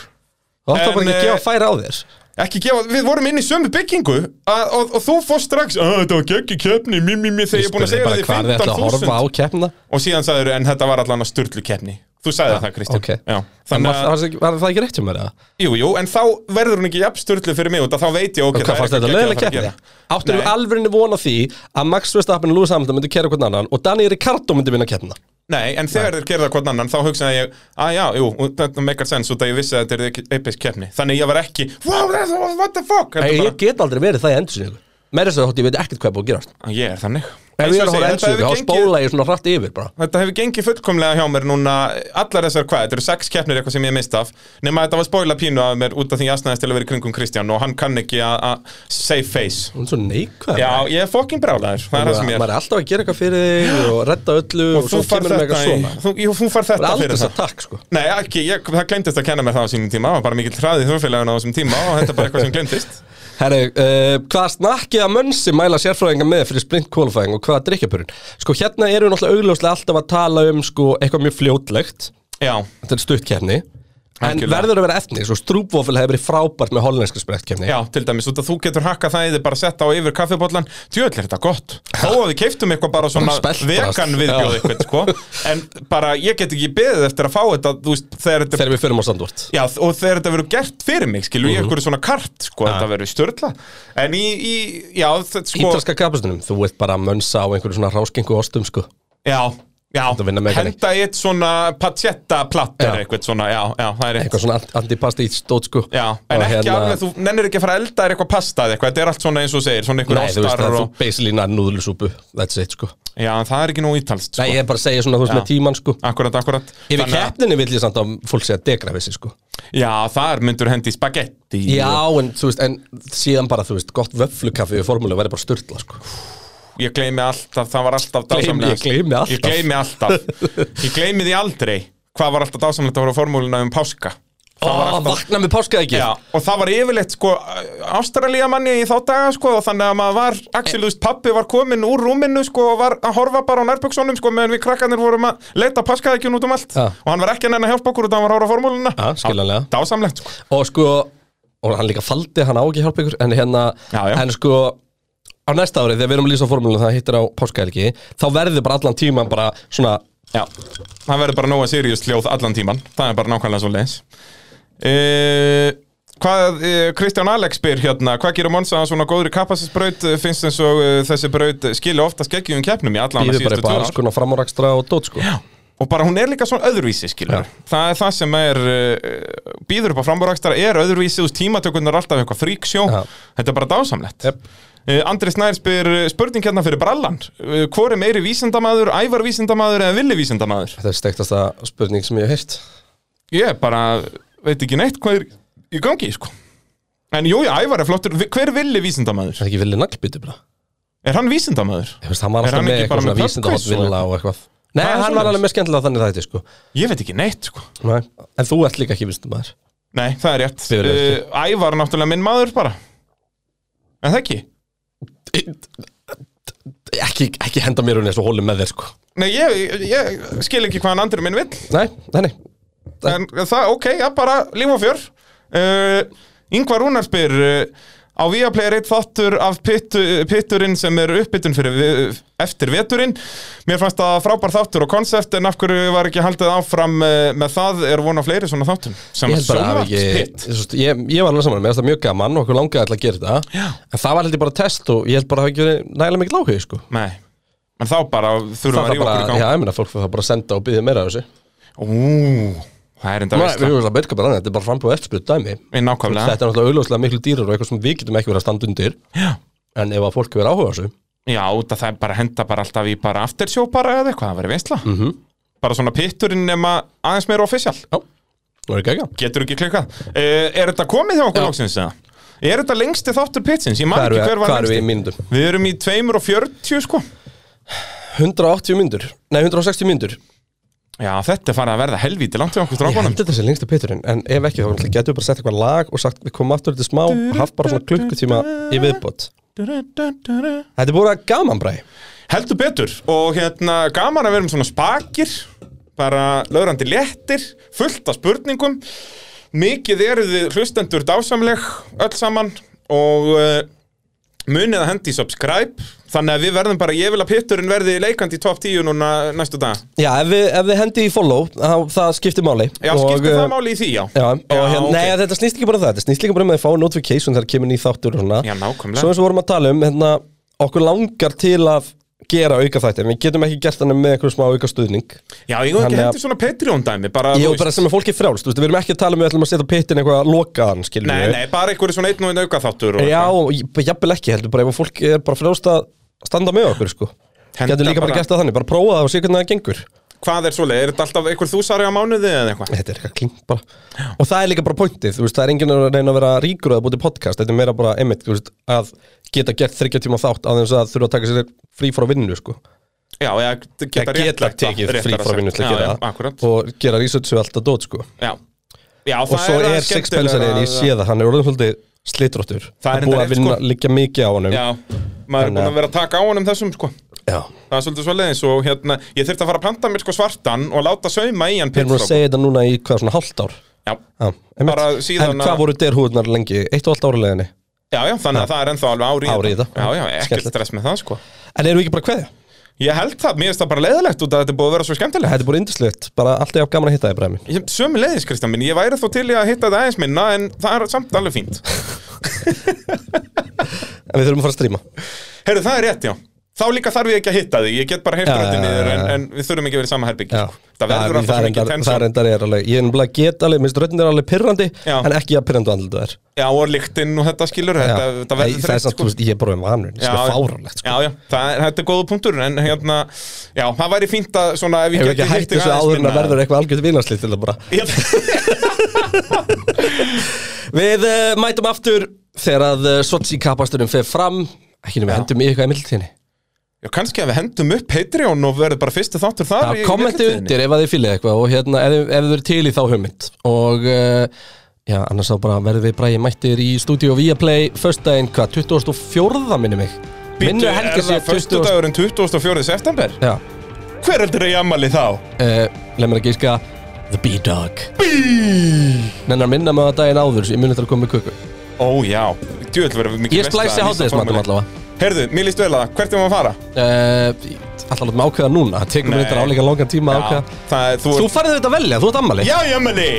Það átti
En,
bara ekki að
eh,
gefa færi á þér
Ekki gefa, við vorum inn í sömu byggingu að, og, og þú fórst strax "Ó, Þetta var gekki keppni, mimi, mimi Þegar ég er búin að
Spurði
segja
bara
þér
hvar þið ætla að horfa
15.000
á keppna
Og síðan sagður, en þetta var allan að sturlu keppni Þú sagði það, Kristján
ok.
Já,
En
Þannig
var,
að,
var, var það ekki rétt hjá mér eða?
jú, jú, en þá verður hún ekki jafn sturlu fyrir mig út að þá veit ég, ok,
Og
það
hvað
er
fannst þetta
eitthvað geggjað að fara
lögulega
að
keppni?
gera.
Áttur við
Nei.
alvörinni vona því að Max Verstappen og Lewis Hamilton myndi kera hvernig annan og Daniel Ricardo myndi vinna keppna
Nei, en þegar þeir gerða hvern annan þá hugsaði ég, að já, jú, og þetta meikar sens út að ég vissi að þetta er ekki episk keppni þannig ég var ekki, wow, that's, what the fuck
Nei,
heldur
Ég get aldrei verið það í endursynningu Meira þess að þótt ég veit ekkert hvað er búið að gerast
bara, ég er þannig
Ef
Eins
ég
og
er
segi,
að horfa
þetta hefur
endursynningu, þá
gengið-
spóla ég svona hratt yfir bara
Þetta hefur gengið fullkomlega hjá mér núna allar þessar hvað, þetta eru sex keppnir eitthvað sem ég mist af nema þetta var spoila pínu af mér út af því ég asnaðist til að vera í kringum Kristján og hann kann ekki að að save face
Hún er svo neikvæð
Já, ég er fokkin brálaður, það er það sem ég
Maður
er
er alltaf að gera eitthvað fyrir þig og redda öllu og,
Og
svo
þú far
kemur með
þetta
eitthvað
í,
svona
þú, jú, þú far
Það er
þetta
aldrei
fyrir
þess
það
að takk sko
Nei, ekki, ég, það glemdist að kenna mér það á sínum tíma, það var bara mikill hraðið þjóðfélaginu á þessum tíma og þetta er bara eitthvað sem glemdist
Herru, uh, hvaða snakkið að mönsi mæla sérfræðinga með fyrir sprint qualifying og hvaða drikkjapurinn? Sko hérna eru við náttúrulega augljóslega alltaf að tala um sko eitthvað mjög fljótlegt
Já,
Þetta er stuttkeppni En
Algjörlega.
verður að vera efni, svo strúpvofil hefur verið frábært með hollenska sprettkeppni
Já, til dæmis, út að þú getur hakkað það í þig bara að setja á yfir kaffibóllan, djöðl er þetta gott þó að við keiftum eitthvað bara svona
Bara spelt bara.
vegan viðbjóð
Já.
eitthvað, sko en bara, ég get ekki beðið eftir að fá þetta þú veist, þegar þetta
Þegar við förum á sandvort
Já, og þegar þetta verður gert fyrir mig, skilu,
Mhm.
ég einhverju svona kart, sko, þetta verður störla. En í, í já, þetta, sko,
Ítalska kapastunum, þú ert bara að mönsa á einhverju svona ráskengu ostum sko
já, já,
að vinna með henni.
henda í eitt svona patsetta platter
Já.
eitthvað svona, já, já, það er eitt.
Eitthvað svona ant- antipasti í stót sko
Já, en
Og
ekki
hérna-
alveg, þú nennir ekki að fara að elda þér eitthvað pasta eða eitthvað, þetta er allt svona eins og þú segir, svona einhver
Nei, þú veist
ástar
það, þú
og,
basically nær núðlusúpu That's it sko
já, en það er ekki nú ítalst, sko.
Nei, ég er bara að segja svona þú veist
Já.
með tíman sko
Akkurat, akkurat
Yfir
Þannig að-
keppninni vill ég samt að fólk segja degrafissi sko
Já, þar myndur hendi spagetti
Já, en, þú veist, en síðan bara, þú veist, gott vöflukaffi við formúlu væri bara styrla, sko.
Ég gleymi alltaf, það var alltaf
Gleymi-
dásamlega
ég gleymi alltaf.
Ég gleymi alltaf Ég gleymi því aldrei Hvað var alltaf dásamlegt að voru formúluna um páska
Ó, vakna með páskaði ekki.
Já, og það var yfirleitt sko Ástralía manni í þá daga sko og þannig að maður var, axilust pappi var komin úr rúminu sko og var að horfa bara á nærböksunum sko meðan við krakkanir vorum að leita paskaðekjun út um allt
Já.
og hann var ekki að nenni að hjálpa okkur út að hann var að horfa á formúluna
Já, skiljanlega.
Dásamlegt sko
Og sko, og hann líka faldi, hann á ekki að hjálpa ykkur, en hérna,
Já, já.
en sko, á næsta ári, þegar við erum að lýsa formúlunum það hittir á páskaði þá verður bara allan tíman bara svona,
Já, það verður bara nóga seriust hljóð allan tíman Það er bara nákvæmlega svo leins Hvað, uh, Kristján Alex spyr hérna Hvað gerir Monsa að svona góðri kapasinsbraut eh, Finnst eins og uh, þessi braut skilja ofta skeggjum keppnum í allan
býður bara sko.
síðustu
upp á
tvö
alls
ár
konar framárakstra og dót, sko. Já.
Og bara hún er líka svona öðruvísi skilur Það er það sem er uh, Býður upp á framborakstara er öðruvísi Úst tímatökunar alltaf eitthvað fríksjó
Já.
Þetta er bara dásamlegt
Jep.
Uh, Andri Snær spyr eh, spurning hérna fyrir brallan uh, Hvor er meiri vísindamaður, ævar vísindamaður eða villi vísindamaður?
Þetta er stektasta spurning sem ég hef heyrt.
ég bara veit ekki neitt hvað er í gangi sko. en jú, Ævar er flottur Vi- hver villi vísindamaður?
Er ekki villið naglbíti bara?
Er hann vísindamöður?
Ég veist, hann var
Er
alltaf
hann
með
ekki
eitthvað
bara
svona
með
vísindahótt
pubquiz og
vinnulega og eitthvað Nei,
Það er
hann var
svoleiðis.
alveg með skemmtilega þannig þætti, sko
Ég veit ekki neitt, sko
Nei. En þú ert líka ekki vistum maður
Nei, það er rétt
Þið verðið
uh, Ævar er náttúrulega minn maður bara En það ekki?
Ekki, ekki henda mér hún eins og hóli með þér, sko
Nei, ég, ég- ég skil ekki hvað hann andri minn vill
Nei, nei, nei
En það, ok, já, bara líf og fjör uh, Ingvar Rúnar spyr uh, Á Viaplay er eitt þáttur af pittu, pitturinn sem er uppbytun fyrir vi- eftir veturinn. Mér fannst það frábær þáttur og konsept en af hverju var ekki haldið áfram uh, með það er vona fleiri svona þáttum sem
Ég held bara að ég,
sjónvarpspitt.
þú veist, ég, ég var alveg saman, mér finnst það mjög gaman og okkur langaði alltaf að gera þetta
Já.
En það var held ég bara test og ég held bara að hafa ekki verið nægilega mikið láhug, sko
Nei, en þá bara þurfum við að
Það er
rífa
bara,
okkur í
já,
gang
ég meina, fólk fyrir það bara að senda og byggja meira af þessu
Ú, það er enda
Nei, Við
veistla
höfum það betka bara annað, þetta er bara frambúið eftirspyrt dæmi
Í nákvæmlega
Þetta er náttúrulega augljóslega miklu dýrar og eitthvað sem við getum ekki verið að standa undir
Já.
En ef að fólk hefur áhuga á þessu
Já, út að það er bara henda bara alltaf í bara aftersjó bara eða eitthvað, það verið veistla
Mhm.
Bara svona pitturinn nema aðeins meira official
Já, það er ekki ekki
Getur ekki klikkað uh, Er þetta komið hjá okkur
Já.
lóksins eða? Er þetta lengsti þáttur pitsins? Ég man
Hvað
ekki hver
eru
var
hvað eru við
lengsti
í mínútum?
Við erum í 2.40 sko
180 mínútur, nei 160 mínútur
Já, þetta er farið að verða helvíti langt hjá okkur
Ég
strákunum
held þetta sé lengsta pitturinn En ef ekki þá getum við bara sett eitthvað lag og sagt við komum aftur til smá og haft bara svona klukkutíma í viðbót Þetta er búin að gaman bræ
Heldur betur og hérna gaman að vera um svona spakir bara lögrandi léttir fullt af spurningum mikið eru þið hlustendur dásamleg öll saman og uh, munið að hendi í subscribe þannig að við verðum bara, ég vil að pitturinn verði leikandi í top 10 núna næstu dag
Já, ef við, ef við hendi í follow, þá, það skiptir máli
Já,
Og,
skiptir
eh,
það máli í því, já
Já, og hérna,
ok.
nei, þetta snýst ekki bara um það, þetta snýst líka bara um að ég fá notification þegar kemur ný þáttur og svona
Já, nákvæmlega.
Svo eins og vorum að tala um, hérna, okkur langar til að gera auka þættir en við getum ekki gert hann með einhverjum smá auka stuðning
Já, ég hef
Þannig
ekki
að-
hendi svona Patreon dæmi bara,
Ég
þú
og bara sem er fólki frjálst, þú veist, við erum ekki að tala um að við ætlum að setja pittin eitthvað að loka hann, skiljum
Nei, nei, bara einhverju svona einn og einn auka þáttur og
Já, og ég- bara jafnvel ekki, heldur bara ef að fólk er bara frjálst að standa með okkur, sko
Henda
Getum líka bara
bara-
gert það þannig, bara prófa það og sé hvernig það gengur
Hvað er svoleið, er þetta alltaf einhver þúsari á mánuði eða eitthvað?
Þetta er eitthvað kling bara Og það er líka bara pointið, þú veist, það er enginn að reyna að vera ríkur að búti podcast, þetta er meira bara emitt, þú veist, að geta gert þryggja tíma þátt að þess að þurfa að taka sér frí frá vinnu, sko
Já, eða geta,
Eða geta
réttlætt það,
tekið frí
réttara
frá
sagt.
vinnu til
Já,
að gera
já, akkurat
það og gera research við alltaf dót, sko
Já, já
Og svo er Six Pensarinn, ég sé það, hann er orðin svolítið slitróttur
Það er
Og búið
reyndar
að
rétt,
vinna
sko.
líka mikið á honum
Já, maður er
Þannig
búin
að-
að vera að taka á honum þessum sko
Já.
Það er svolítið svoleiðis og hérna Ég þurfti að fara að planta mér sko svartan og láta sauma í hann
Við erum að
pitstop.
segja þetta núna í hvað svona hálft ár
Já,
Já, einmitt.
Bara síðan
En
að-
hvað voru derhúðunar lengi? Eitt og allt árileginni
já, já, þannig að það er ennþá alveg ári
Ár í þetta.
Já, já, ekkert
Skemmtilegt.
stress með það sko
En erum við ekki bara kveðja?
Ég held það, mér finnst það bara leiðilegt út að þetta er búið að vera svo skemmtilegt
Þetta er bara indislegt, bara alltaf gaman að hitta þig, Bræmin
Sumi leiðis, Kristján minn, ég væri þó til í að hitta það aðeins minna en það er samt alveg fínt
En við þurfum að fara að stríma
Herru, það er rétt, já Þá líka þarf ég ekki að hitta þig, ég get bara heyrt
Já,
röddin í
já,
þér en,
já.
en við þurfum ekki að vera í sama herbyggi
Já.
Það verður
Já,
alltaf
það
svo
reyndar-
mikið
Það
tensjón
reyndar er alveg, ég er nefnilega get alveg Minnst röndin er alveg pirrandi,
Já.
en ekki að pirrandu andlutu þær
Já, og lyktin og þetta skilur
Já.
þetta, þetta
Æ,
verður
Það er
þreytt, sko.
samt, þú veist, ég er bara um vanur
Já,
Það er fáránlegt, sko
Já, já, það, er- þetta er góða punktur en hérna, já, það væri fínt að svona ef ég
Hefur
geti
ekki
hitt
hætt
þig
þessu
aðeins
áður en að
minna.
verður eitthvað algjörð vinarslið til það bara
Já,
Við uh, mætum aftur þegar að uh, Sochi kapasturinn fer fram Ekki nefnir,
Já.
hendum í eitthvað í mildtíðinni
Já, kannski að við hendum upp Patreon og verður bara fyrsti þáttur þar
Já,
í
kommenti
millitíðinni.
undir ef að þið fýlið eitthvað og hérna, ef, ef þið eru til í þá hugmynd og uh, já, annars þá bara verðum við bræði mættir í stúdíu via play, föstudaginn, hvað, 24. minni mig
Bíddu,
Minni
er
helgir sér
það fyrstu
20.
dagurinn 24. september?
Já,
Hver heldur að ég ammali þá?
uh, leið mér að gíska The B-Dog Nennar minna með að daginn áður, svo ég muni þetta að koma með köku
Ó, já, djúvel verður mikið
Ég splæsi hátæðismatum allavega
Herðu, mér líst vel að það, hvert er maður að fara?
uh, Alltaf látum ákveða núna, það tekur
Nei.
mér þetta áleika langan tíma að ákveða
það er, þú,
Þú
þú...
farið þetta velja, þú ert ammali
Já, ég ammali!